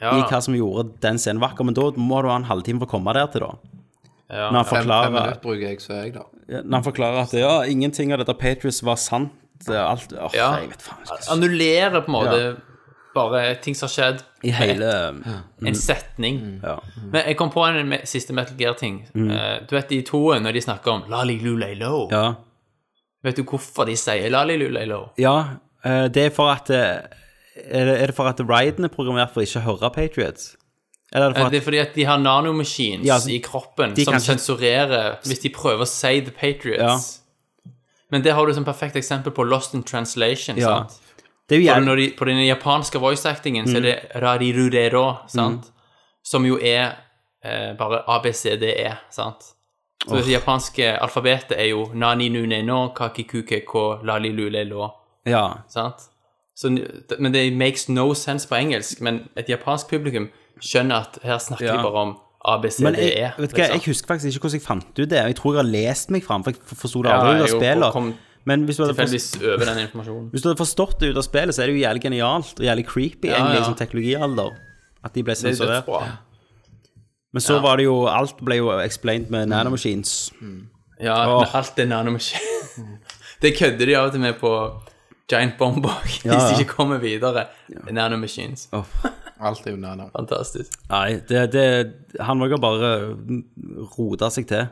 E: Ja.
G: i hva som gjorde den scenen vakker. Men da må du ha en halvtime for å komme der til, da.
E: Ja.
G: Når han
F: Fem, fem
G: forklarer,
F: minutter bruker jeg, så jeg, da.
G: når han forklarer at ja, ingenting av dette Patriots var sant. eh, Alt, åh,
E: Ja.
G: jeg vet faen ikke.
E: Annullerer på en måte bare ting som har skjedd.
G: I hele
E: En setning.
G: Mm. ja. Mm.
E: Men jeg kom på en me- siste Metal Gear-ting. Eh, du vet de to når de snakker om Lali Lulei Low.
G: ja.
E: Vet du hvorfor de sier Lali Lulei Low?
G: ja eh, det er for at eh, Er det, er det for at Ryden er programmert for ikke å høre Patriots? Eller er det for
E: Eh,
G: at
E: Det er fordi at de har nanomachines
G: Ja, så-
E: i kroppen
G: de
E: som
G: kan-
E: sensurerer hvis de prøver å si The Patriots. Men det har du som perfekt eksempel på Lost in Translation.
G: Ja.
E: sant?
G: Det er
E: På, den-
G: jo jævlig
E: når de, på den japanske voice-actingen så er det
G: Mm.
E: rarirurero, sant? Som jo er eh, bare ABCDE, E, sant? Så det japanske alfabetet er jo nani nune no kakikuke ko lali lule lo,
G: Ja.
E: sant? Så, n- d- men det makes no sense på engelsk, men et japansk publikum skjønner at her snakker
G: Ja.
E: de bare om ABCDE.
G: Men jeg, vet du hva, jeg
E: liksom.
G: husker faktisk ikke hvordan jeg fant ut det. Jeg tror jeg har lest meg fram, for jeg forsto det
E: Ja,
G: aldri ut av
E: jeg jo kom
G: spillet. Men hvis du, hadde forstått,
E: Tilfeldigvis over den informasjonen.
G: hvis du hadde forstått det ut av spillet, så er det jo jævlig genialt og jævlig creepy egentlig
E: ja.
G: som teknologialder. At de ble
E: Det er
G: sensurert.
E: dødsbra.
G: Men så var det jo Alt ble jo explained med nanomachines.
E: Ja, men alt er nanomachine. det kødder de av og til med på Giant Bomb Bog, hvis
G: ja.
E: de ikke kommer videre. Nanomachines.
F: Alt er jo nano.
E: Fantastisk.
G: Nei, det, det Han må jo bare rote seg til.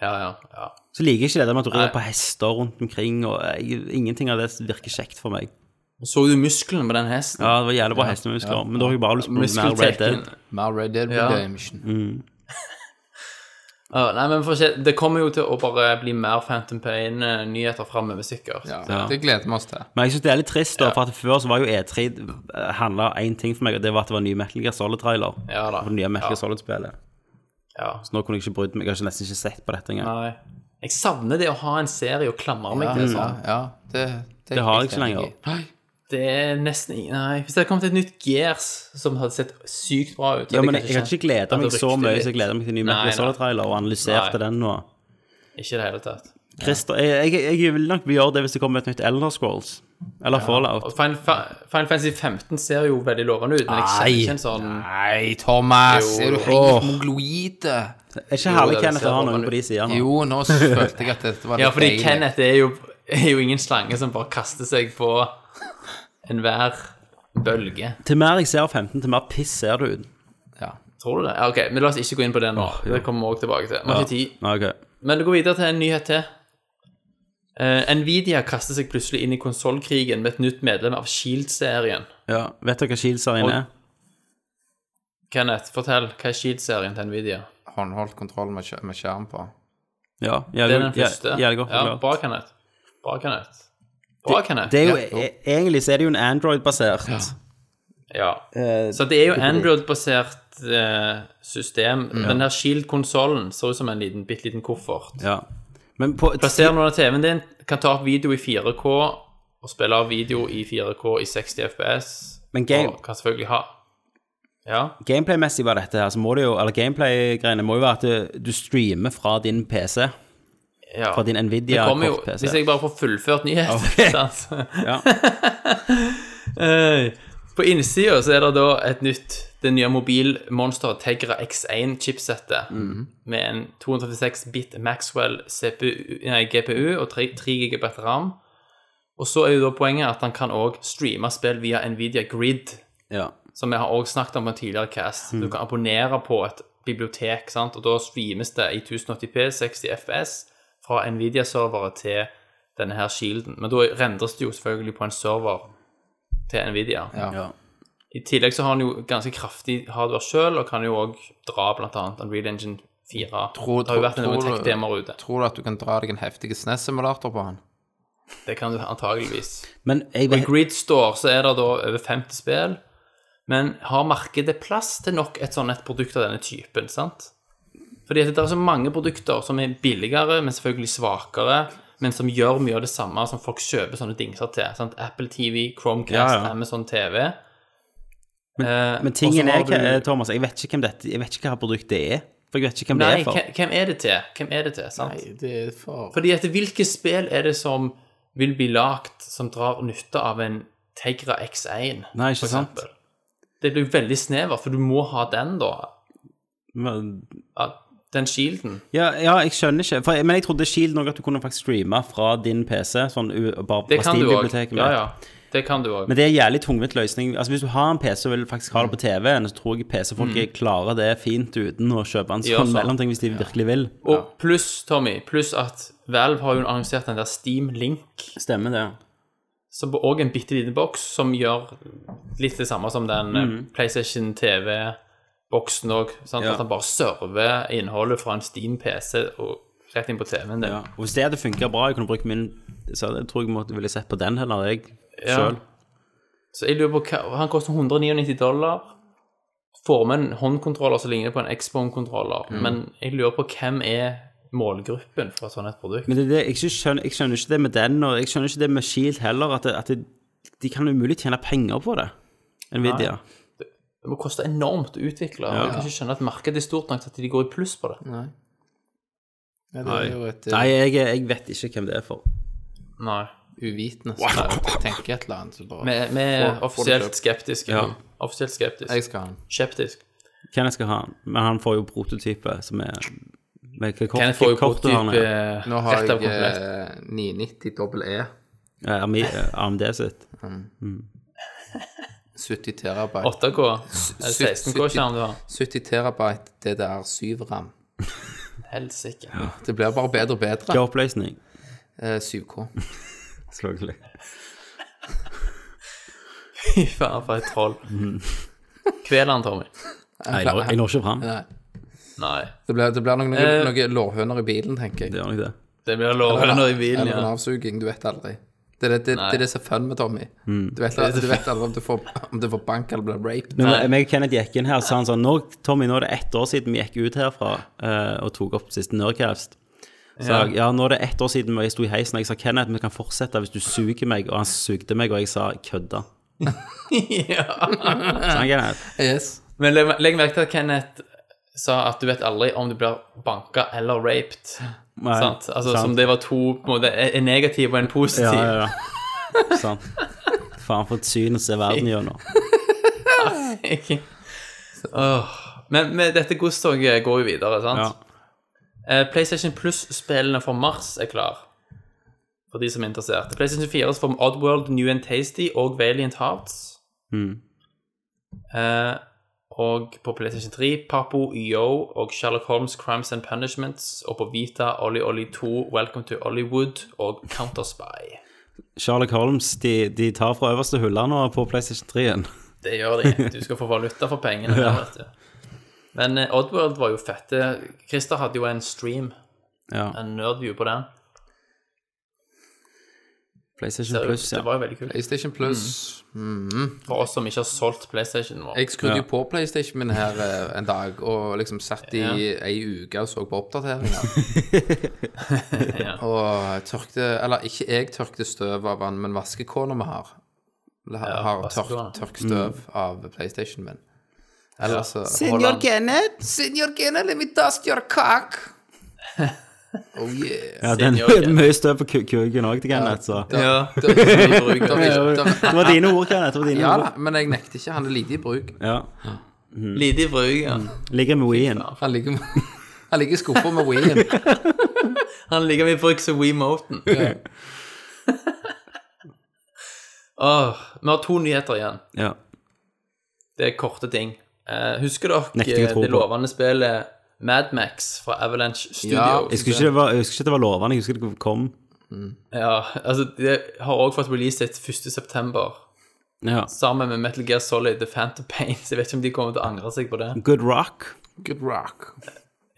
E: Ja, ja. ja.
G: Så liker jeg ikke det der med at du rir
E: Nei.
G: på hester rundt omkring, og jeg, ingenting av det virker kjekt for meg.
E: Så du musklene på den hesten?
G: Ja, det var jævlig bra hestemuskler, men da har jeg bare lyst på noe mer Red Dead.
E: Muskeltekken.
F: Mer Red Dead
E: Ja.
F: Redemption.
G: Mm.
E: Ja, nei, men for å se, det kommer jo til å bare bli mer Phantom Pain-nyheter framover, sikkert.
F: Ja. Det gleder vi oss til.
G: Men jeg synes det er litt trist, da, for at før så var jo E3 eh, handla én ting for meg, og det var at det var ny Metal Gear Solid-trailer.
E: Ja da.
G: For det nye Metal
E: Ja.
G: Gear Solid-spillet.
E: Ja.
G: Så nå kunne jeg ikke brydd meg. Jeg har ikke- nesten ikke sett på dette engang.
E: Nei. Jeg savner det å ha en serie å klamre meg til.
F: Ja,
E: sånn.
F: ja, det,
G: Det har jeg ikke lenger.
F: Nei,
E: Det er nesten ingen- Nei. Hvis det hadde kommet et nytt Gears som hadde sett sykt bra ut så
G: Ja,
E: hadde
G: men jeg, jeg har
E: kanskje
G: ikke gleda
E: kjent
G: meg
E: at det
G: så
E: rykte
G: mye
E: litt.
G: som jeg gleda meg til ny Metal
E: Nei,
G: Gear Solid-trailer, og analyserte
E: Nei.
G: den nå.
E: Ikke i det hele tatt.
G: Christer, jeg, jeg, jeg vil nok gjøre det hvis det kommer et nytt Elder Scrolls. Eller
E: Og
G: Fallout.
E: Altså, Final, Fa- Final Fantasy 15 ser jo veldig lovende ut, men jeg kjenner ikke en sånn
F: Nei, Thomas!
E: Jo,
F: er du
E: jo.
F: helt mongloide?
G: Er ikke herlig
E: det
G: Kenneth
E: ser
G: å ha
E: bra
G: noen
E: ut.
G: på de sidene?
F: Jo, nå følte jeg at dette var litt
E: Ja, fordi
F: deilig.
E: Kenneth er jo, er jo ingen slange som bare kaster seg på enhver bølge.
G: Til mer jeg ser av 15, til mer piss ser det ut.
F: Ja.
E: Tror du det? Ja, ok, men la oss ikke gå inn på det nå. Det kommer vi også tilbake til. Vi har ikke tid.
G: Ja, ok.
E: Men det går videre til en nyhet til. Eh, Nvidia kaster seg plutselig inn i konsollkrigen med et nytt medlem av Shield-serien.
G: ja. Vet dere hva Shield-serien
E: Og-
G: er?
E: Kenneth, fortell. Hva er Shield-serien til Nvidia?
F: Håndholdt kontroll med, skj- med skjerm på.
G: Ja, jævlig-
E: Det er den
G: jæ-
E: første.
G: jævlig godt
E: ja,
G: forklart.
E: bra, Kenneth. Bra, Kenneth. Bra, Kenneth.
G: Det er jo,
F: Ja.
G: e egentlig så er det jo en Android-basert.
E: Ja.
G: Eh,
E: Så det er jo Android-basert eh, system.
G: Mm,
E: Den her Shield-konsollen ser ut som en liten, bitte liten koffert.
G: Ja. Men på
E: Plasser den under TV-en din, kan ta opp video i 4K og spille av video i 4K i 60 FPS
G: Men game,
E: Og kan selvfølgelig ha Ja.
G: gameplay-messig var dette her, så må det jo Eller gameplay-greiene må jo være at du, du streamer fra din PC.
E: ja.
G: Fra din
E: Det kommer jo,
G: Nvidia-kort-PC.
E: hvis jeg bare får fullført nyheten
G: Ok.
E: sant?
G: Ja.
E: Eh, På innsida så er det da et nytt Det nye mobilmonsteret Tegra X1-chipsettet
G: Mhm.
E: med en 256-bit Maxwell CPU, nei, GPU og 3, 3 GB RAM. Og så er jo da poenget at han kan òg streame spill via Nvidia Grid,
G: ja.
E: som vi har også snakket om på en tidligere cast. Du kan abonnere på et bibliotek, sant? og da streames det i 1080p 60 FS fra Nvidia-servere til denne her shielden. Men da rendres det jo selvfølgelig på en server til Nvidia.
G: ja.
E: I tillegg så har han jo ganske kraftig hardware selv, og kan jo òg dra blant annet Unreal Engine 4.
F: Tror-
E: det har jo vært
F: tror-
E: noen
F: tror du-
E: tech-demoer ute.
F: Tror du at du kan dra deg en heftig SNES-simulator på han?
E: Det kan du antageligvis.
G: Men jeg
E: I Grid Store så er det da over 50 spill, men har markedet plass til nok et sånn et produkt av denne typen, sant? Fordi at det er så mange produkter som er billigere, men selvfølgelig svakere, men som gjør mye av det samme som folk kjøper sånne dingser til, sant? Apple TV, Chromecast,
G: Ja, ja.
E: Amazon TV. Eh,
G: Men
E: og
G: tingen
E: så
G: er,
E: har du-
G: eh, Thomas, jeg vet ikke hvem dette Jeg vet ikke hva produkt det er. For jeg vet ikke hvem det
E: Nei,
G: er for.
E: hvem- hvem er det til? Hvem er det til, sant?
F: det er for
E: Fordi at hvilke spill er det som vil bli lagt som drar nytte av en Tegra X1?
G: Nei, ikke
E: for
G: sant.
E: eksempel? Det blir veldig snevert, for du må ha den, da.
G: Men-
E: Ja, Den shielden.
G: Ja, ja, jeg skjønner ikke. For, men jeg trodde Shield nok at du kunne faktisk streame fra din PC. Sånn, u- bare
E: Det
G: fra
E: kan du òg.
G: Steam-biblioteket med.
E: Ja, ja. Det kan du òg.
G: Men det er en jævlig tungvint løsning. Altså Hvis du har en PC og vil faktisk ha det
E: Mm.
G: på TV-en, så tror jeg PC-folk klarer det fint uten å kjøpe en sånn
E: Ja, sant.
G: mellomting hvis de virkelig vil.
E: Og pluss, Tommy, pluss at Valve har jo annonsert den der Steam Link,
G: Stemmer det.
E: som òg er en bitte liten boks, som gjør litt det samme som den eh, PlayStation TV-boksen òg.
G: Mm. Ja.
E: At han bare server innholdet fra en Steam-PC og rett inn på TV-en din.
G: Ja. Og hvis det hadde funka bra, jeg kunne brukt min Så jeg tror jeg måtte ville sett på den heller, jeg
E: Ja.
G: selv.
E: Så jeg lurer på hva Han koster 199 dollar. Får med en håndkontroller som ligner på en Xbone-kontroller.
G: Mm.
E: Men jeg lurer på hvem er målgruppen for et sånt et produkt?
G: Men det, er det, jeg, ikke skjønner, jeg skjønner ikke det med den, og jeg skjønner ikke det med Shield heller, at, det, at det, de kan umulig tjene penger på det. Nvidia.
E: Det må koste enormt å utvikle. og Jeg kan ikke skjønne at markedet er stort nok til at de går i pluss på det.
F: ja, Det er jo et eh,
G: Nei, jeg, jeg vet ikke hvem det er for.
E: Nei.
F: uvitende som bare tenker et eller annet. Så
E: Vi
F: bare,
E: vi er
F: Får- får
E: offisielt
F: det
E: skeptiske.
G: Ja.
E: Offisielt skeptisk.
F: jeg skal ha den.
E: Skeptisk.
G: Hvem jeg skal ha? Men han får jo prototype, som er med hva kort,
E: Kenneth får jo
G: hva kort har han,
E: prototyp
G: ja.
E: eh,
F: Nå har
E: rett av
F: jeg
E: komplett.
F: eh, 990 dobbel E.
G: Ja, Ami- eh, AMD sitt.
F: 70 terabyte.
E: 8K. Eller 16K-skjerm du har.
F: 70 terabyte DDR7-ram.
E: Helsike.
F: Det blir bare bedre og bedre.
G: Hva er oppløsning?
F: Eh, 7K.
G: Selvfølgelig.
E: Fy faen, for et troll.
G: Mm.
E: Kvel han, Tommy.
G: Nei, jeg når, jeg når ikke fram.
F: Nei.
E: Nei.
F: Det blir, det blir noen, noen,
E: Eh.
F: noen lårhøner i bilen, tenker jeg.
G: Det gjør nok det.
E: Det blir lovende i bilen,
F: Eller
E: ja.
F: en avsuging, du vet aldri. Det er det, det,
E: Nei.
F: det, er det som er fun med Tommy. Du, vet, aldri- du vet aldri om du, får, om du får bank eller blir raped.
G: Når jeg- meg og Kenneth gikk inn her, så sa han sånn nå, Tommy, nå er det ett år siden vi gikk ut herfra eh, og tok opp siste Nerdcast. Så ja. Jeg, ja, nå er det ett år siden vi sto i heisen, og jeg sa Kenneth, vi kan fortsette hvis du suger meg, og han sugde meg, og jeg sa kødda.
E: ja.
G: Så han, Kenneth,
F: Yes.
E: Men legg, legg merke til at Kenneth sa at du vet aldri om du blir banka eller raped.
G: nei,
E: sant? Altså
G: sant.
E: Som det var to på en måte, En negativ og en positiv.
G: Ja, ja, ja. sant. Faen for et syn å se verden gjennom.
E: Ikke- Åh. Men, men dette godstoget går jo videre, sant?
G: Ja.
E: Eh, PlayStation Plus-spillene for mars er klar. For de som er interessert. PlayStation 4 er for Oddworld, New and Tasty og Valiant Hearts. Eh, og på PlayStation 3 Papo, Yo og Sherlock Holmes Crimes and Punishments. Og på Vita Ollie Ollie 2, Welcome to Hollywood og Counterspy.
G: Sherlock Holmes, de, de tar fra øverste hullet nå på PlayStation 3-en.
E: Det gjør de. Du skal få valuta for pengene. der, vet du. Men eh, Oddworld var jo fette. Christer hadde jo en stream,
G: Ja,
E: en nerdview på den.
G: PlayStation
E: Det,
G: Plus, ja.
E: det var jo veldig kult.
F: PlayStation
E: Mm.
F: Plus.
E: For oss som ikke har solgt PlayStation vår.
F: Jeg skrudde jo på PlayStation min her eh, en dag, og liksom satt i ei uke og så på oppdateringer.
E: Ja.
F: Og tørkte Eller ikke jeg tørkte støv av han, men vaskekona vi har. Eller har, har
E: vaskekornet.
F: tørk, tørk støv av PlayStation min. Eller så
G: Mm. Senor
F: Holland-
G: Kenneth!
F: Senor Kenneth, let me dust your cock! Oh yeah.
G: Ja, den
E: Senor Kenneth.
G: mye støv på ku- kuken òg til Kenneth, så
F: Da-
E: Ja.
F: da er det mye bruk, da er det ikke- da-
G: Det var dine ord, Kenneth. Det var dine
F: Ja
G: ord.
F: da, men jeg nekter ikke. Han er lite i bruk.
G: Ja.
E: Lite i bruk, ja.
G: Mm. Ligger med Wien.
F: Han ligger, han ligger i skuffa med Wien.
E: Han liker mye bruk som WeMoten. Åh, vi har to nyheter igjen.
G: Ja.
E: Det er korte ting. Eh, husker dere
G: Nekter jeg å
E: eh,
G: tro
E: det
G: på.
E: lovende spillet Madmax fra Avalanche
F: Ja,
E: Studios?
G: Jeg husker ikke det var, jeg husker ikke det var lovende, jeg husker det kom.
E: Ja, altså Det har også fått release sitt 1.9.,
G: Ja.
E: sammen med Metal Gear Solid The Phantom Pain. Så jeg vet ikke om de kommer til å angre seg på det.
G: Good Rock.
F: Good rock.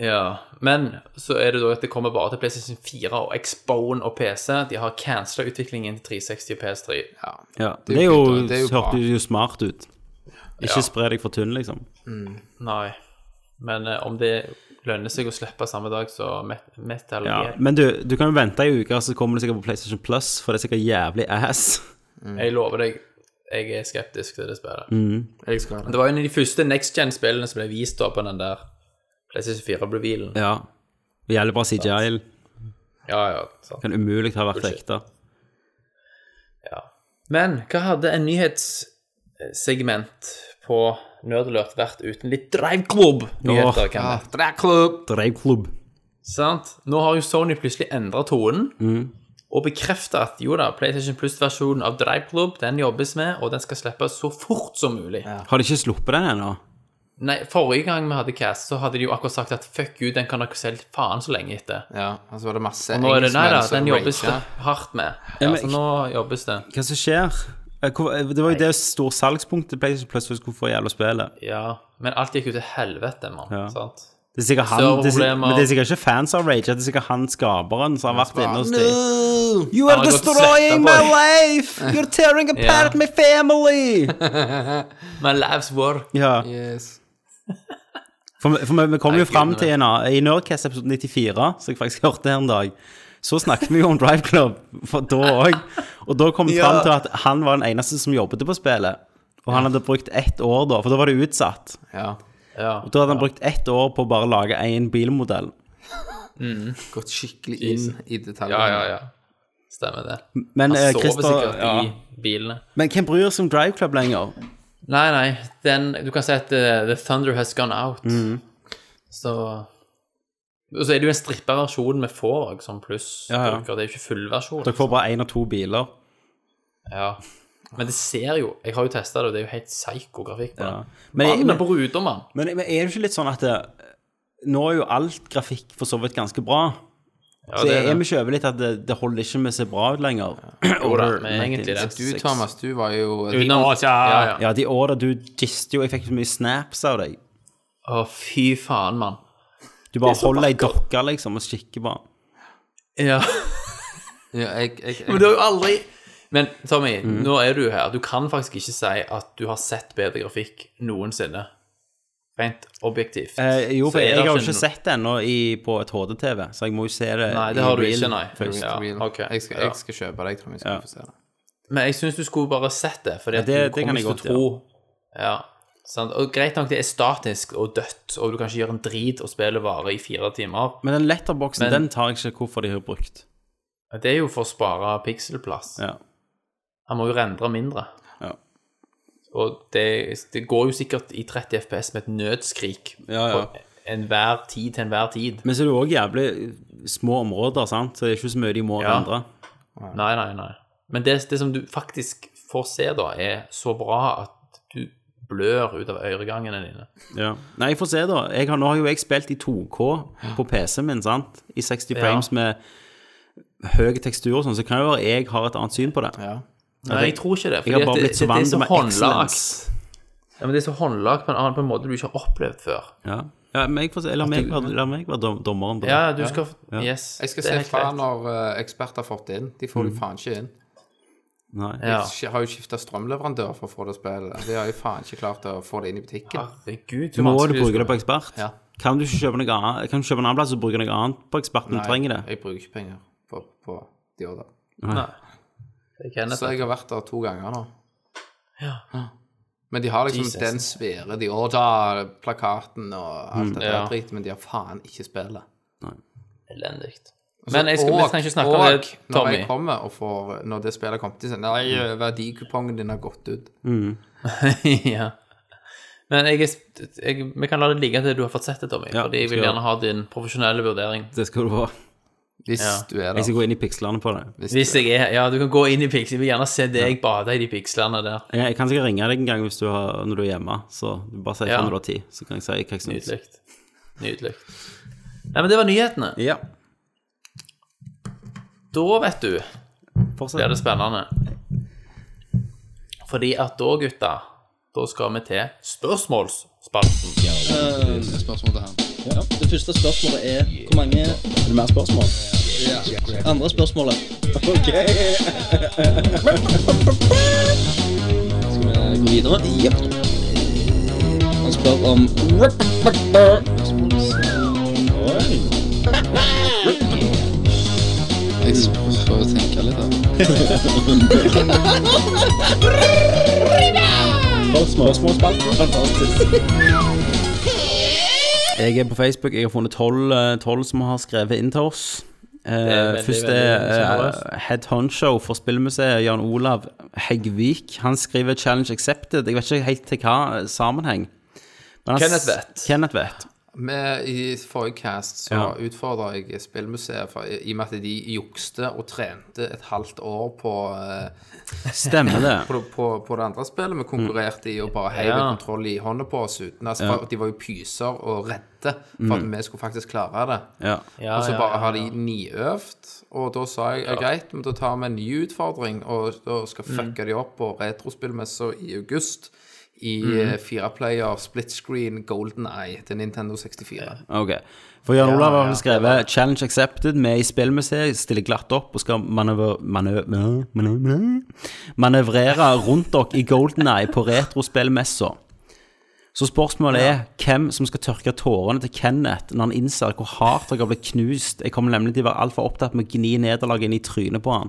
E: Ja, Men så er det da at det kommer bare til PlayStation 4 og Xbone og PC. De har cancela utviklingen til 360 og PS3.
F: Ja.
G: Ja.
F: Det
G: Det,
F: er
G: er
F: jo
G: jo,
F: fint, da. Det er jo bra.
G: hørtes jo smart ut. Ikke
E: Ja.
G: spre deg for tynn, liksom.
E: Nei. Men eh, om det lønner seg å slippe samme dag, så met metal
G: Ja.
E: Gear.
G: Men du, du kan jo vente ei uke, så kommer det sikkert på PlayStation Plus, for det er sikkert jævlig ass.
E: Jeg lover deg, jeg er skeptisk til det spillet.
F: Jeg skal ha
E: Det
F: det.
E: var en av de første next gen-spillene som ble vist da på den der PlayStation 4-revealen.
G: Ja. Jævlig bra CGI.
E: Ja, ja, sant.
G: Kan umulig ha vært ekte.
E: Ja. Men hva hadde en nyhetssegment på Nerdalert vært uten litt driveklubb-nyheter?
G: Åh,
E: Kenneth?
F: Dracula.
G: Drevklubb.
E: Sant? Nå har jo Sony plutselig endra tonen. Og bekrefta at jo da, PlayStation Plus-versjonen av Drive Club den jobbes med, og den skal slippes så fort som mulig.
G: Har de ikke sluppet den ennå?
E: Nei, Forrige gang vi hadde cast, så hadde de jo akkurat sagt at fuck you, den kan dere selge faen så lenge etter.
F: Ja, og så var det masse
E: Nå er det nei da, den
F: rager.
E: jobbes det hardt med. Ja,
G: Ja, men-
E: så nå jobbes det.
G: Hva som skjer? Eh, hvor- eh, Det var jo det store salgspunktet PlayStation Plus skulle få jævla spillet.
E: Ja, men alt gikk jo til helvete, mann.
G: Ja.
E: Sant?
G: Det er sikkert han, det er, sik-
E: Serverproblemer.
G: men det er sikkert ikke fans av Rage, det er sikkert han skaperen som har vært inne hos dem.
F: No!
G: You
E: Han har gått og destroying slettet my på
G: life! You're tearing
E: apart
G: my family!
E: My lives work.
G: ja,
F: Yes.
G: for, vi- for vi, vi kom jo
E: Nei,
G: fram
E: gudene
G: til en av I Nerdcast episode 94, som jeg faktisk hørte her en dag, så snakket vi jo om Drive Club, for da òg. Og da kom vi fram til at han var den eneste som jobbet på spillet. Og han hadde brukt ett år da, for da var det utsatt.
F: Ja.
E: Ja.
G: Da hadde han brukt ett år på å bare lage én bilmodell.
F: Gått skikkelig inn i detaljene.
E: ja, ja, ja. Eh, Stemmer det.
G: Men,
E: Han
G: eh,
E: sover
G: Christer-
E: sikkert
G: ja.
E: i bilene.
G: Men hvem bryr seg om Drive Club lenger?
E: Nei, nei, den, du kan si at eh, The Thunder has gone out.
G: Mm.
E: Så Og så er det jo en strippeversjon vi får òg, som
G: Ja, ja.
E: plussbruker. Det er jo ikke fullversjon.
G: Dere får bare én og to biler.
E: Ja. Men det ser jo Jeg har jo testa det, og det er jo helt psyko grafikk på
G: Ja.
E: den.
G: Men,
E: Mannen
G: men,
E: på ruta, mann.
G: men, men er det ikke litt sånn at det, nå er jo alt grafikk for så vidt ganske bra?
E: Ja,
G: så
E: det
G: er
E: er det.
G: vi ikke over litt at det, det holder ikke med å se bra ut lenger?
E: Jo da,
G: Over
E: men egentlig det.
F: Du,
G: 1996.
F: Thomas, du var jo
E: Utenom ja, ja.
G: liksom. Ja, de åra du giste jo, jeg fikk så mye snaps av deg.
E: Å, fy faen, mann.
G: Du bare
E: Det er så
G: holder ei dokke, liksom, og kikker på den.
E: Ja.
F: Ja, jeg, jeg,
E: Men
F: jeg,
E: du har jo aldri Men Tommy,
G: Mm.
E: nå er du her. Du kan faktisk ikke si at du har sett bedre grafikk noensinne. Rent objektivt.
G: Eh, jo, for
E: Så er
G: jeg,
E: det
G: har jo ikke
E: no-
G: sett det ennå i- på et HD-TV, så jeg må jo se det
E: Nei, det
G: i
E: har du
G: real
E: ikke, nei.
G: først.
E: Ja, ok.
F: jeg, skal,
E: Ja.
F: jeg skal kjøpe deg, Tommy, så
G: Ja.
F: du får se det.
E: Men jeg syns du skulle bare sett det, for det,
G: Ja, det-
E: du kommer
G: det kan jeg
E: ikke
G: godt,
E: til å tro ja. sant? Og Greit nok, det er statisk og dødt, og du kan ikke gjøre en drit og spille vare i fire timer.
G: Men den letterboxen,
E: Men-
G: den tar jeg ikke hvorfor de har brukt.
E: Det er jo for å spare pikselplass.
G: Ja.
E: Han må jo rendre mindre.
G: Ja.
E: Og det, det går jo sikkert i 30 FPS med et nødskrik
G: Ja, ja.
E: på enhver tid til enhver tid.
G: Men så er det jo òg jævlig små områder, sant? så det er ikke så mye de må
E: Ja.
G: endre.
E: Nei, nei, nei. Men det, det som du faktisk får se, da, er så bra at du blør ut av øregangene dine.
G: Ja. Nei, jeg får se, da. Jeg har, nå har jo jeg spilt i 2K på PC-en min, sant? I 60 frames med høy tekstur og sånn, så kan jo være jeg har et annet syn på det.
E: Nei, jeg tror ikke det.
G: Jeg
E: fordi
G: har
E: at
G: bare blitt
E: det-
G: så
E: det er
G: vant
E: så
G: med
E: håndlagt.
G: excellence.
E: Ja, men det er så håndlagt på en annen på en måte du ikke har opplevd før.
G: Ja. ja men jeg får se. La meg, være- la meg være dom, dommeren på det.
E: Ja, du skal Yes.
F: Jeg skal
E: det er
F: se
E: helt
F: fra
E: greit.
F: når eh, eksperter har fått det inn. De får det faen ikke inn.
G: Nei.
E: Ja.
F: Jeg har jo skifta strømleverandør for å få det å spille. De har jo faen ikke klart å få det inn i butikken.
E: Herregud, så
G: Må du
E: vanskelig
G: bruke
E: skal-
G: det på ekspert?
F: Ja.
G: Kan du ikke kjøpe noe annet, kan du kjøpe en annen plass og bruke noe annet på eksperten? Du trenger det.
F: Jeg bruker ikke penger på, på de ordene.
E: Nei. Det kan jeg
F: Så
E: ikke.
F: jeg har vært der to ganger nå. Men de har liksom
E: Jesus.
F: den svære De ordrer plakaten og alt det der
E: Mm, Ja.
F: dritet, men de har faen ikke spillet.
E: Elendig. Men jeg skal, vi trenger ikke snakke om det,
F: Når,
E: Tommy. Mm.
F: jeg kommer og får, når det spillet kommer til, så Nei, verdikupongen din har gått ut.
E: ja. Men jeg, er- jeg, vi kan la det ligge til du har fått sett det, Tommy.
G: Ja,
E: fordi jeg vil
G: skal-
E: gjerne ha din profesjonelle vurdering.
G: Det skal du få.
F: Hvis
E: Ja.
F: du er
G: Jeg
F: der.
G: skal gå inn i pikslene på det.
E: Hvis jeg er Ja, du kan gå inn i piks. Jeg vil gjerne se deg bade i de pikslene der.
G: Jeg, jeg kan sikkert ringe deg en gang hvis du har, når du er hjemme. Så du bare sier
E: Ja.
G: ifra når du har tid, så kan jeg si hva jeg syns.
E: Nydelig. Nydelig. Nei, men det var nyhetene.
G: Ja,
E: Da, vet du, blir
G: fortsett.
E: det spennende. Fordi at da, gutta, da skal vi til spørsmålsspalten.
H: Ja, det første spørsmålet er hvor mange Er det mer spørsmål? Andre spørsmålet. Ok. Skal vi gå videre? Ja. Han spør om Oi. Jeg får jo tenke litt, da. Fantastisk.
G: Jeg er på Facebook. Jeg har funnet tolv eh, tolv som har skrevet inn til oss. Eh,
E: veldig,
G: først
E: veldig
G: er
E: sjenerøst.
G: eh, head honcho for Spillmuseet, Jan Olav Heggvik. Han skriver 'Challenge accepted'. Jeg vet ikke helt til hva eh, sammenheng. Men han s-
E: Kenneth vet.
G: Kenneth vet.
F: Med, I forrige cast så
G: Ja.
F: utfordra jeg Spillmuseet for, i og med at de jukste og trente et halvt år på, eh,
G: Stemmer det.
F: på, på, på det andre spillet vi konkurrerte i, og bare heiv
E: Ja.
F: kontroll i hånda på oss uten altså, for, De var jo pyser og redde for at vi skulle faktisk klare det.
G: Ja.
E: Ja,
F: og så
E: ja,
F: bare
E: ja,
F: har de niøvd, og da sa jeg ja. greit, men da tar vi en ny utfordring og, og skal
E: Mm.
F: fucke de opp på retrospillmessa i august. I eh, fireplayer split screen Golden Eye til Nintendo 64.
G: Ok. For Jan Olav har vel skrevet 'Challenge accepted'. Vi er i spillmuseet, stiller glatt opp og skal manøver, manø- manø- manø- manøvrere rundt dere i Golden Eye på retrospillmessa. Så spørsmålet er hvem som skal tørke tårene til Kenneth når han innser hvor hardt dere har blitt knust. Jeg kommer nemlig til å være altfor opptatt med å gni nederlaget inn i trynet på han.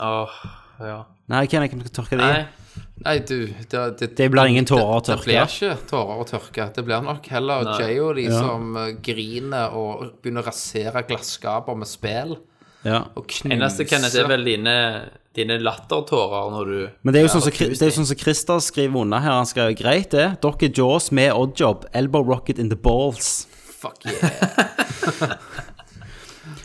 E: Åh, ja.
G: Nei, Kenneth, hvem skal tørke det
E: Nei,
G: i?
F: Nei, du Det,
G: Det blir ingen tårer å
F: Det blir
G: tørke.
F: ikke tårer å tørke. Det blir nok heller Jay og de som eh, griner og begynner å rasere glasskaper med spill.
G: Ja.
F: Og knuse
E: eneste, Kenneth, er vel dine, dine lattertårer når du
G: Men det er jo sånn som Chri- det er jo sånn som Christer skriver unna her. Han skrev greit, det. Dere er Jaws med oddjob. Elbow rocket in the balls.
F: Fuck yeah.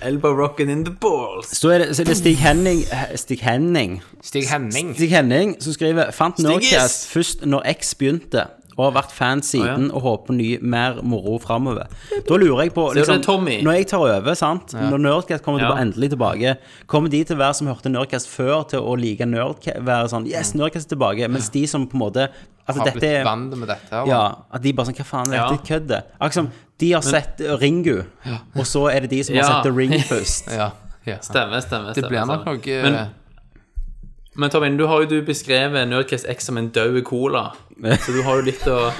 E: Elbow rocking in the balls.
G: Så er det, så er det Stig Henning Stig Henning
F: Stig Henning.
G: Stig Henning som skriver Fant
E: Stigis!»
G: Nerdcast først når X begynte, og har vært fan siden og håper på ny, mer moro framover. Da lurer jeg på liksom,
E: det er Tommy.
G: Når jeg tar over, sant når Nerdcast kommer
E: Ja.
G: tilba- endelig tilbake, kommer de til å være som hørte Nerdcast før, til å like Nerdcast Være sånn Yes,
E: Mm.
G: Nerdcast er tilbake. Mens de som på en måte Altså,
F: Har
G: dette
F: blitt
G: er
F: vant med dette. her,
G: Ja, at de bare sånn, hva faen er
E: Ja.
G: dette køddet? Akkurat som, de har sett Ringu, og så er det de som har
E: Ja.
G: sett The Ring først.
F: Ja, ja.
E: Stemmer, stemmer.
F: Det blir nok
E: stemmer.
F: eh, noe
E: Men, men Tommy, du har jo du beskrevet Nerdcast X som en død cola, så du har jo litt å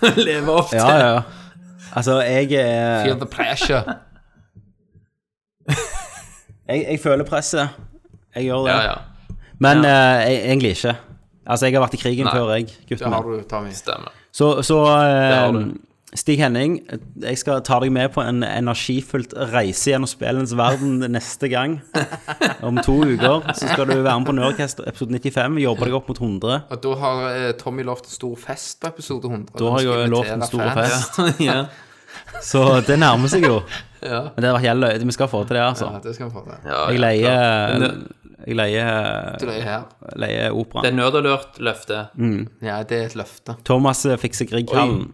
E: leve opp til.
G: Ja, ja, ja. Altså, jeg, er-
F: Feel the pressure.
G: jeg, jeg føler presset. Jeg gjør det.
E: ja, ja.
G: Men eh, jeg, egentlig ikke. Altså, jeg har vært i krigen
E: Nei.
G: før, jeg,
F: Det
G: gutten
F: har
G: min.
F: du, Tommy.
E: Stemmer.
G: Så, så
E: har
G: eh,
E: du.
G: Stig Henning, jeg skal ta deg med på en energifullt reise gjennom spillens verden neste gang. Om to uker så skal du være med på Nerdcast episode 95, jobbe deg opp mot 100.
F: Og da har eh, Tommy lovt en stor fest på episode 100.
G: Da har
F: Han
G: jeg
F: skal
G: jo lovt en
F: invitere
G: stor
F: fans.
G: fest.
E: ja.
G: Så det nærmer seg jo. Men det har vært jævlig løye. Vi skal få til det, altså.
F: Ja, det skal vi få til.
E: Ja,
G: Jeg
E: ja,
G: leier
E: klart.
G: Jeg leier,
F: Det er her.
E: Det
G: leier opera.
E: er nerdalert-løftet.
G: Mm.
F: Ja, det er et løfte.
G: Thomas eh, fikser Grieghallen.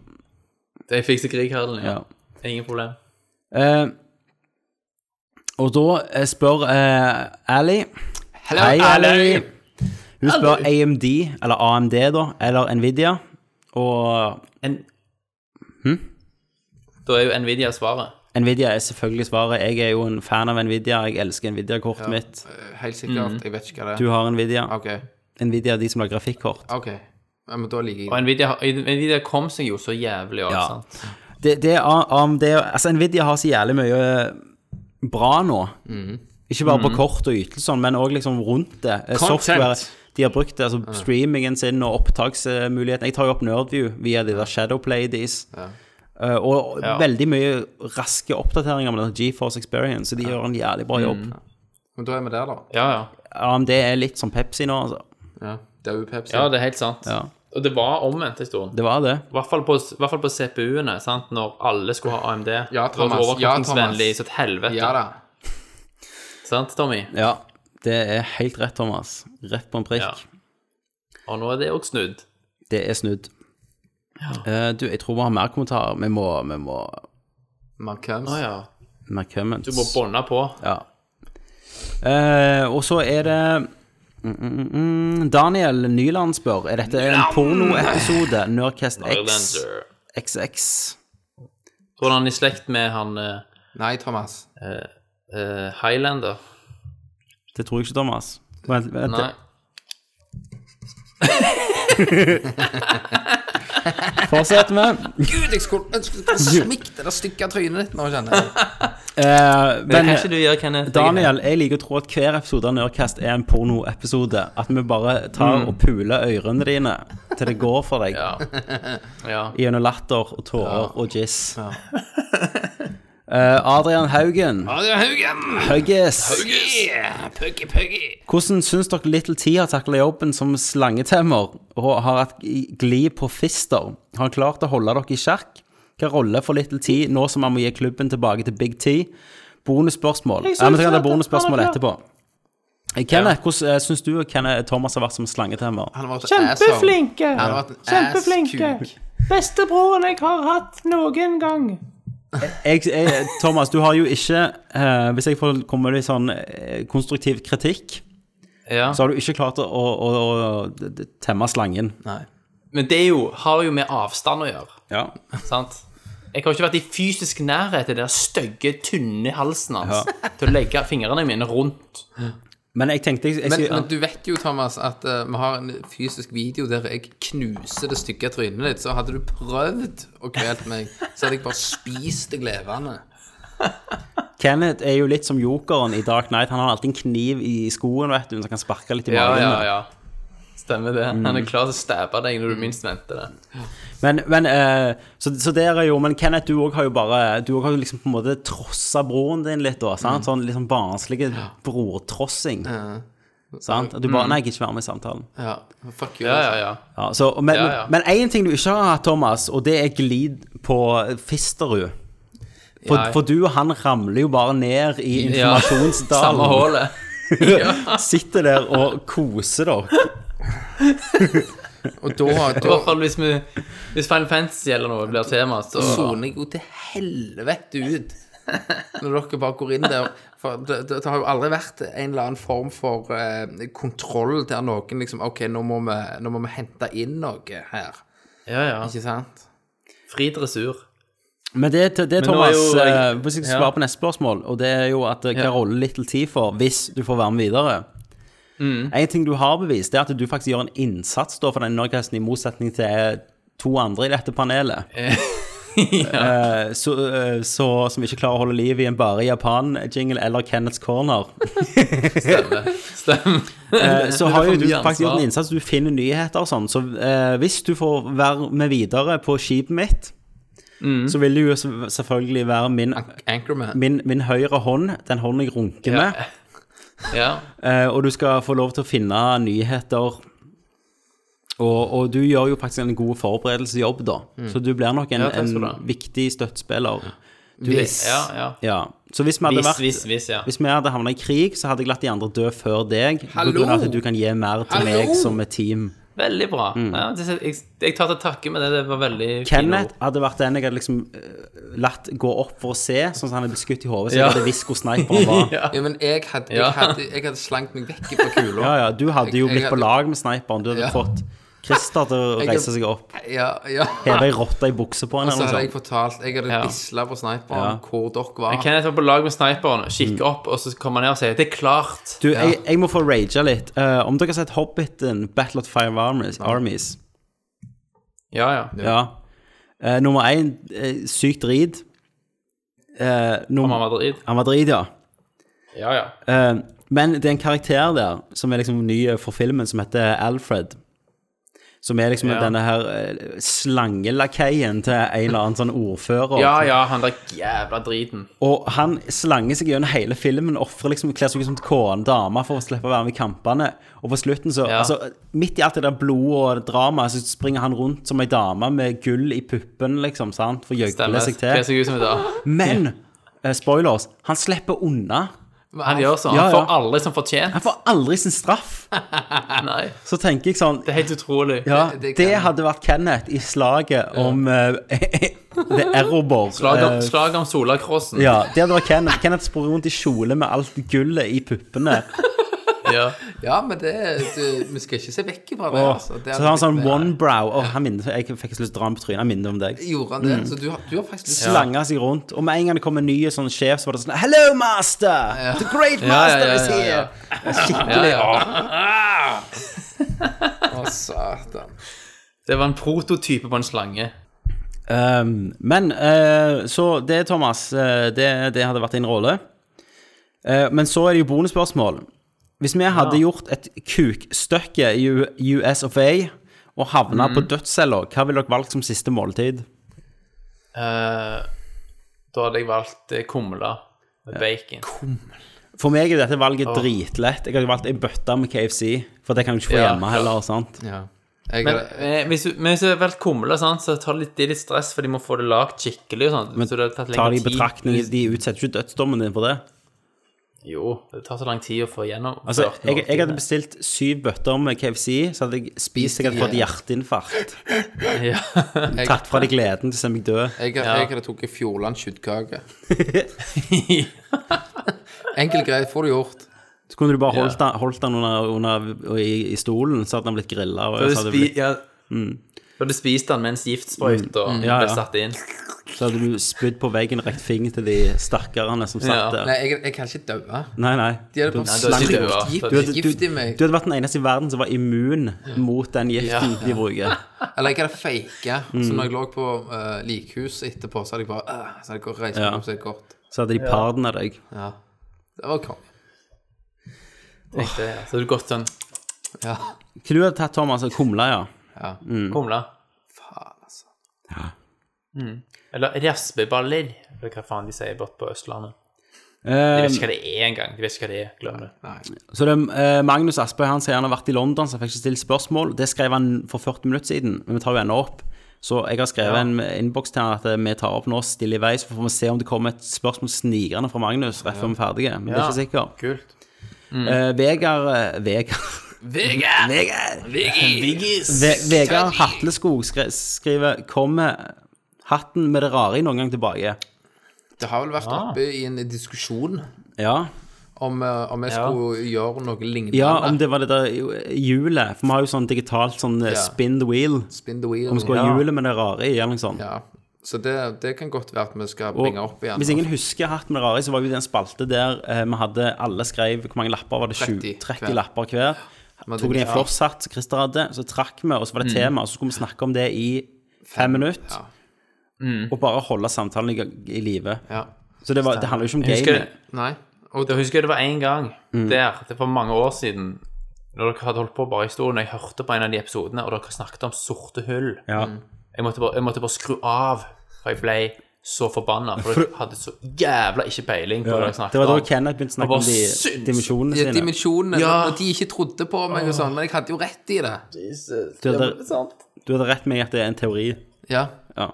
E: Jeg fikser krighallen, ja.
G: Ja.
E: Ingen problem.
G: Eh, og da eh, spør eh, Ali
F: Hello,
G: Hei,
F: Ali!
G: Ali. Hun spør AMD, eller AMD, da, eller Nvidia. Og
E: En... Da er jo Nvidia svaret.
G: Nvidia er selvfølgelig svaret. Jeg er jo en fan av Nvidia. Jeg elsker Nvidia-kortet mitt.
F: Eh, Helt sikkert.
E: Mm.
F: Jeg vet ikke hva det
G: Du
F: er.
G: har Nvidia.
F: OK.
G: Nvidia er de som lager grafikkort.
F: ok. Ja, men da liker
E: Og
F: jeg det.
E: Nvidia, har- Nvidia kom seg jo så jævlig av,
G: Ja.
E: sant?
G: det, det er AMD Altså, Nvidia har så jævlig mye bra nå. Ikke bare på kort og ytelser, men òg liksom rundt det. Eh,
F: Content.
G: Software. De har brukt altså, streamingen sin og opptaksmuligheten. Jeg tar jo opp Nerdview via de der Shadowplay-dees. Eh, og
E: Ja.
G: veldig mye raske oppdateringer med den GeForce Experience, så de gjør en jævlig bra jobb.
F: Men da er vi der, da.
E: Ja, ja.
G: AMD er litt som Pepsi nå, altså.
F: Ja. Det er jo Pepsi.
E: Ja, det er helt sant.
G: Ja.
E: Og det var omvendt en stund.
G: Det var det.
E: I hvert fall på, i hvert fall på CPU-ene, sant? når alle skulle ha AMD. Det var
F: Thomas. Ja,
E: overkopplingsvennlig
F: Thomas.
E: så et helvete.
F: Ja da.
E: Sant, Tommy?
G: Ja, det er helt rett, Thomas. Rett på en prikk.
E: Ja. Og nå er det òg snudd.
G: Det er snudd. Eh, du, jeg tror vi har mer kommentarer. Vi må, vi må
F: Man comes.
E: Å ja.
G: mer comments.
E: Du må bånde på.
G: Ja. Eh, og så er det mm, mm, mm, Daniel Nyland spør Er dette en pornoepisode. Nerdcast X
E: Irlander.
G: XX.
E: Tror du han er i slekt med han eh,
F: Nei, Thomas.
E: eh, Highlander?
G: Det tror jeg ikke, Thomas. Vent, vent.
E: Nei.
G: Fortsetter vi.
F: Gud, jeg skulle ønske du kunne smikt det der stygge trynet ditt nå, kjenner jeg.
G: Eh,
E: Men,
G: men
E: kan ikke du gjøre, Kenneth?
G: Daniel, jeg liker å tro at hver episode av Nerdcast er en pornoepisode. At vi bare tar og puler ørene dine til det går for deg.
E: Mm. Ja. ja.
G: Gjennom latter og tårer og jizz. Eh, Adrian Haugen.
F: Adrian Haugen!
G: Huggis.
F: Yeah, puggy, puggy.
G: Hvordan syns dere Little T har takla jobben som slangetemmer og har hatt gli på fister? Har han klart å holde dere i sjakk? Hva rolle for Little T nå som han må gi klubben tilbake til Big T? Bonusspørsmål. Ja, men vi kan ta bonusspørsmål etterpå. Eh, Kenneth, hvordan eh, syns du Kenneth Thomas har vært som slangetemmer?
F: Han har vært en Kjempeflinke! Han har vært en Kjempeflinke!
G: jeg, jeg, Thomas, du har jo ikke eh, Hvis jeg får komme med litt sånn eh, konstruktiv kritikk,
E: ja.
G: så har du ikke klart å, å, å, å temme slangen.
E: Men det er jo, har jo med avstand å gjøre.
G: Ja.
E: Sant? Jeg har ikke vært i fysisk nærhet til den der stygge, tynne halsen hans til å legge fingrene mine rundt.
G: Men jeg tenkte jeg, jeg,
F: Men,
G: skulle-
F: men du vet jo, Thomas, at eh, vi har en fysisk video der jeg knuser det stygge trynet ditt. Så hadde du prøvd å kvelt meg, så hadde jeg bare spist deg levende.
G: Kenneth er jo litt som jokeren i Dark Knight. Han har alltid en kniv i skoen, vet du, så han kan sparke litt i
E: Ja,
G: magen.
E: ja, Mm. ja. Stemmer det. Han er klar til å stabbe deg når du minst venter det.
G: Men, men, eh, så, så der er jo, men Kenneth, du òg har jo bare Du også har jo liksom på en måte trossa broren din litt, da. Sant? Sånn liksom barnslig brortrossing. Sant? At Du bare Nei, jeg gidder ikke være med i samtalen.
F: Ja, fuck you.
E: Ja,
F: altså.
E: ja, ja.
G: Ja, så, men
E: Ja, ja.
G: men én ting du ikke har hatt, Thomas, og det er glid på Fisterud. For,
E: Nei.
G: for du og han ramler jo bare ned i
E: Ja,
G: informasjonsdalen.
E: Samme hullet.
G: Sitter der og koser dere.
F: Og da,
E: I hvert
F: da
E: fall hvis, vi, hvis Final Fantasy eller noe blir tema, så
F: soner jeg jo til helvete ut. Når dere bare går inn der. For det, det, det har jo aldri vært en eller annen form for eh, kontroll der noen liksom OK, nå må, vi, nå må vi hente inn noe her.
E: Ja, ja.
F: Ikke sant?
E: Fri dressur.
G: Men det, det, det
E: nå
G: Thomas,
E: er jo-
G: eh, hvis jeg skal
E: ja.
G: svare på neste spørsmål, og det er jo at eh, hva
E: Ja.
G: rolle Little T får hvis du får være med videre.
E: Mm.
G: En ting du har bevist, det er at du faktisk gjør en innsats da, for den Norgehesten, i motsetning til eh, to andre i dette panelet, Eh, så, eh, så, som ikke klarer å holde liv i en bare Japan-jingle eller Kenneths Corner.
E: Stemmer.
G: Eh, så har jo
E: for
G: du
E: mye
G: faktisk gjort
E: ansvar.
G: en innsats, du finner nyheter og sånn. Så eh, hvis du får være med videre på skipet mitt,
E: Mm.
G: så vil du jo s- selvfølgelig være min
F: Anchorman.
G: min, min høyre hånd, den hånden jeg runker med,
E: Ja.
G: eh, og du skal få lov til å finne nyheter. Og, og du gjør jo faktisk en god forberedelsesjobb, da. Så du blir nok en,
E: Mm. Ja, takk skal du ha.
G: en viktig støttespiller.
F: Hvis.
E: ja, ja.
G: Ja. Så hvis vi hadde
E: Hvis,
G: vært
E: hvis, hvis, ja.
G: Hvis vi hadde havna i krig, så hadde jeg latt de andre dø før deg. På
F: Hallo!
G: grunn av at du kan gi mer til
F: Hallo!
G: meg som et team.
E: Veldig bra.
G: Mm.
E: Ja, det, jeg, jeg tar til takke med det. Det var veldig fine
G: Kenneth hadde vært den jeg hadde liksom eh, latt gå opp for å se, sånn som han er beskutt i hodet, så jeg
E: Ja.
G: hadde visst hvor sniperen var.
E: ord. Ja.
F: Ja, men jeg hadde, jeg
E: Ja.
F: hadde, jeg hadde slankt meg vekk fra kula.
G: Ja, ja, du hadde jo
F: Jeg- jeg
G: blitt på
F: hadde-
G: lag med sniperen. Du hadde
F: Ja.
G: fått Christer til å
F: Jeg-
G: reise seg opp.
F: ja, ja.
G: Heve ei rotte i buksa på henne
F: Så hadde
G: eller noe
F: jeg
G: sånt.
F: fortalt Jeg hadde
E: Ja.
F: bisla på sniperen
G: Ja.
F: hvor dere var.
E: Kenneth var på lag med sniperen,
G: Mm.
E: kikker opp, og så kommer han ned og sier 'Det er klart'.
G: Du, jeg, jeg må få raga litt. Eh, om dere har sett Hobbiten, Battle of Five Armies, Armies
E: Ja, ja.
G: ja. Eh, Nummer én, eh, sykt drit. Eh, nummer-
E: Om han var drit.
G: han var drit, ja.
E: Ja, ja.
G: Eh, men det er en karakter der som er liksom ny for filmen, som heter Alfred. Som er liksom
E: Ja.
G: denne her eh, slangelakeien til en eller annen sånn ordfører.
E: Ja, ja, han der jævla driten.
G: Og han slanger seg gjennom hele filmen, ofrer liksom, kler seg ut som til kåen dame for å slippe å være med i kampene. Og på slutten, så
E: Ja.
G: altså, Midt i alt det der blodet og dramaet, så springer han rundt som ei dame med gull i puppen, liksom, sant, for å gjøgle
E: Stemmer.
G: seg
E: Kler
G: til.
E: seg ut som et da.
G: Men eh, spoilers, han slipper unna.
E: Men Han gjør sånn.
G: Ja,
E: Han
G: ja.
E: får aldri som fortjent.
G: Han får aldri sin straff.
E: Nei.
G: Så tenker jeg sånn
E: Det er helt utrolig.
G: Ja,
F: Det-
G: det,
F: det kan-
G: hadde vært Kenneth i slaget om eh, The Errobor.
E: Slag om,
G: eh,
E: slag om Solakrossen.
G: ja, det hadde vært Kenneth. Kenneth sprang rundt i kjole med alt gullet i puppene.
E: Ja.
F: Ja, men det, du, vi skal ikke se vekk fra det.
G: Og,
F: altså.
G: så
F: Det
G: har han sånn
F: hadde
G: one brow. Åh, han minner, jeg fikk ikke lyst til å dra ham på trynet. Han minner om deg.
F: blitt- Gjorde han det?
G: Mm.
F: Så du, har- du har faktisk lyst
G: Slanga seg rundt. Og med en gang det kom en ny sånn sjef, så var det sånn Hello, master! The great
E: Ja, ja,
G: master
E: ja,
G: is
E: ja,
G: here!
E: ja.
G: Skikkelig.
E: Ja, ja.
F: Å, satan.
E: Det var en prototype på en slange.
G: Um, men eh, så det, Thomas, eh, det, det hadde vært din rolle. Eh, men så er det jo bonusspørsmål. Hvis vi hadde gjort et kukstøkke i U- US of A og havna
F: Mm.
G: på dødscella, hva ville dere valgt som siste måltid?
E: Eh, da hadde jeg valgt eh, kumle med bacon.
G: For meg er dette valget dritlett. Jeg hadde valgt ei bøtte med KFC, for det kan du ikke få
E: Ja.
G: hjemme heller. sant?
F: Ja. Jeg,
E: Men eh, hvis, du- men hvis du har valgt kumle, sant, så tar det litt, det er litt stress, for de må få det lagd skikkelig. og sånt,
G: Men
E: så det har tatt
G: Ta
E: lengre
G: det i
E: tid.
G: betraktning, de utsetter ikke dødsdommen din for det.
E: Jo, det tar så lang tid å få gjennom.
G: Altså, jeg, jeg hadde bestilt syv bøtter med KFC, så hadde jeg spist, jeg hadde fått hjerteinfarkt.
E: ja.
G: Tatt fra deg gleden til å se meg dø.
F: jeg, jeg, jeg hadde tatt Fjordland kjøttkake. Enkel greie, får du gjort.
G: Så kunne du bare holdt den, holdt den under, under i, i stolen, så hadde den blitt grilla. Og
E: Da
G: så
E: hadde
G: hadde,
E: spi,
G: det blitt, Mm.
E: ja. Da hadde spist den med en giftsprøyt og
G: Ja, ja.
E: ble satt inn.
G: så hadde du spydd på veggen rett fing til de stakkarene som
E: Ja.
G: satt der.
F: Nei, jeg, jeg kan ikke daue.
G: Nei, nei.
F: De
E: Nei,
F: hadde bare
E: du hadde ikke
F: slangt
E: daua.
F: gift,
E: Du
G: hadde-
F: gift i meg.
G: Du hadde vært den eneste i verden som var immun mot den giften de bruker.
F: Eller jeg hadde faka. Så når jeg lå på uh, likhuset etterpå, så hadde jeg bare uh, Så hadde jeg gått- reist meg
G: Ja.
F: opp så hadde jeg gått.
G: Så hadde de pardona deg.
F: Ja. Det var konge.
E: Tenkte, jeg. så hadde du gått sånn
F: Ja.
G: Hva du hadde tatt, Thomas? Kumle, ja.
F: ja.
G: Mm.
E: Kumle.
F: Faen, altså.
E: Mm. Eller raspeballer, eller hva faen de sier borte på Østlandet. De
G: Eh,
E: vet ikke hva det er engang. De vet ikke hva det er. Glem det.
G: så det, er, eh, Magnus Aspøy han sier han har vært i London, så han fikk ikke stilt spørsmål. Det skrev han for 40 minutter siden, men vi tar jo ennå opp. Så jeg har skrevet en innboks til han at eh, vi tar opp nå stille i vei, så får vi se om det kommer et spørsmål snikende fra Magnus rett før vi er ferdige. Men det er
E: Ja.
G: ikke sikkert.
E: Kult.
G: Eh, Vegard eh, Vegard
E: Vegard!
G: Vegard,
E: Viggis!
G: Ve Vegard Hatleskog skre- skriver Kommer hatten med det rare i noen gang tilbake?
F: Det har vel vært oppe i en diskusjon
G: Ja.
F: om, eh, om jeg
E: Ja.
F: skulle gjøre noe lignende.
G: ja, om det var det der hjulet. For vi har jo sånn digitalt sånn eh,
F: Ja.
G: spin the wheel.
F: Spin the wheel.
G: Om vi skal ha hjulet med det rare i, eller noe sånt.
F: Ja. Så det, det kan godt være at vi skal
G: Og
F: bringe opp igjen.
G: hvis ingen husker Hatt med det rare, så var jo det en spalte der eh, vi hadde alle skrev Hvor mange lapper var det? 20, 30,
F: 30 hver.
G: lapper hver.
F: Men
G: Tok
F: det-
G: de en
F: ja.
G: flosshatt som Christer hadde, så trakk vi, og så var det tema, og så skulle vi snakke om det i fem minutter.
F: Mm. Ja.
E: Mm.
G: Og bare holde samtalen i, i live.
F: Ja.
G: Så det, var, det handler jo ikke om
E: Husker
G: gaming.
E: jeg,
F: Nei. Og
E: da husker jeg det var en gang
G: Mm.
E: der, det var mange år siden, når dere hadde holdt på bare i historien, jeg hørte på en av de episodene, og dere snakket om sorte hull.
G: Ja.
E: Jeg måtte bare, jeg måtte bare skru av, for jeg ble så forbanna, for dere hadde så jævla ikke peiling på hva dere snakket
G: Det var da
E: om.
G: Kenneth begynte å snakke
E: Og
G: om
E: bare
G: de
E: syns-
G: dimensjonene
F: de
G: sine.
F: dimensjonene
E: Ja.
F: når de ikke trodde på meg og sånn, men jeg hadde jo rett i det.
G: Du hadde, du hadde rett med at det er en teori.
F: Ja,
G: Ja.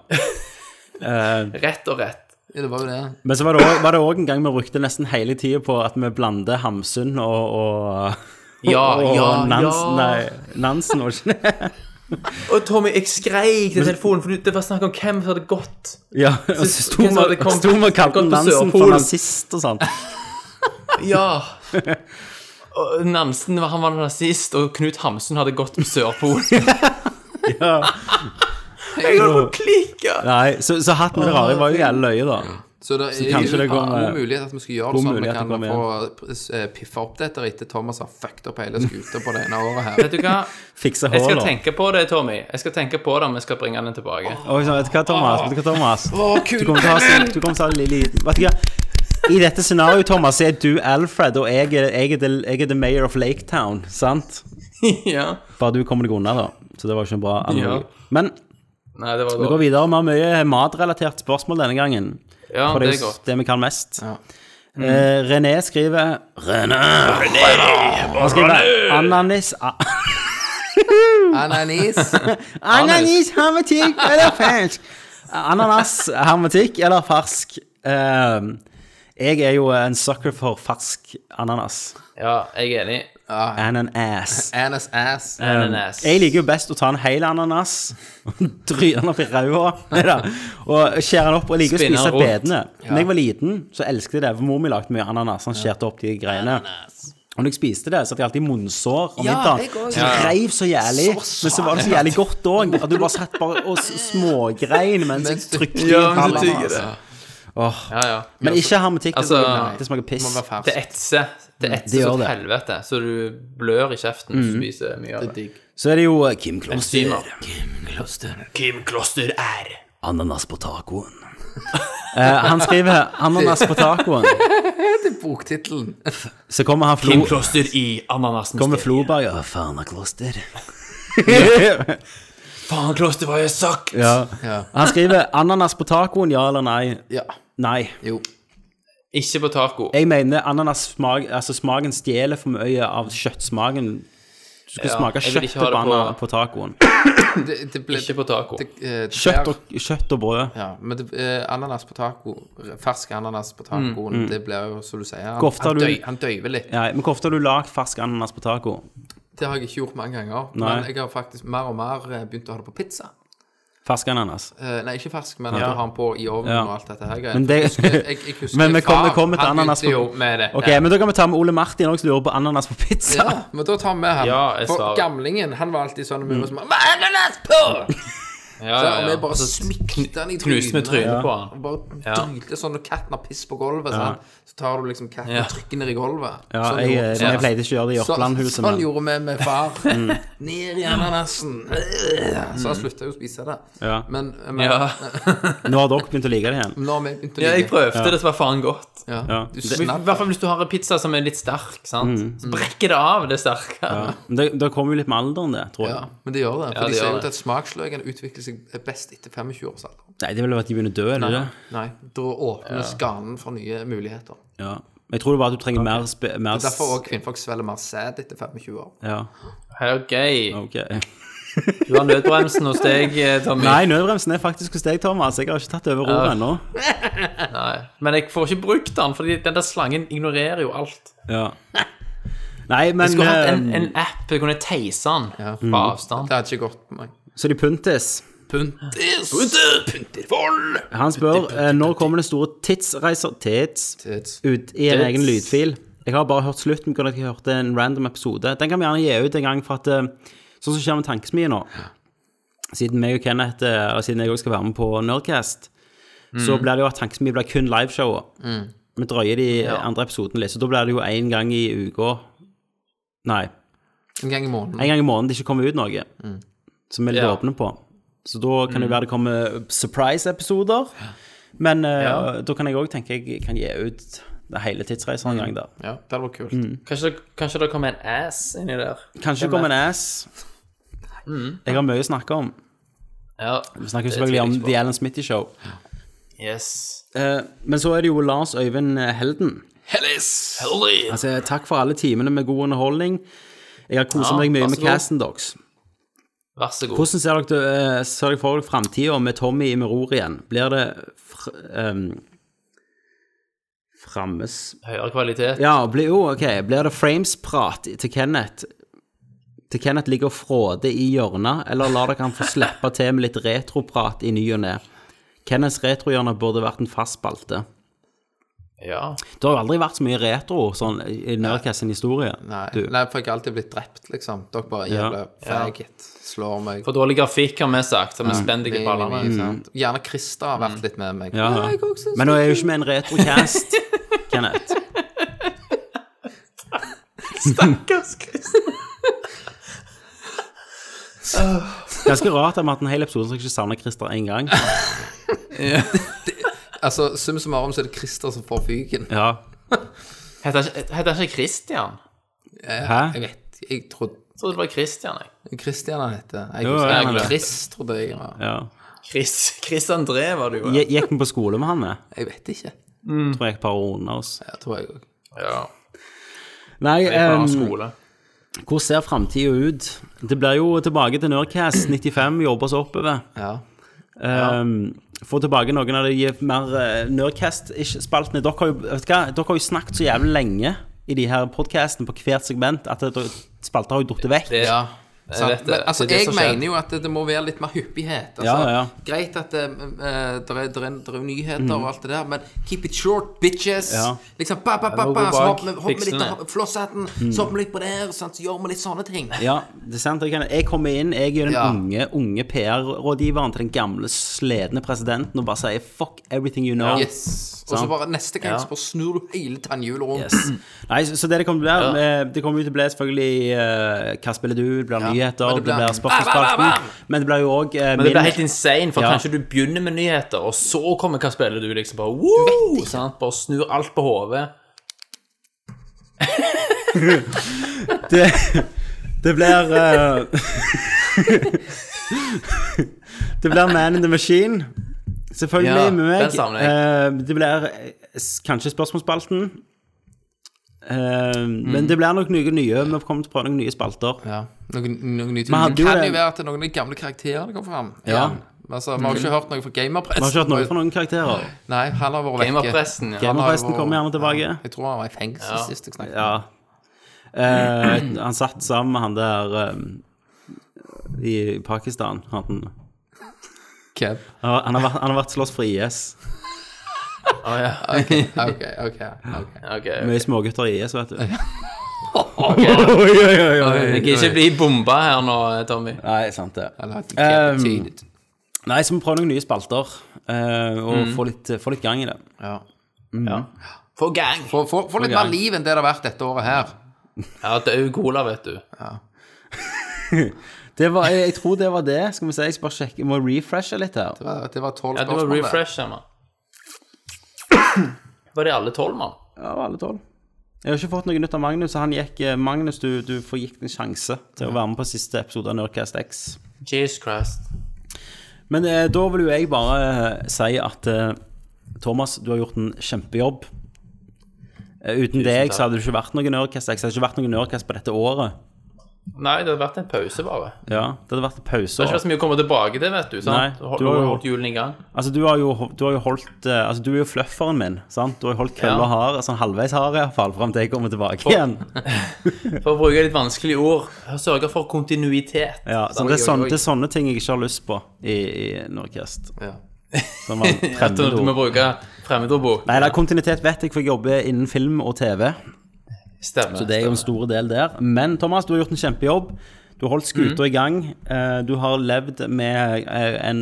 E: Rett og rett.
F: det var jo det.
G: Men så var det også- var det òg en gang vi brukte nesten hele tida på at vi blander Hamsun og, og
E: Ja,
G: og
E: ja, ja.
G: Nansen, Nei, Nansen var ikke det.
E: Og Tommy, jeg skreik til telefonen, for det var snakk om hvem som hadde gått.
G: Ja, og så sto
E: hvem som hadde
G: vi-
E: kommet-
G: sto vi og kalte
E: gått på
G: Nansen for
E: Sørpolen.
G: nazist og sånn.
E: Ja. Og Nansen han var nazist, og Knut Hamsun hadde gått på Sørpolen. Jeg holdt på å klikke!
G: Nei, så, så hatten med det rare var jo jævlig løye, da.
F: Så det er
G: kanskje
F: det
G: det går-
F: god mulighet at vi skal gjøre
G: god
F: det sånn. Vi
G: mulighet
F: kan
G: det
F: få eh, piffe opp dette etter Thomas har fucked opp hele skuta på det ene året her.
E: Vet du hva?
G: Fikse
E: Jeg skal
G: håla.
E: tenke på det, Tommy. Jeg skal tenke på det om jeg skal bringe den tilbake.
G: Og sånn, Vet du hva, Thomas? Vet du hva, Thomas?
F: Å, kul
G: Du kommer til å ha så, du kommer til å ha lille Vet du hva? I dette scenarioet, Thomas, er du Alfred, og jeg er, jeg er, the, jeg er the mayor of Laketown, sant?
E: ja.
G: Bare du kommer deg unna, da. Så det var ikke en bra analogi.
E: Ja.
G: Men
E: Nei, det var
G: vi går
E: dårlig.
G: videre. Vi har mye matrelatert spørsmål denne gangen.
E: Ja,
G: For det
E: det
G: er
E: går.
G: jo det vi kan mest. Eh, René skriver René! Han skriver ananis a-
F: Ananis.
G: Ananis, hermetikk eller fersk? Ananas, hermetikk eller fersk? Eh, jeg er jo en sucker for fersk ananas.
E: Ja, jeg er enig.
G: Ananas.
F: Anas ass.
E: Ananas.
G: Um, Jeg liker jo best å ta en hel ananas, dryne den opp i ræva Nei da. og skjære den opp. Og liker å
E: Spinne den
G: spise
E: rundt.
G: bedene. Da jeg var liten, så elsket jeg det. For mor mi lagde mye ananas. Han skjærte opp de greiene. Og når jeg spiste det, så fikk jeg alltid munnsår
F: jeg
G: om vinteren.
F: også.
G: Så det reiv så jævlig. Men så var det så jævlig godt òg. At du bare satt bare og s- smågrein mens jeg
F: Mens du-
G: trykte i altså.
E: Ja,
G: en
E: men så
G: ananas.
E: tygger det.
G: Åh.
E: Ja, ja.
G: Men ikke hermetikk. det
E: Altså,
G: smaker- det smaker piss.
F: Må være fersk.
E: Det etser. Det
G: Mm, det
E: etser
G: gjør
E: som
G: det.
E: helvete, så du blør i kjeften hvis du spiser mye av det.
F: digg.
G: Så er det jo eh, Kim Kloster.
E: Enzymer. Kim Kloster er
G: Ananas på tacoen. Eh, han skriver 'ananas på tacoen'.
F: Boktittelen.
G: Så kommer han Flo
E: Kim Kloster i
G: Kommer
E: ananasmysteriet.
G: Floberg og Færnakloster.
E: Faen, Kloster, hva har jeg sagt?
G: ja.
F: Ja.
G: Han skriver 'ananas på tacoen', ja eller nei?
F: Ja.
G: Nei.
F: Jo.
E: Ikke på taco.
G: Jeg mener ananas smak, altså smaken stjeler for mye av kjøttsmaken. Du skal
E: Ja,
G: smake
E: jeg vil ikke
G: kjøttet
E: ha det
G: på, ana-
E: på-
G: på tacoen.
F: Det, det ble
E: Ikke på taco.
F: det, eh,
G: Kjøtt
F: der-
G: og, kjøtt og brød.
F: Ja, men det, eh, ananas på taco, fersk ananas på tacoen, det blir jo som du sier Han,
G: Hvor Mm, ofte har
F: han,
G: du-
F: døy, han døyver litt.
G: Ja, men hvor ofte har du lagd fersk ananas på taco?
F: Det har jeg ikke gjort mange ganger.
G: Nei.
F: Men jeg har faktisk mer og mer eh, begynt å ha det på pizza.
G: Fersk ananas.
F: Eh, nei, ikke fersk, men at du har den på i ovnen
G: Ja.
F: og alt dette her. greier.
G: Men det-
F: Jeg husker- jeg, jeg husker
G: Men vi
F: far,
G: kommer- vi kommer til
F: han
G: ananas
F: begynte
G: på-
F: jo med det.
G: Ok, men da kan vi ta med Ole Martin òg, som lurer på ananas på pizza.
F: Ja, men da tar vi han.
E: Ja, jeg
F: For
E: svarer.
F: gamlingen, han var alltid
G: Mm.
F: sånn med meg som Hva er ananas på?!
E: Ja,
F: Så,
E: ja,
F: og
E: ja.
F: vi bare smykte han i
E: Knuste med trynet på han.
F: Og bare drylte sånn når katten har piss på gulvet. sant? Så tar du liksom katten
E: Ja.
F: og trykker ned i gulvet.
G: Ja,
F: Sånn
G: jeg,
F: gjorde-
G: jeg pleide ikke å gjøre det i
F: Så-
G: Jørpelandhuset,
F: Sånn
G: men Mm.
F: gjorde vi med far. Ned i ananasen. Så han slutta jo å spise det.
G: Ja.
F: Men, men
E: Ja.
G: nå har dere begynt å like det igjen.
F: nå har vi begynt å
E: ja, jeg
F: like
E: prøvde, det var faen godt.
F: ja.
G: Ja.
F: Du
E: I hvert fall hvis du har en pizza som er litt sterk, sant?
G: Mm.
E: så brekker det av det sterke.
G: Men Det, det kommer jo litt med alderen, det, tror jeg.
F: Ja, men det gjør det. For
E: Ja,
F: de
E: det
F: sier
E: gjør
F: jo
E: det.
F: at smaksløkene utvikler seg best etter 25 års alder.
G: Nei, det er vel at de begynner å dø, er det det?
F: Nei, da åpnes ganen for nye muligheter.
G: Ja. Jeg tror det bare at du trenger mer, spe, mer s-
F: Derfor også kvinnfolk svelger mer sæd etter 25 år.
G: Ja,
E: Ok,
G: ok.
E: du har nødbremsen hos deg, eh, Tommy.
G: Nei, nødbremsen er faktisk hos deg, Thomas. Jeg har ikke tatt over roret
E: Ja.
G: ennå.
E: Men jeg får ikke brukt den, fordi den der slangen ignorerer jo alt.
G: Ja. Nei,
E: Jeg
G: men
E: skulle hatt en,
G: eh,
E: en app, jeg kunne teise den
G: Mm.
E: på avstand.
F: Det hadde ikke gått med meg.
G: Så de puntis.
F: Puntis! Puntervoll!
G: Han spør eh, når kommer det store tidsreiser Tids
F: Tids.
G: ut i en
E: Tids.
G: egen lydfil. Jeg har bare hørt slutten fordi jeg hørte en random episode. Den kan vi gjerne gi ut en gang, for at eh, sånn som skjer med Tankesmien nå Siden meg og Kenneth, eh, eller siden jeg òg skal være med på Nerdcast, så blir det jo at Tankesmien blir kun liveshowet. Vi drøyer de eh, andre episodene litt, så da blir det jo én gang i uka Nei,
F: En gang i måneden.
G: en gang i måneden det ikke kommer ut noe. Som vi er litt
E: Ja. Mm.
G: åpne på. Så da kan det være det kommer surprise-episoder. Men eh, da kan jeg òg tenke jeg kan gi ut det hele tidsreisen
E: Mm.
G: en gang der.
F: Ja, det hadde vært kult.
G: Mm.
E: Kanskje, det- kanskje det kommer en ass inni der.
G: Kanskje det kommer en ass.
E: Mm.
G: Jeg har mye å snakke om.
E: Ja,
G: Vi snakker jo selvfølgelig om The Alan Smitty Show.
E: Yes.
G: Eh, men så er det jo Lars Øyvind eh, Helden.
F: Hellis!
G: Altså, takk for alle timene med god underholdning. Jeg har koset
E: Ja,
G: meg mye
E: vær så
G: med
E: god.
G: Casten Dogs.
E: Vær så god.
G: Hvordan ser dere, eh, ser dere for dere framtida med Tommy i Meror igjen? Blir det fr, ehm, Frammes
E: Høyere kvalitet.
G: Ja, blir, jo, ok. Blir det framesprat til Kenneth? Til Kenneth ligger og fråder i hjørnet, eller lar dere han få slippe til med litt retroprat i ny og ne? Kenneths retrohjørne burde vært en fast spalte.
E: Ja.
G: Det har jo aldri vært så mye retro sånn, i Nerdcast sin historie.
F: Nei.
G: Du.
F: Nei, for jeg har alltid blitt drept, liksom. Dere bare
G: Ja.
F: jævla faggot slår meg.
E: For dårlig grafikk har vi sagt, så vi spender deg i ballene.
F: sant? sånn- Gjerne Krista har
E: Mm.
F: vært litt med meg.
G: Mm. Ja. Men nå er jeg jo ikke med i en retrocast, Kenneth.
E: Stakkars Chris.
G: Ganske rart at vi har hatt en hel episode som jeg ikke savner Christer én gang.
F: Altså, sum summarum så er det Christer som får fyken.
G: Ja.
E: Heter han ikke- heter han ikke Christian?
F: Jeg
G: Hæ?
F: vet Jeg trodde
E: Jeg trodde det var Christian, jeg.
F: Christian han heter. Jeg
G: Jo,
F: husker
G: ja, han
F: jeg
G: er det.
F: Chris, trodde jeg. Ja.
G: Ja.
E: Chris, Chris André var det jo.
G: Je- Gikk vi på skole med han, jeg?
F: Jeg vet ikke.
G: Tror jeg et par år under oss.
F: Jeg tror jeg òg.
E: Ja,
G: Nei,
E: jeg var på
G: ehm,
E: skole.
G: Hvordan ser framtida ut? Det blir jo tilbake til Nerdcast 95, jobbe oss oppover.
F: Ja.
G: Ehm, få tilbake noen av de mer eh, Nerdcast-spaltene. Dere, har jo- vet du hva? dere har jo snakket så jævlig lenge i de her podkastene på hvert segment at det- spalter har jo datt vekk.
E: Det,
F: ja.
E: jeg
F: Sant?
E: vet det.
F: Men, altså,
E: Det er det
F: jeg
E: som skjer.
F: mener jo at det, det må være litt mer hyppighet. Altså,
G: Ja, ja, ja.
F: Greit at eh, det der er, der er, der er nyheter og alt det der, men keep it short, bitches.
G: Ja.
F: Liksom ba, ba, ba,
E: nå
F: ba,
E: går
F: så
E: bak
F: hopper vi- hopper vi litt
E: fiksene.
F: av flosshatten, så hopper vi litt på der, sant? så gjør vi litt sånne ting.
G: Ja, det er sant. Jeg, kan, jeg kommer inn, jeg er den
F: Ja.
G: unge, unge PR-rådgiveren til den gamle, sledne presidenten og bare sier 'fuck everything you know'.
F: Yes. Og så
G: Sant.
F: bare neste gang så bare snur du hele tannhjulet rundt.
G: Yes. Nei, så, så det det kommer til å bli, eh, det kommer jo til å bli selvfølgelig eh, Hva spiller du? Det blir nyheter,
F: men det
G: det blir,
F: blir-
G: blir spørsmålspalten. Men det blir jo eh, òg
E: Men det blir helt insane, for
G: Ja.
E: kanskje du begynner med nyheter, og så kommer hva spiller du liksom bare wow, sant? Bare snur alt på hodet.
G: Det, det blir eh, Det blir Man in the Machine. Selvfølgelig
E: Ja,
G: med
E: den
G: meg.
E: savner
G: Eh, det blir eh, s- kanskje spørsmålsspalten. Eh,
E: Mm.
G: Men det blir nok noe nye. Vi kommer til å prøve noen nye spalter.
F: Ja, noen, noen nye ting.
G: Men hadde
F: Det
G: jo
F: kan
G: en-
F: jo være at noen av de gamle karakterene kom fram.
G: Ja. Mm.
F: igjen. Altså, vi har jo ikke hørt noe fra gamerpressen.
G: Vi har ikke hatt noe for noen karakterer.
F: Nei, han har vært vekke.
E: Gamerpressen, ja.
F: Han har jo
G: Gamerpressen kommer gjerne tilbake.
F: Ja, jeg tror han var i fengsel
E: Ja.
F: sist jeg snakket.
G: Ja. Eh, han satt sammen med han der eh, i Pakistan. Han,
F: Kev.
G: han, har, vært, han har vært slåss for IS.
E: Å, ja.
F: Ok, ok, ok. ok.
E: Ok.
G: Mye smågutter i IS, vet du.
E: ok.
G: Oi, oi, oi,
E: Jeg kan ikke bli bomba her nå, Tommy.
G: Nei, sant det.
F: Eller at
G: Um,
F: Kev cheated.
G: Nei, så må vi prøve noen nye spalter. eh, og få, litt, få litt gang i det. Mm.
F: Ja.
E: Få gang!
F: Få få- få litt
G: gang.
F: mer liv enn det det har vært dette året her.
E: Ja, død cola, vet du.
G: det var, jeg, jeg tror det var det. Skal vi se, jeg skal bare sjekke. Jeg må refreshe litt her.
F: Det var- Det var tolv
E: Ja, det var
F: spørsmål. det.
E: refresh, Emma. Var det alle tolv, mann?
G: Ja, alle tolv. Jeg har ikke fått noe nytt av Magnus. så Han gikk, eh, Magnus, du, du får gitt en sjanse til å være med på siste episode av Nerdcast X.
E: Jesus Christ.
G: Men eh, da vil jo jeg bare eh, si at eh, Thomas, du har gjort en kjempejobb. Eh, uten deg så hadde det ikke vært noen Nerdcast X. Det hadde ikke vært noen Nerdcast på dette året.
E: Nei, det hadde vært en pause, bare. Det
G: Ja, det hadde vært
E: har
G: pauser.
E: ikke vært så mye å komme tilbake til, vet du.
G: Nei,
E: sant? Du har
G: du har
E: jo
G: jo-
E: holdt julen i gang.
G: Altså, du har jo, du har jo holdt eh, Altså, du er jo flufferen min, sant? Du har jo holdt kølla
E: Ja.
G: hard, sånn halvveis hard iallfall, fram til jeg kommer tilbake igjen.
E: For å bruke litt vanskelige ord, sørge for kontinuitet.
G: Ja, sånn så det, er sånne, det er sånne ting jeg ikke har lyst på i, i Nordkast.
F: Ja.
G: Som var
E: At du du må
G: fremmedord.
E: bruke fremmedordbok.
G: Nei, da, kontinuitet vet jeg, for jeg jobber innen film og TV.
E: Stemmer.
G: Så det er jo en stor del der. Men Thomas, du har gjort en kjempejobb. Du har holdt
E: Mm.
G: skuta i gang. Eh, Du har levd med eh, en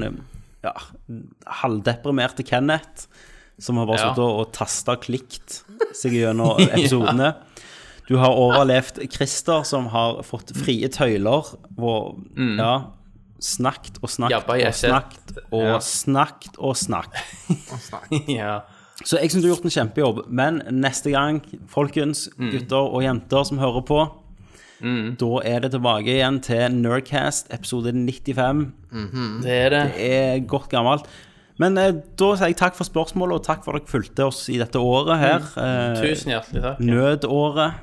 G: ja, halvdeprimerte Kenneth, som har bare
E: Ja.
G: sittet og tasta og klikt seg gjennom episodene. Du har overlevd Christer, som har fått frie tøyler. Hvor, ja, snakket og snakket
E: Jabba, Mm. jeg
G: og snakket og
E: Ja.
G: snakket og snakket.
E: Ja.
G: Så jeg syns du har gjort en kjempejobb. Men neste gang, folkens,
E: Mm.
G: gutter og jenter som hører på, da er det tilbake igjen til Nerdcast episode 95.
E: Det er det.
G: Det er godt gammelt. Men eh, da sier jeg takk for spørsmålet, og takk for at dere fulgte oss i dette året her. Eh,
E: Mm. Tusen hjertelig takk.
G: nødåret.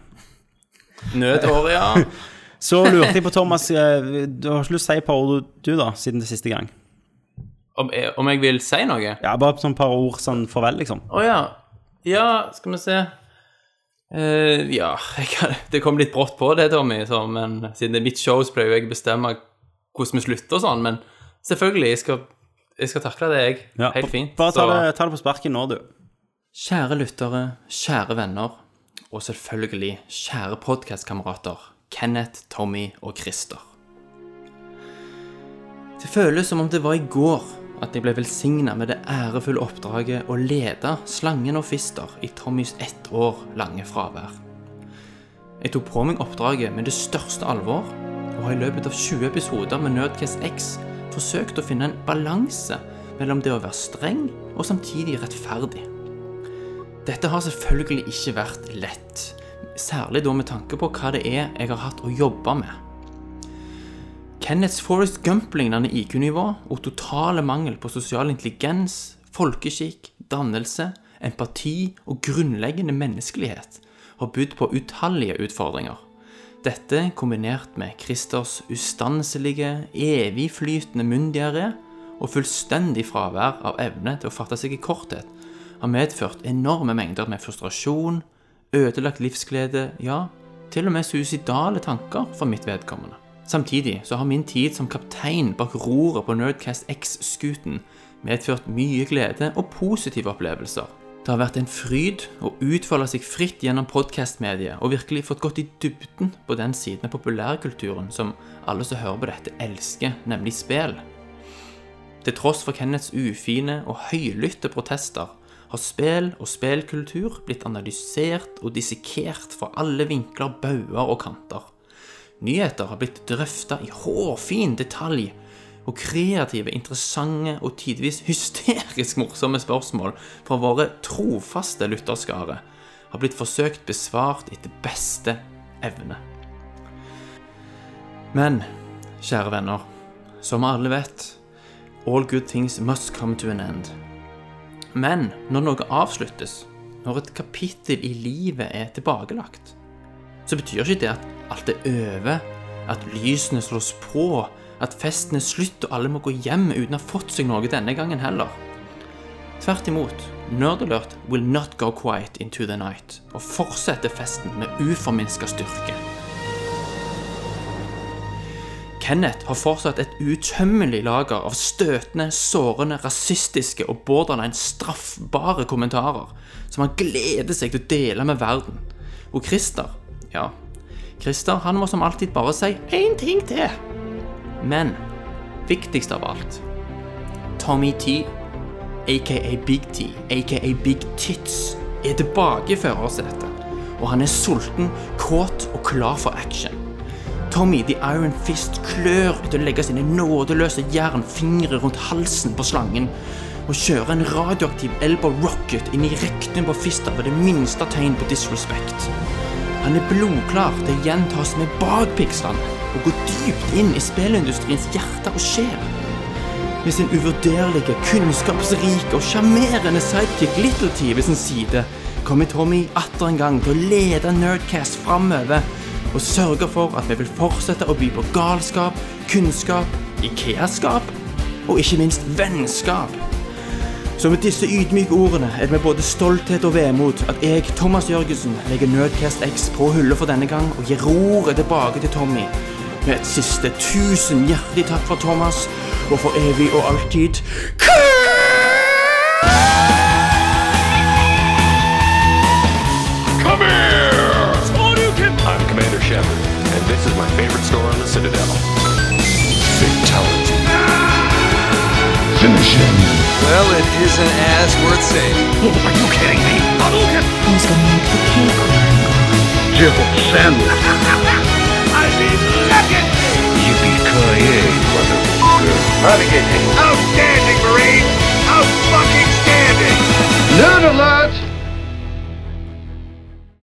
E: Nødåret, ja.
G: Så lurte jeg på, Thomas, eh, du har ikke lyst til å si et par ord, du, da, siden det siste gang?
E: Om jeg, om jeg vil si noe? Å
G: Ja, Bare sånn et par ord sånn farvel, liksom.
E: ja. Ja, skal vi se. Eh, ja, jeg kan, det kom litt brått på det, Tommy, så, men siden det er mitt show, så pleier jo jeg å bestemme hvordan vi slutter og sånn, men selvfølgelig, jeg skal, jeg skal takle det, jeg.
G: Ja,
E: Helt fint.
G: Bare ta
E: så-
G: det, ta det på sparket nå, du.
E: Kjære lyttere, kjære venner, og selvfølgelig kjære podkastkamerater Kenneth, Tommy og Christer. Det føles som om det var i går at jeg ble velsigna med det ærefulle oppdraget å lede Slangen og Fister i Tommys ett år lange fravær. Jeg tok på meg oppdraget med det største alvor, og har i løpet av 20 episoder med Nødcast X forsøkt å finne en balanse mellom det å være streng og samtidig rettferdig. Dette har selvfølgelig ikke vært lett, særlig da med tanke på hva det er jeg har hatt å jobbe med. Kenneths Forest Gump-lignende IQ-nivå og totale mangel på sosial intelligens, folkeskikk, dannelse, empati og grunnleggende menneskelighet har budt på utallige utfordringer. Dette kombinert med Christers ustanselige, evigflytende munndiaré og fullstendig fravær av evne til å fatte seg i korthet, har medført enorme mengder med frustrasjon, ødelagt livsglede, ja, til og med suicidale tanker for mitt vedkommende. Samtidig så har min tid som kaptein bak roret på Nerdcast X-skuten medført mye glede og positive opplevelser. Det har vært en fryd å utfolde seg fritt gjennom podkastmediet og virkelig fått gått i dybden på den siden av populærkulturen som alle som hører på dette, elsker, nemlig spill. Til tross for Kenneths ufine og høylytte protester har spill og spillkultur blitt analysert og dissekert fra alle vinkler, bauger og kanter. Nyheter har blitt drøfta i hårfin detalj, og kreative, interessante og tidvis hysterisk morsomme spørsmål fra våre trofaste lytterskare har blitt forsøkt besvart etter beste evne. Men, kjære venner, som alle vet, all good things must come to an end. Men når noe avsluttes, når et kapittel i livet er tilbakelagt, så betyr ikke det at alt er over, at lysene slås på, at festen er slutt og alle må gå hjem uten å ha fått seg noe denne gangen heller. Tvert imot, Nerdalert will not go quiet into the night, og fortsetter festen med uforminska styrke. Kenneth har fortsatt et utømmelig lager av støtende, sårende, rasistiske og borderline straffbare kommentarer som han gleder seg til å dele med verden. Og Christer, ja, Christer han må som alltid bare si én ting til. Men viktigst av alt Tommy T, aka Big T, aka Big Tits, er tilbake i førersetet. Og han er sulten, kåt og klar for action. Tommy the Iron Fist klør etter å legge sine nådeløse jernfingre rundt halsen på slangen og kjøre en radioaktiv elbow rocket inn i rekten på Fister ved det minste tegn på disrespect. Han er blodklar til å gjentas med bakpikslene og gå dypt inn i spillindustriens hjerte og sjel. Med sin uvurderlige, kunnskapsrike og sjarmerende sidekick Little T ved sin side kommer Tommy atter en gang til å lede Nerdcast framover og sørge for at vi vil fortsette å by på galskap, kunnskap, Ikea-skap og ikke minst vennskap. Så med disse ydmyke ordene er det med både stolthet og vemod at jeg, Thomas Jørgensen, legger Nerdcast X på hylla for denne gang og gir roret tilbake til Tommy. Med et siste tusen hjertelig takk for Thomas, og for evig og alltid
B: Come here!
I: I'm Commander Shepard, and this is my favorite store on the Citadel.
D: Fatality.
J: Well, it isn't as worth saying.
B: Are you kidding me? Hadouken! Who's gonna make the cake? Jill Sandwich. I mean, look at me! Yippee-ki-yay, motherfucker. Outstanding, Marine!